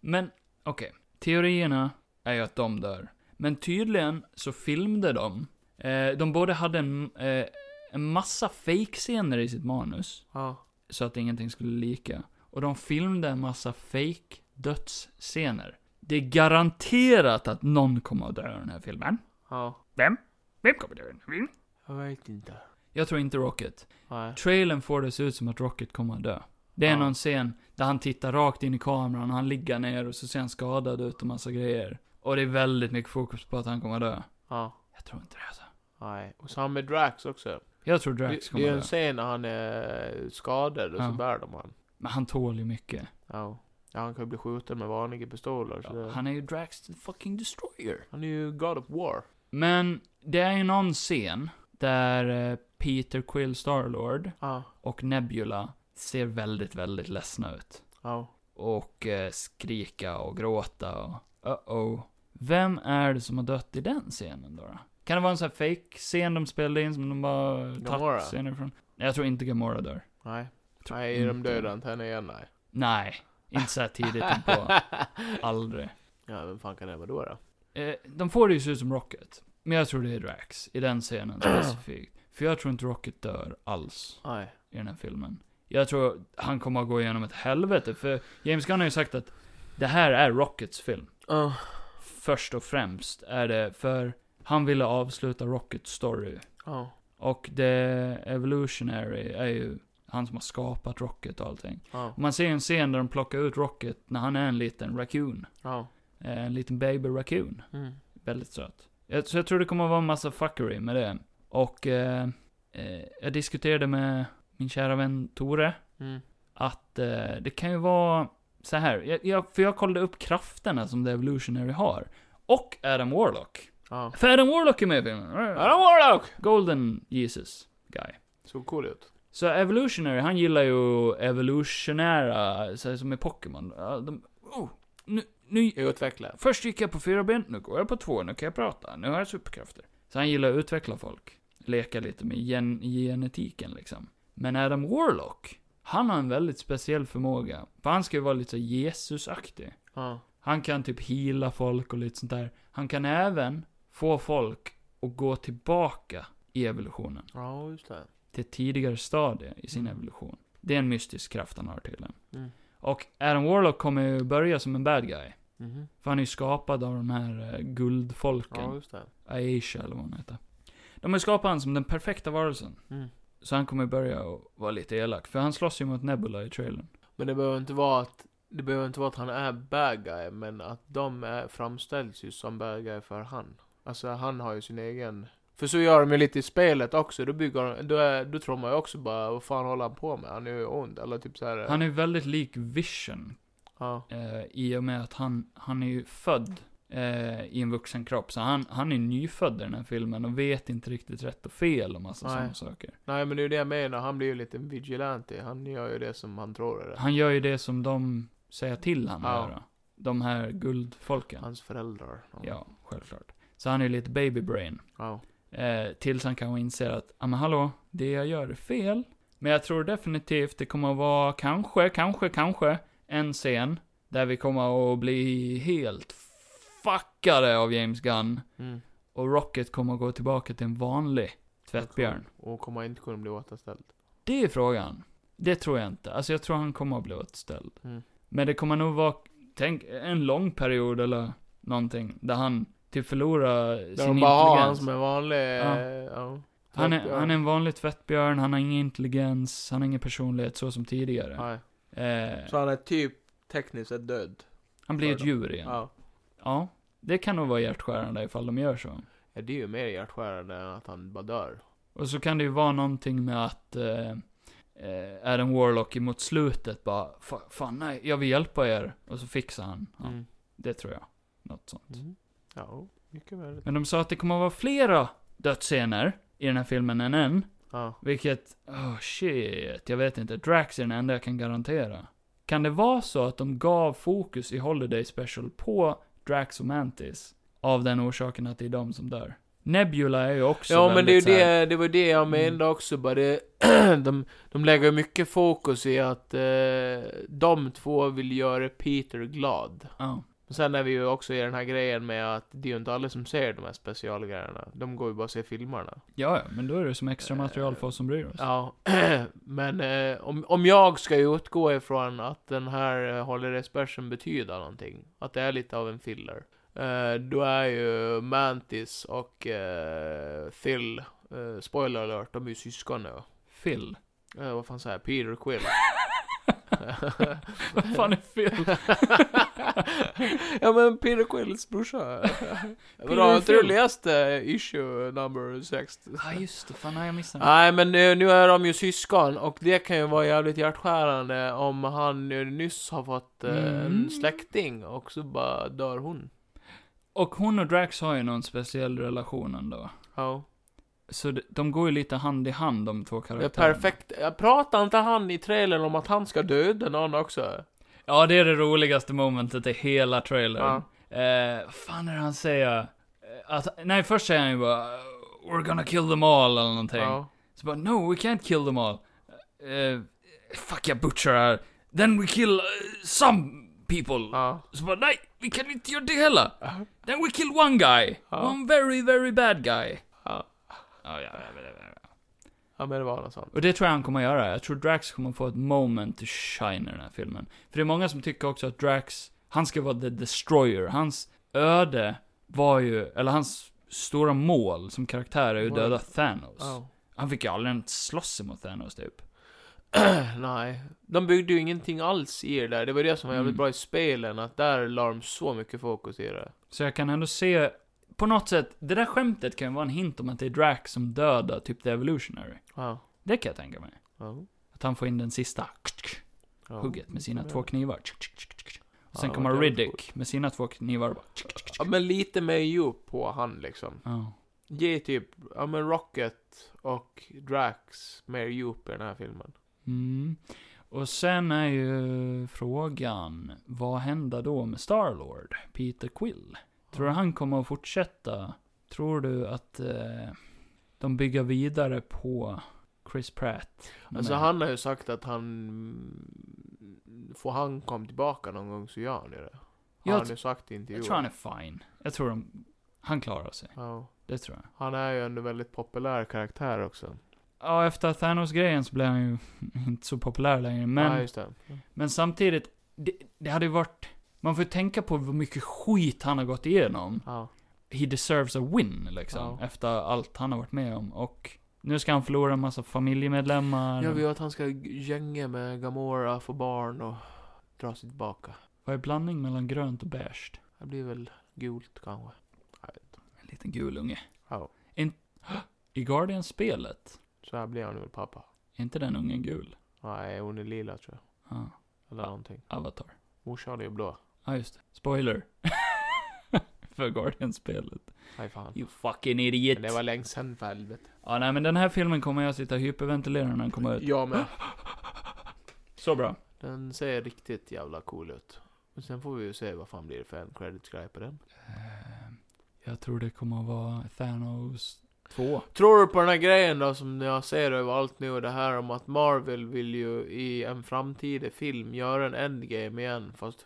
Men, okej. Teorierna är ju att de dör. Men tydligen så filmade de. Eh, de både hade en, eh, en massa fake-scener i sitt manus.
Ja.
så att ingenting skulle lika. Och de filmade en massa fake dödsscener. Det är garanterat att någon kommer att dö i den här filmen.
Ja.
Vem? Vem kommer dö i den här filmen?
Jag vet inte.
Jag tror inte Rocket.
Nej.
Trailern får det se ut som att Rocket kommer att dö. Det är
Ja.
någon scen där han tittar rakt in i kameran och han ligger ner och så ser han skadad ut och massa grejer. Och det är väldigt mycket fokus på att han kommer att dö.
Ja.
Jag tror inte det alltså.
Nej. Och samma med Drax också.
Jag tror
Det,
Drax
det
kommer
är
att
en
dö.
scen när han är skadad och
Ja.
så bär de han.
Men han tål ju mycket.
Ja. ja. Han kan ju bli skjuten med vanliga pistoler. Så det...
Han är ju Drax the fucking destroyer.
Han är ju God of War.
Men det är ju någon scen där eh, Peter Quill Starlord
Ja.
och Nebula ser väldigt, väldigt ledsna ut.
Ja.
Och eh, skrika och gråta och uh-oh. Vem är det som har dött i den scenen då? då? Kan det vara en sån här fake scen de spelade in som de bara
Gamora?
tagit scener från? Nej, jag tror inte Gamora dör.
Nej.
Jag tror
Nej, de
inte.
dödar inte henne igen, nej.
Nej, inte så här tidigt på. Aldrig.
Ja, vem fan kan det vara då? då?
Eh, de får det ju se ut som Rocket. Men jag tror det är Drax, i den scenen specifikt. För jag tror inte Rocket dör alls
Nej.
i den här filmen. Jag tror han kommer att gå igenom ett helvete, för James Gunn har ju sagt att det här är Rockets film.
Ja.
Först och främst är det för han ville avsluta Rockets story.
Ja.
Och The Evolutionary är ju Han som har skapat Rocket och allting.
Ja.
Och man ser en scen där de plockar ut Rocket när han är en liten raccoon.
Ja.
Eh, En liten baby raccoon.
Mm.
Väldigt söt. Jag, så jag tror det kommer att vara en massa fuckery med det. Och eh, eh, jag diskuterade med min kära vän Tore
Mm.
att eh, det kan ju vara så här. Jag, jag, för jag kollade upp krafterna som The Evolutionary har. Och Adam Warlock.
Ja.
För Adam Warlock är med i filmen.
Adam Warlock!
Golden Jesus guy.
Såg cool ut.
Så Evolutionary, han gillar ju evolutionära, så här som i Pokémon. Ja, De, oh, nu, nu,
Utveckla.
först gick jag på fyra ben, nu går jag på två, nu kan jag prata, nu har jag superkrafter. Så han gillar att utveckla folk. Leka lite med gen genetiken liksom. Men Adam Warlock, han har en väldigt speciell förmåga. För han ska ju vara lite så Jesusaktig.
Ja.
Han kan typ hila folk och lite sånt där. Han kan även få folk att gå tillbaka i evolutionen
Ja, just det.
till ett tidigare stadie i sin evolution. Det är en mystisk kraft han har tydligen.
Mm.
Och Adam Warlock kommer ju börja som en bad guy.
Mhm.
För han är ju skapad av de här eh, guldfolken.
Ja, just det.
Aisha eller vad hon heter. De har skapat han som den perfekta varelsen.
Mm.
Så han kommer börja och vara lite elak. För han slåss ju mot Nebula i trailern.
Men det behöver inte vara att det behöver inte vara att han är bad guy, men att de är, framställs ju som bad guy för han. Alltså han har ju sin egen... För så gör de ju lite i spelet också, då bygger de, då, är, då tror man ju också bara vad fan håller han på med? Han är ju ond, eller typ så här.
Han är ju väldigt lik Vision.
Ja,
Eh, I och med att han, han är ju född eh, i en vuxen kropp. Så han, han är nyfödd i den här filmen och vet inte riktigt rätt och fel och massa
Nej.
sådana saker.
nej men det är ju det jag menar, han blir ju lite en vigilante, han gör ju det som han tror är det.
Han gör ju det som de säger till han att
Ja.
göra. De här guldfolken.
Hans föräldrar.
Ja, självklart. Så han är ju lite baby brain.
Ja.
Eh, tills han kanske inser att, ja men hallå, det jag gör är fel. Men jag tror definitivt det kommer att vara, kanske, kanske, kanske, en scen där vi kommer att bli helt fuckade av James Gunn.
Mm.
Och Rocket kommer att gå tillbaka till en vanlig tvättbjörn.
Och kommer inte kunna bli återställd.
Det är frågan. Det tror jag inte. Alltså jag tror han kommer att bli återställd.
Mm.
Men det kommer nog vara, tänk, en lång period eller någonting, där han typ förlorar
Där
sin
de bara har han
intelligens.
som en vanlig...
Ja.
Ja. Ja.
han, är,
tvättbjörn.
han är en vanlig tvättbjörn, han har ingen intelligens, han har ingen personlighet så som tidigare.
Nej. Så
Eh,
han är typ tekniskt sett död.
han blir ett djur igen. Ja.
Ja.
Det kan nog vara hjärtskärande ifall de gör så.
Ja, det är ju mer hjärtskärande än att han bara dör.
Och så kan det ju vara någonting med att eh, eh, Adam Warlock mot slutet bara, "Fa- fan nej, jag vill hjälpa er. Och så fixar han. Ja,
Mm.
Det tror jag. Något sånt.
Mm. Ja, mycket möjligt.
Men de sa att det kommer att vara flera dödsscener i den här filmen än en.
Ja.
Vilket, oh shit, jag vet inte. Drax är den enda jag kan garantera. Kan det vara så att de gav fokus i Holiday Special på Drax och Mantis? Av den orsaken att det är de som dör. Nebula är ju också
Ja, men det, är ju
väldigt så här- Mm.
det, det var ju det jag menade också. Bara det, de, de lägger ju mycket fokus i att eh, de två vill göra Peter glad.
Ja.
Men sen är vi ju också i den här grejen med att det är ju inte alla som ser de här specialgrejerna. De går ju bara och ser filmerna.
Ja, ja, men då är det som extra material för oss som bryr oss.
Ja, men eh, om, om jag ska utgå ifrån att den här eh, Holiday Special betyder någonting, att det är lite av en filler, eh, då är ju Mantis och eh, Phil, eh, spoiler alert, de är ju syskon nu.
Phil.
Eh, vad fan säger jag? Peter Quill.
Vad fan är Phil?
ja men Peter Quills brorsa. Vadå, har inte du
Phil.
läst eh, issue number 6?
Ja, just det. Fan, nej, jag missade
Nej men nu, nu är de ju syskon och det kan ju vara jävligt hjärtskärande om han nu nyss har fått eh,
Mm.
en släkting och så bara dör hon.
Och hon och Drax har ju någon speciell relation ändå.
Ja.
Så de, de går ju lite hand i hand, de två
Det är
karaktärerna.
perfekt. Jag pratar inte han i trailern om att han ska döda någon också?
Ja, det är det roligaste momentet i hela trailern. Eh, vad fan är det han säger? Eh, Att, nej, först säger han ju bara We're gonna kill them all eller någonting.
Ja.
Så bara No, we can't kill them all. Eh, fuck, jag butcherar. Then we kill eh, some people.
Ja.
Så bara nej, vi kan inte göra det heller. Then we kill one guy. One very, very bad guy.
Ja.
Ja, ja, ja, ja, ja.
ja men det var något sånt.
Och det tror jag han kommer att göra. Jag tror Drax kommer att få ett moment to shine i den här filmen. För det är många som tycker också att Drax, han ska vara the destroyer. Hans öde var ju, eller hans stora mål som karaktär är ju att döda Thanos.
Ja.
Han fick ju aldrig ens slåss emot Thanos typ.
Nej. De byggde ju ingenting alls i det där. Det var det som var jävligt
Mm.
bra i spelen, att där la de så mycket fokus i det.
Så jag kan ändå se, på något sätt, det där skämtet kan ju vara en hint om att det är Drax som dödar typ The Evolutionary.
Ja.
Det kan jag tänka mig.
Ja.
Att han får in den sista
ja.
hugget med sina två knivar. Och sen
Ja,
kommer
det var
Riddick med sina två knivar och bara...
Ja, men lite mer djup på han liksom.
Ja.
Ge typ, ja men Rocket och Drax mer djup i den här filmen.
Mm. Och sen är ju frågan, vad händer då med Starlord, Peter Quill? Tror du han kommer att fortsätta? Tror du att eh, de bygger vidare på Chris Pratt?
Alltså
Men-
han har ju sagt att han... Får han komma tillbaka någon gång så gör han ju det.
Jag
Har han
tr-
ju sagt i intervjuer.
Jag tror han är fine. Jag tror de, han klarar sig.
Ja.
Det tror jag.
Han är ju en väldigt populär karaktär också.
Ja, efter Thanos-grejen så blev han ju inte så populär längre. Men,
Ja, just det.
men samtidigt, det, det hade ju varit... Man får ju tänka på hur mycket skit han har gått igenom.
Ja.
he deserves a win liksom.
Ja.
Efter allt han har varit med om. Och nu ska han förlora en massa familjemedlemmar.
Jag vill att han ska gänga med Gamora, få barn och dra sig tillbaka.
Vad är blandning mellan grönt och beige?
Det blir väl gult kanske. Jag vet inte.
En liten gul unge.
Ja.
In... I Guardian-spelet,
Så här blir han väl pappa.
är inte den ungen gul?
Nej, hon är lila tror jag.
Ja,
Eller någonting.
Avatar.
Morsan är ju blå.
Ja, just det. Spoiler. För Guardian-spelet.
Nej fan.
You fucking
Men
idiot.
det var länge sen för helvete.
Ja, nej men den här filmen kommer jag sitta och hyperventilera när den kommer ut.
Jag med.
Så bra.
Den ser riktigt jävla cool ut. Och sen får vi ju se vad fan blir det för en credit guy på den.
Eh, Jag tror det kommer att vara Thanos 2.
Tror du på den här grejen då som jag ser överallt nu och det här om att Marvel vill ju i en framtida film göra en endgame igen fast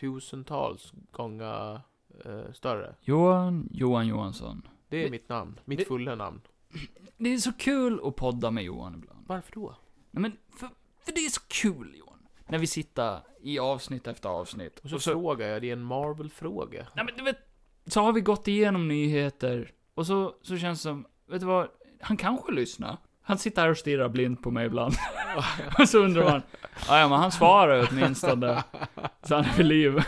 hundratusentals gånger eh, större.
Johan, Johan Johansson.
Det är
Det-
mitt namn. Mitt
det-
fulla namn.
Det är så kul att podda med Johan ibland.
Varför då?
Nej men, för, för det är så kul Johan. När vi sitter i avsnitt efter avsnitt.
Och så, frågar jag dig en Marvel-fråga.
nej men du vet, så har vi gått igenom nyheter. Och så, så känns det som, vet du vad, han kanske lyssnar. Han sitter här och stirrar blint på mig ibland. och så undrar man, "Ja, ja men han svarar åtminstone. Så han är vid liv.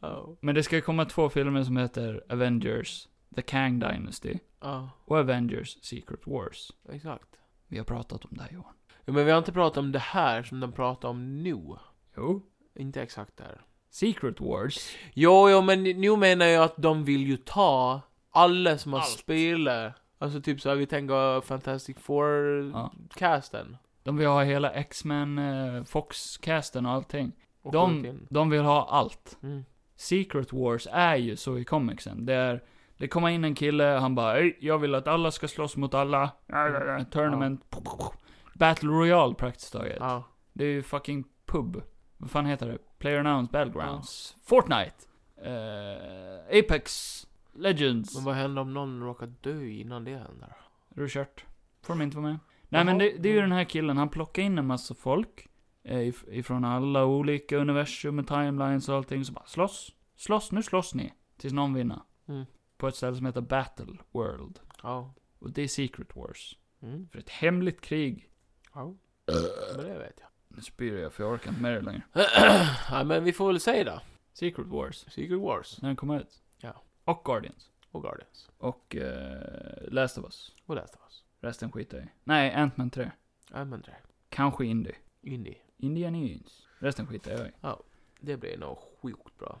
Ja.
Men det ska komma två filmer som heter Avengers, The Kang Dynasty
Ja,
och Avengers Secret Wars.
exakt.
Vi har pratat om det här Johan.
Ja, men vi har inte pratat om det här som de pratar om nu.
Jo.
Inte exakt det här.
Secret Wars.
Jo, jo, men nu menar jag att de vill ju ta alla som har
Allt.
spelat. Alltså typ såhär, vi tänker Fantastic
Ja.
Four-casten.
De vill ha hela X-Men, eh, Fox-casten och allting.
Och skjut
De,
in.
de vill ha allt.
Mm.
Secret Wars är ju så i comicsen. Det är, det kommer in en kille, han bara "Ey, jag vill att alla ska slåss mot alla. Tournament. Battle Royale praktiskt taget.
Ja.
Det är ju fucking pub. Vad fan heter det? Player Nouns Battlegrounds. Fortnite. Eh, Apex. Legends.
Men vad händer om någon råkar dö innan det händer?
Är du kört? Får de inte vara med? Nej men det, det är ju den här killen, han plockar in en massa folk. Eh, if- ifrån alla olika universum med timelines och allting. Så bara slåss. Slåss, nu slåss ni. Tills någon vinner.
Mm.
På ett ställe som heter Battle World.
Ja.
Och det är Secret Wars.
Mm.
För ett hemligt krig.
Ja. Men det vet jag.
Nu spyr jag för jag orkar inte med det längre.
ja, men vi får väl säga då.
Secret Wars.
Secret Wars
När den kommer ut.
Ja.
Och Guardians.
och Guardians.
Och eh, Last of Us.
Och Last of Us.
Resten skiter jag i. Nej, Ant-Man 3.
Ja, men det.
Kanske Indy.
Indie.
Indian Jones. Resten skiter jag i.
Det blir nog sjukt bra.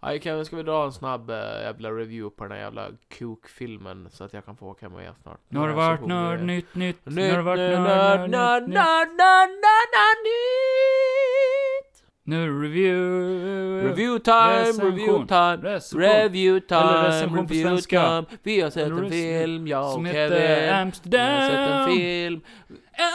Aj, Kevin, ska vi dra en snabb eh, jävla review på den här jävla kukfilmen så att jag kan få åka med igen snart?
Nu har det
är jag så
varit
hungrig.
nörd, nytt, nytt. Nu har det
Nytt,
varit
nörd,
nörd, nörd,
nörd, nörd,
nytt.
nörd, nörd, nörd, nytt!
Nu review.
Review time,
recension.
review time,
Recension.
review
Eller
time,
recension på
review
svenska.
time. Vi har sett
Eller
en
rec-
film, jag
Som
och
heter
Kevin. Vi har sett en
Amsterdam.
film.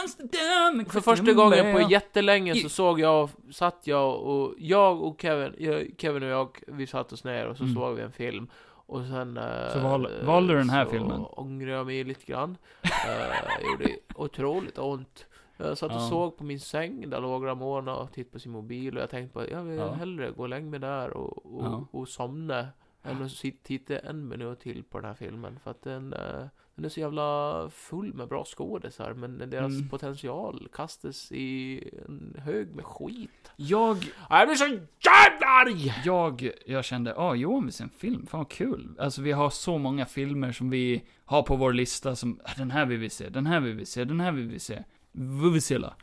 Amsterdam.
För första gången på jättelänge
I-
så såg jag, satt jag och, jag och Kevin, jag, Kevin och jag, vi satt oss ner och så
Mm.
såg vi en film. Och sen... eh,
Så val- valde du den här
så
filmen?
ångrade jag mig lite grann. Eh, gjorde otroligt ont. Jag satt och
Ja.
såg på min säng, där låg Ramona och tittade på sin mobil och jag tänkte bara, jag vill
Ja.
hellre gå och lägga mig där och, och,
Ja.
och somna. Än att sit- titta en minut till på den här filmen. För att den, eh, Den är så jävla full med bra skådisar, men deras
Mm.
potential kastas i en hög med skit.
Jag,
Ah, Jag blir så jävla arg!
jag, jag kände, ah, Johan vill se en film, fan vad kul. Alltså vi har så många filmer som vi har på vår lista som, "Ah, den här vill vi se, den här vill vi se, den här vill vi se. Vuvuzela.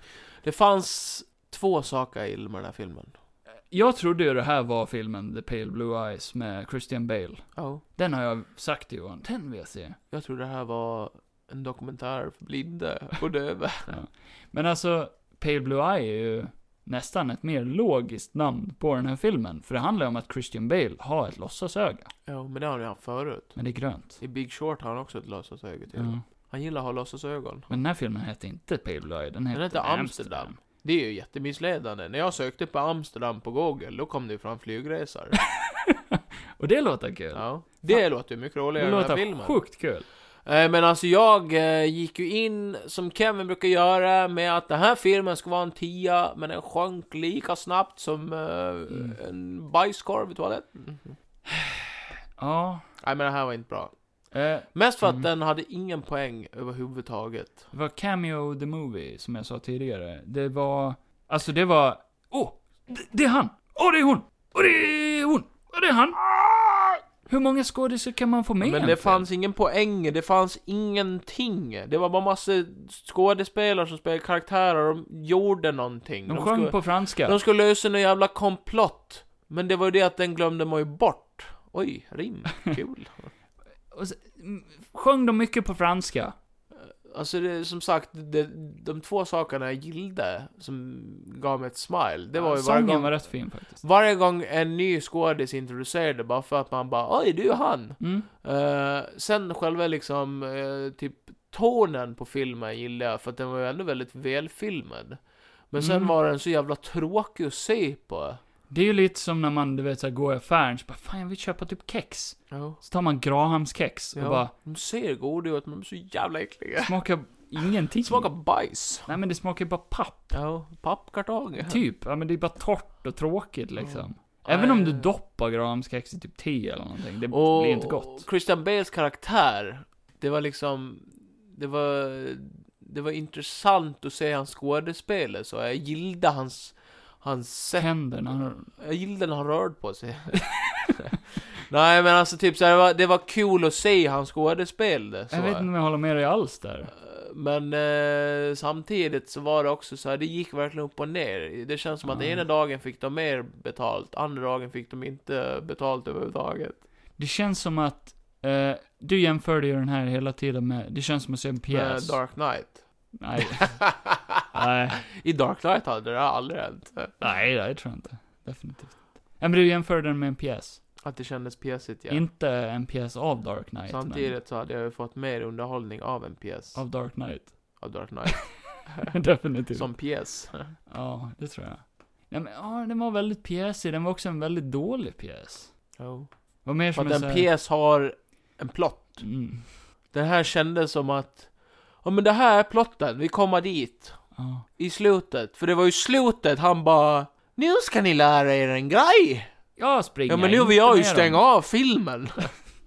Det fanns två saker jag gillade med den här filmen.
Jag trodde ju det här var filmen The Pale Blue Eyes med Christian Bale.
Ja.
Den har jag sagt till Johan, den vill jag se.
Jag tror det här var en dokumentär för blinda och döva.
Men alltså, Pale Blue Eye är ju nästan ett mer logiskt namn på den här filmen. För det handlar ju om att Christian Bale har ett låtsasöga,
ja, men det har han ju haft förut.
men det är grönt.
I Big Short har han också ett låtsasöga till.
Ja.
Han gillar att ha låtsasögon.
Men den här filmen heter inte Pale Blue Eye, den heter,
Den heter Amsterdam. Det är ju jättemissledande. När jag sökte på Amsterdam på Google, då kom det ju fram flygresor.
Och det låter kul.
Ja. Det låter ju mycket roligare
det
än den här
låter
filmen.
sjukt kul.
Eh, Men alltså jag eh, gick ju in, som Kevin brukar göra, med att den här filmen ska vara en tia, men den sjönk lika snabbt som eh, en bajskorv i toaletten.
Ja.
Mm. Nej men det här var inte bra.
Eh,
Mest för att
Mm.
den hade ingen poäng överhuvudtaget.
det var Cameo the Movie, som jag sa tidigare. Det var, alltså det var, åh, oh, det, det är han! Åh, oh, det är hon! Och det är hon! Och det är han! Hur många skådisar kan man få med i en
Men det
film?
fanns ingen poäng, det fanns ingenting. Det var bara massa skådespelare som spelade karaktärer, de gjorde någonting.
De sjöng
skulle,
på franska.
de skulle lösa någon jävla komplott. Men det var ju det att den glömde man ju bort. Oj, rim. Kul.
Och så, mm, sjöng de mycket på franska?
Alltså det, som sagt, det, de två sakerna jag gillade som gav mig ett smile, det var ju varje
Sången
gång,
var rätt fin faktiskt.
varje gång en ny skådis introducerade bara för att man bara oj, du är han.
Mm.
Eh, sen själva liksom, eh, typ tonen på filmen gillade jag för att den var ju ändå väldigt välfilmad. Men sen
Mm.
var den så jävla tråkig att se på.
Det är ju lite som när man, du vet, så här, går i affären, så bara fan jag vill köpa typ kex.
Ja.
Så tar man Grahams kex och bara
De ser goda ut men de är så jävla äckliga.
smakar ingenting.
Smakar bajs.
Nej men det smakar ju bara papp,
Ja, pappkartonger.
typ. Ja men det är bara torrt och tråkigt liksom. Även om du doppar Grahams kex i typ te eller någonting, det
Och
blir inte gott.
Christian Bales karaktär, det var liksom, det var, det var intressant att se hans skådespel så jag gillade hans, hans sätt,
Händerna,
jag gillade när han rörde på sig. Nej men alltså typ så här, det var, det var kul att se hans skådespel. Så.
jag vet inte om jag håller med dig alls där.
Men eh, samtidigt så var det också så här, det gick verkligen upp och ner. Det känns som att
Mm.
ena dagen fick de mer betalt, andra dagen fick de inte betalt överhuvudtaget.
Det känns som att, eh, du jämförde ju den här hela tiden med, det känns som att se en pjäs.
Med Eh, Dark Knight.
Nej. Nej.
I Dark Knight hade det aldrig hänt.
Nej, det tror jag inte. Definitivt inte. Ja, men du jämförde den med en pjäs.
Att det kändes pjäsigt ja.
Inte en pjäs av Dark Knight, men
Samtidigt så hade jag ju fått mer underhållning av en pjäs. Av,
av Dark Knight.
Dark Knight.
Definitivt.
som pjäs.
Ja, det tror jag. Nej, men ja, den var väldigt pjäsig. Den var också en väldigt dålig pjäs.
Jo.
Det var mer
Oh. För
som
att en
så här-
pjäs har en plott.
Mm.
Den här kändes som att, ja men det här är plotten, vi kommer dit.
Ja.
I slutet. För det var ju slutet han bara, nu ska ni lära er en grej!
Jag springer
Ja men nu
inte
vill jag ju
med
stänga
dem.
av filmen.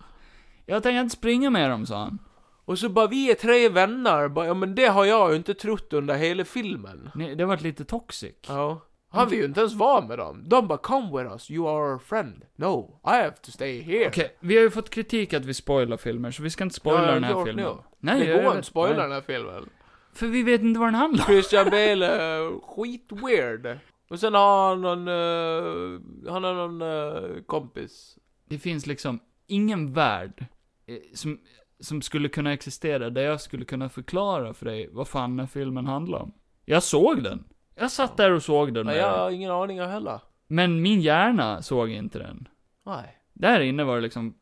Jag tänker inte springa med dem, sa han.
Och så bara, vi är tre vänner, bara, ja men det har jag ju inte trott under hela filmen.
Nej, det var lite toxic.
Ja. Han vill ju inte ens vara med dem. De bara 'Come with us, you are our friend' No, I have to stay here.
Okej, vi har ju fått kritik att vi spoilar filmer, så vi ska inte spoila
Ja, jag
den här
klart
filmen.
nu.
Nej, jag
det går
vet-
inte att spoila
nej.
den här filmen.
För vi vet inte vad den handlar om.
Christian Bale är skitweird. Och sen har han någon, eh, han har någon eh, kompis.
Det finns liksom ingen värld eh, som, som skulle kunna existera där jag skulle kunna förklara för dig vad fan den här filmen handlar om. Jag såg den. Jag satt där och såg den.
Nej,
med
jag
dig.
har ingen aning om heller.
Men min hjärna såg inte den.
Nej.
Där inne var det liksom...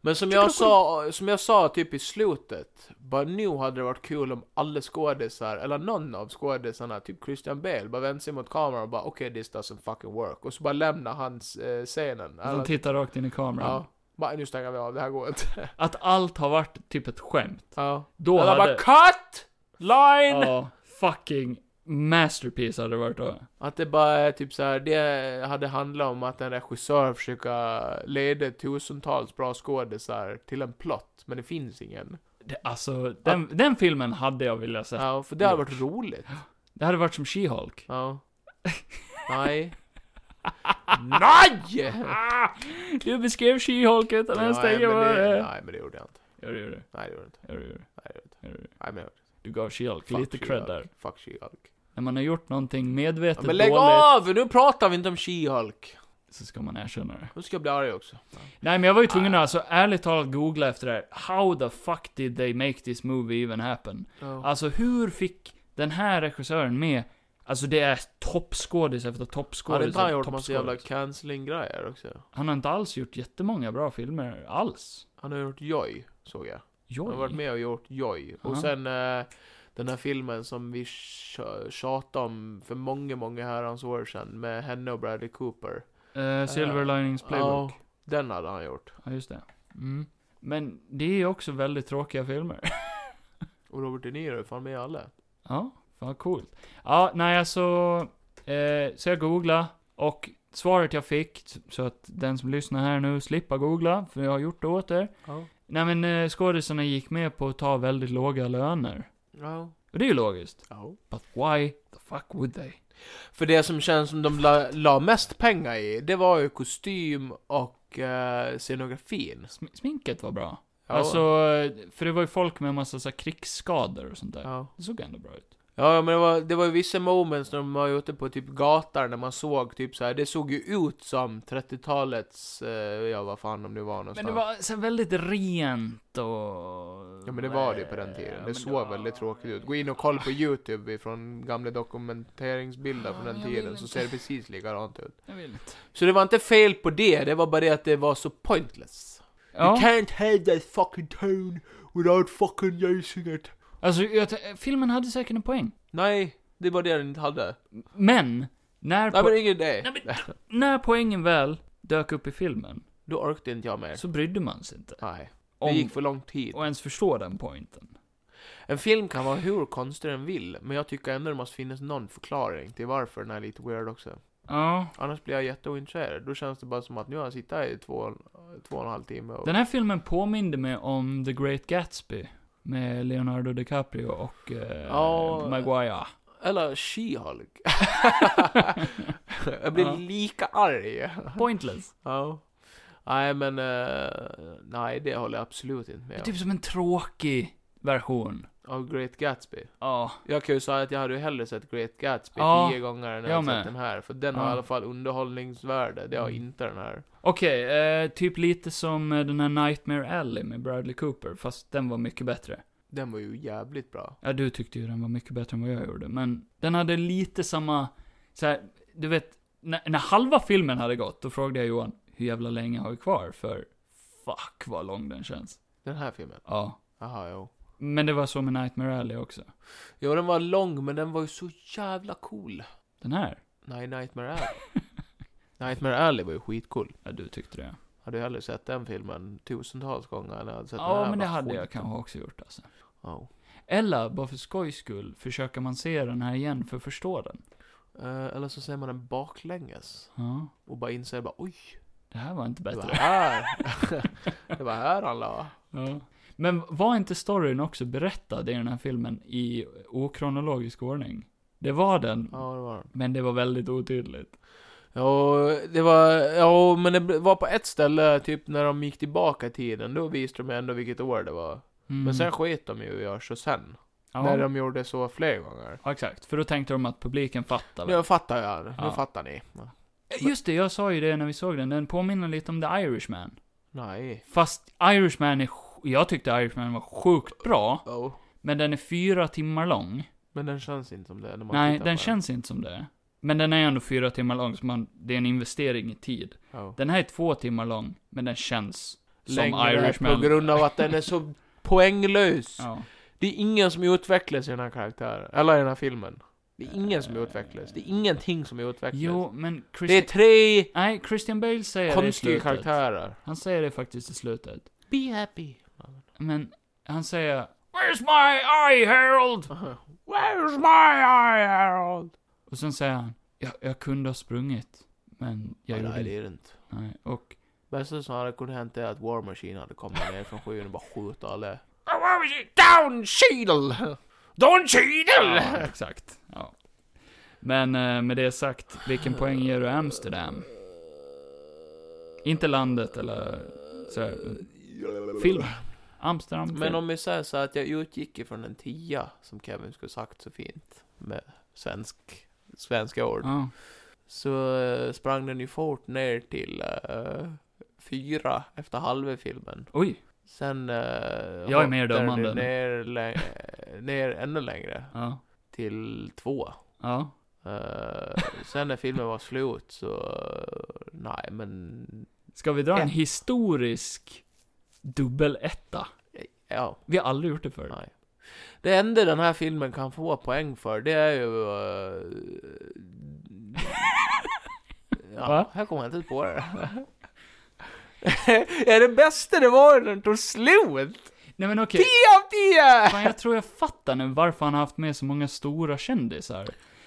Men som jag sa, som jag sa typ i slutet, bara nu hade det varit kul om alla skådisar, eller någon av skådisarna, typ Christian Bale, bara vände sig mot kameran och bara okej this doesn't fucking work. Och så bara lämnar han eh, scenen.
De
Eller,
tittar rakt in i kameran.
ja. Bara nu stänger vi av, det här går inte.
Att allt har varit typ ett skämt.
ja.
Då
Eller
hade...
bara CUT! Line!
Ja, fucking masterpiece hade det varit då.
Att det bara är typ så här, det hade handlat om att en regissör försöker leda tusentals bra skådisar till en plott, men det finns ingen.
Det, alltså, den, den filmen hade jag velat se.
Ja, för det hade varit roligt.
Det hade varit som She-Hulk.
Ja. Nej. Nej!
Du beskrev She-Hulk utan ens
Nej
tänka
men,
vad det
det,
är.
nej, men det gjorde jag inte.
Ja, det gjorde du.
Nej, det gjorde jag inte.
Ja, det gjorde du.
Nej, det gjorde jag inte.
Ja, det gjorde du.
Nej, men jag gjorde
Du gav She-Hulk
Fuck
Mm. lite cred
She-Hulk.
där.
Fuck She-Hulk.
När man har gjort någonting
Ja,
medvetet
men lägg
dåligt
av! Nu pratar vi inte om She-Hulk.
så ska man erkänna det.
Nu ska jag bli arg också.
Nej men jag var ju tvungen att alltså ärligt talat googla efter det här. How the fuck did they make this movie even happen?
Ja.
Alltså hur fick den här regissören med, alltså det är toppskådis efter
Hade
toppskådis
inte han
efter
gjort massa jävla
toppskådis.
cancelling-grejer också?
Han har inte alls gjort jättemånga bra filmer alls.
Han har gjort Joy, såg jag. Han har varit
Joj.
med och gjort Joy.
Ja.
Och sen eh, den här filmen som vi tj- tjatade om för många, många herrans år sedan med henne och Bradley Cooper.
Eh, Silver Linings
Ja,
Playbook.
den hade han gjort.
Ja, just det. Mm. Men det är ju också väldigt tråkiga filmer.
Och Robert De Niro är fan med i alla.
Ja, vad coolt. Ja, nej alltså. Eh, så jag googlade och svaret jag fick, s- så att den som lyssnar här nu slipper googla, för jag har gjort det åt er.
Ja.
Nej men eh, skådisarna gick med på att ta väldigt låga löner.
Ja.
Och det är ju logiskt.
ja.
But why the fuck would they?
För det som känns som de la, la mest pengar i, det var ju kostym och eh, scenografin.
Sm- sminket var bra.
Ja.
Alltså, eh, för det var ju folk med en massa så här, krigsskador och sånt där.
Ja.
Det såg ändå bra ut.
Ja, men det var, det var ju vissa moments när de var ute på typ gator när man såg typ så här. det såg ju ut som 30-talets, eh, ja vad fan de nu var någonstans.
Men det var så här, väldigt rent och...
Ja men det var det ju på den tiden,
Ja,
det
men
såg
var-
väldigt tråkigt ut. Gå in och kolla på youtube ifrån gamla dokumenteringsbilder från den
jag vill
tiden
inte.
så ser det precis likadant ut.
Jag vill inte.
Så det var inte fel på det, det var bara det att det var så pointless.
Ja.
You can't have that fucking town without fucking using it.
Alltså, jag, t- filmen hade säkert en poäng.
Nej, det var det den inte hade.
Men, när,
Nej
po-
men ingen det.
när poängen väl dök upp i filmen,
Då orkade inte jag mer.
så brydde man sig inte.
Nej, det
Om
gick för lång tid.
och ens förstå den poängen.
En film kan vara hur konstig den vill, men jag tycker ändå det måste finnas någon förklaring till varför den är lite weird också.
Ja.
Annars blir jag jätteointresserad. Då känns det bara som att nu har jag suttit här i två, två och en halv timme och...
Den här filmen påminde mig om The Great Gatsby. Med Leonardo DiCaprio och eh,
Ja.
Maguire.
Eller She-Hulk. jag blir
Ja.
lika arg.
Pointless.
Ja. Nej men, eh, nej det håller jag absolut inte
Det är
med om.
typ som en tråkig version.
Av Great Gatsby.
Ja.
Jag kan ju säga att jag hade ju hellre sett Great Gatsby
Ja,
tio gånger än jag
jag
hade
med.
sett den här. För den har
Ja.
i alla fall underhållningsvärde, det har
Mm.
inte den här.
Okej, eh, typ lite som eh, den här Nightmare Alley med Bradley Cooper, fast den var mycket bättre.
Den var ju jävligt bra.
Ja, du tyckte ju den var mycket bättre än vad jag gjorde, men den hade lite samma, så här, du vet, när, när halva filmen hade gått, då frågade jag Johan, hur jävla länge har vi kvar? För fuck vad lång den känns.
Den här filmen.
Ja.
Jaha, jo.
Men det var så med Nightmare Alley också.
Jo, den var lång, men den var ju så jävla cool.
Den här?
Nej, Nightmare Alley. Nightmare Alley var ju skitcool.
Ja, du tyckte det.
Hade jag hellre sett den filmen tusentals gånger än jag hade sett den
Ja,
här.
men det
Vad
hade jag
skit.
kanske också gjort alltså.
Ja.
Eller, bara för skojs skull, försöker man se den här igen för att förstå den.
Eh, eller så ser man den baklänges.
Ja.
Och bara inser bara oj,
Det här var inte
det var
bättre.
här. det var här han la.
Ja. Men var inte storyn också berättad i den här filmen i okronologisk ordning? Det var den,
Ja, det var den.
men det var väldigt otydligt.
Ja, det var, ja, men det var på ett ställe, typ när de gick tillbaka i tiden, då visste de ändå vilket år det var.
Mm.
Men sen sket de ju i att göra sen.
ja.
När de gjorde så fler gånger.
ja, exakt. För då tänkte de att publiken fattade.
Nu fattar jag, nu
Ja.
fattar ni. Ja.
Just det, jag sa ju det när vi såg den. Den påminner lite om The Irishman.
Nej.
Fast Irishman är... sj- Jag tyckte Irishman var sjukt bra,
Oh.
men den är fyra timmar lång.
Men den känns inte som det när man
Nej,
tittar
den
på
känns inte som det. Men den är ändå fyra timmar lång, så man, det är en investering i tid.
den. Oh.
Den här är två timmar lång, men den känns som
Längre
Irishman.
på grund av att den är så poänglös.
Ja.
Det är ingen som utvecklas i den här karaktären, eller i den här filmen. Det är ingen som utvecklas. Det är ingenting som utvecklas.
Jo, men
det är
Christian...
tre
Nej, Christian Bale säger det i
konstiga
slutet.
karaktärer.
Han säger det faktiskt i slutet.
Be happy.
Men han säger Where's my eye Harold?
Where's my iron?
Och sen säger han, jag, jag kunde ha sprungit, men jag
Nej,
gjorde
det
inte.
är det inte.
Nej. Och
Bästa som hade kunnat hänt är att War Machine hade kommit ner från skyn och bara skjutit alla.
Down, Cheadle! Don Cheadle!
Ja, exakt. Ja. Men eh, med det sagt, vilken poäng ger du Amsterdam? Inte landet eller så här, film. Amsterdam film.
Men om vi säger så här att jag utgick ifrån en tia, som Kevin skulle sagt så fint, med svensk, svenska ord.
Ja.
Så eh, sprang den ju fort ner till eh, fyra efter halva filmen.
Oj.
Sen eh, Jag
är mer dömande.
ner, lä- ner ännu längre,
Ja.
till två.
Ja.
Eh, sen när filmen var slut så, eh, nej men,
Ska vi dra en
Ett.
historisk dubbeletta?
ja,
Vi har aldrig gjort det förr.
nej. Det enda den här filmen kan få poäng för, det är ju... eh,
Va?
ja, här kommer jag inte på det. ja, det bästa det var när den tog slut!
Nej men okej.
10 av 10!
Fan, jag tror jag fattar nu varför han har haft med så många stora kändisar.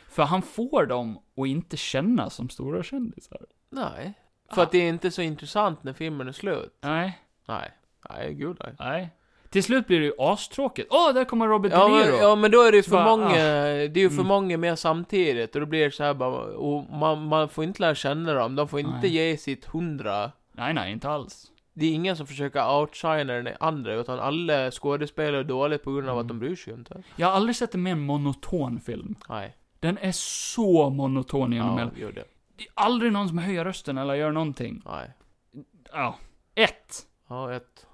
För han får dem att inte känna som stora kändisar.
Nej. För att det är inte så intressant när filmen är slut.
Nej,
Nej. Nej, gud nej.
nej. Till slut blir det ju astråkigt. Åh, där kommer Robert
Ja
De
men,
Niro!
ja men då är det ju för
bara, ah. Mm.
många, det är ju för många med samtidigt och då blir det så här bara, och man, man får inte lära känna dem, de får inte
Nej.
ge sitt hundra.
Nej, nej, inte alls.
Det är ingen som försöker outshina den andra, utan alla skådespelare är dåliga på grund av
Mm.
att de bryr sig ju inte.
Jag har aldrig sett en mer monoton film.
Nej,
Den är så monoton genom
ja,
hela...
gör det.
Det är aldrig någon som höjer rösten eller gör någonting.
Nej.
Ja. Ett!
Ja, ett.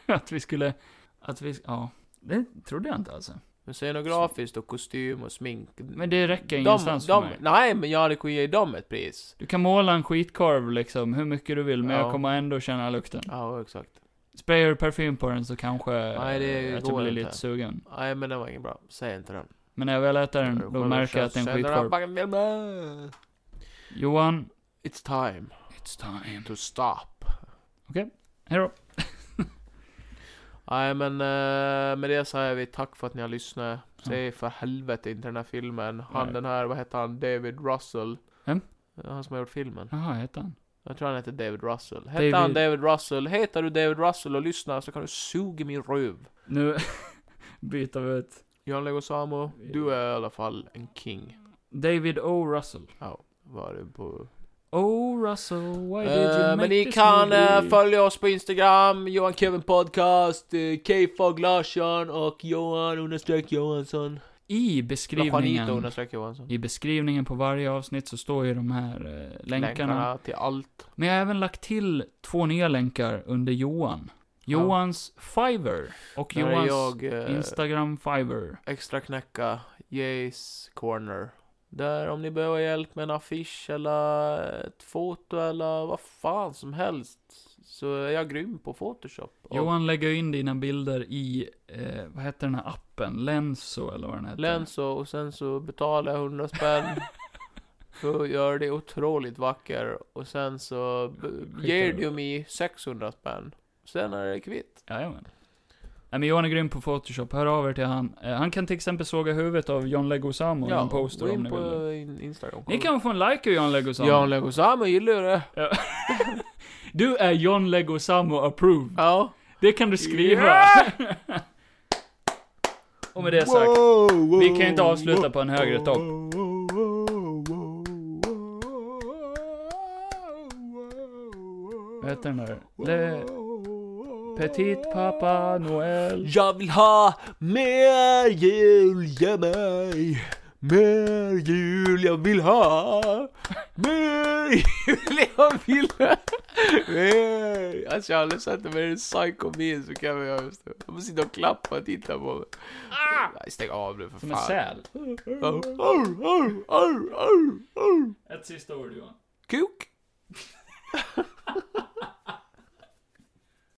Att vi skulle... Att vi... Ja. Det trodde jag inte alltså.
Men scenografiskt och kostym och smink.
Men det räcker
De,
ingenstans
de,
för mig.
nej, men jag hade kunnat ge dem ett pris.
Du kan måla en skitkorv liksom, hur mycket du vill, men
Ja.
jag kommer ändå känna lukten.
Ja, exakt.
Sprayar du parfym på den så kanske
Nej, det
att
går
jag typ blir
inte.
lite sugen.
Nej, men den var ingen bra. Säg inte den.
Men när jag väl äter den, då
Själva
märker jag att det är en
köttsöndra-
skitkorv. Johan,
It's time
it's time.
to stop.
Hejdå.
Nej men eh, med det säger vi tack för att ni har lyssnat. Se för helvete inte den här filmen. Han
Nej.
den här, vad heter han? David Russell. Eh,
Vem?
Han som har gjort filmen.
Jaha, heter han?
Jag tror han heter David Russell. Hette
David-
han David Russell? Heter du David Russell och lyssnar så kan du suga min röv.
Nu byter vi ut.
Jan Legosamo, du är i alla fall en king.
David O. Russell.
Ja, var det på...
O. Russell, why did you
Eh,
make
men ni
this
kan eh,
movie?
följa oss på Instagram, Johan Kevin Podcast, eh, K-Fog Larsson och Johan understreck Johansson.
I
Juanito
beskrivningen,
understreck Johansson.
i beskrivningen på varje avsnitt så står ju de här eh, länkarna.
Länkarna till allt.
Men jag har även lagt till två nya länkar under Johan. Johans Fiverr och
Där är
Johans
jag, eh,
Instagram Fiverr.
extra knäcka, Jays corner. Där om ni behöver hjälp med en affisch eller ett foto eller vad fan som helst. Så är jag grym på Photoshop. Och
Johan lägger ju in dina bilder i, eh, vad heter den här appen? Lenso eller vad den heter?
Lenso och sen så betalar jag 100 spänn. För att göra det otroligt vacker. Och sen så b- ger
över.
du mig 600 spänn. Sen är det kvitt.
Jajamän. Nej men Johan är grym på Photoshop, hör av er till han. Eh, han kan till exempel såga huvudet av John Leguizamo i en poster
gå
om
in
ni
på
vill. det.
in- Instagram.
Ni kan få en like av John Leguizamo.
Jan Legosamo gillar ju det.
Du är John Leguizamo approved.
Ja.
Det kan du skriva. Och med det sagt, vi kan ju inte avsluta på en högre topp. Vad heter den där? Le... Petit Papa Noel.
Jag vill ha mer jul, ge mig mer jul jag vill ha Mer jul jag vill ha Mer. Alltså jag har aldrig sett det med en psycho min så kan jag just det. Jag måste sitta och klappa och titta på mig. Nej, stäng av nu för
Ah! Som en
fan.
säl.
Au, au, au, au, au, au.
Ett sista ord Johan.
Kuk!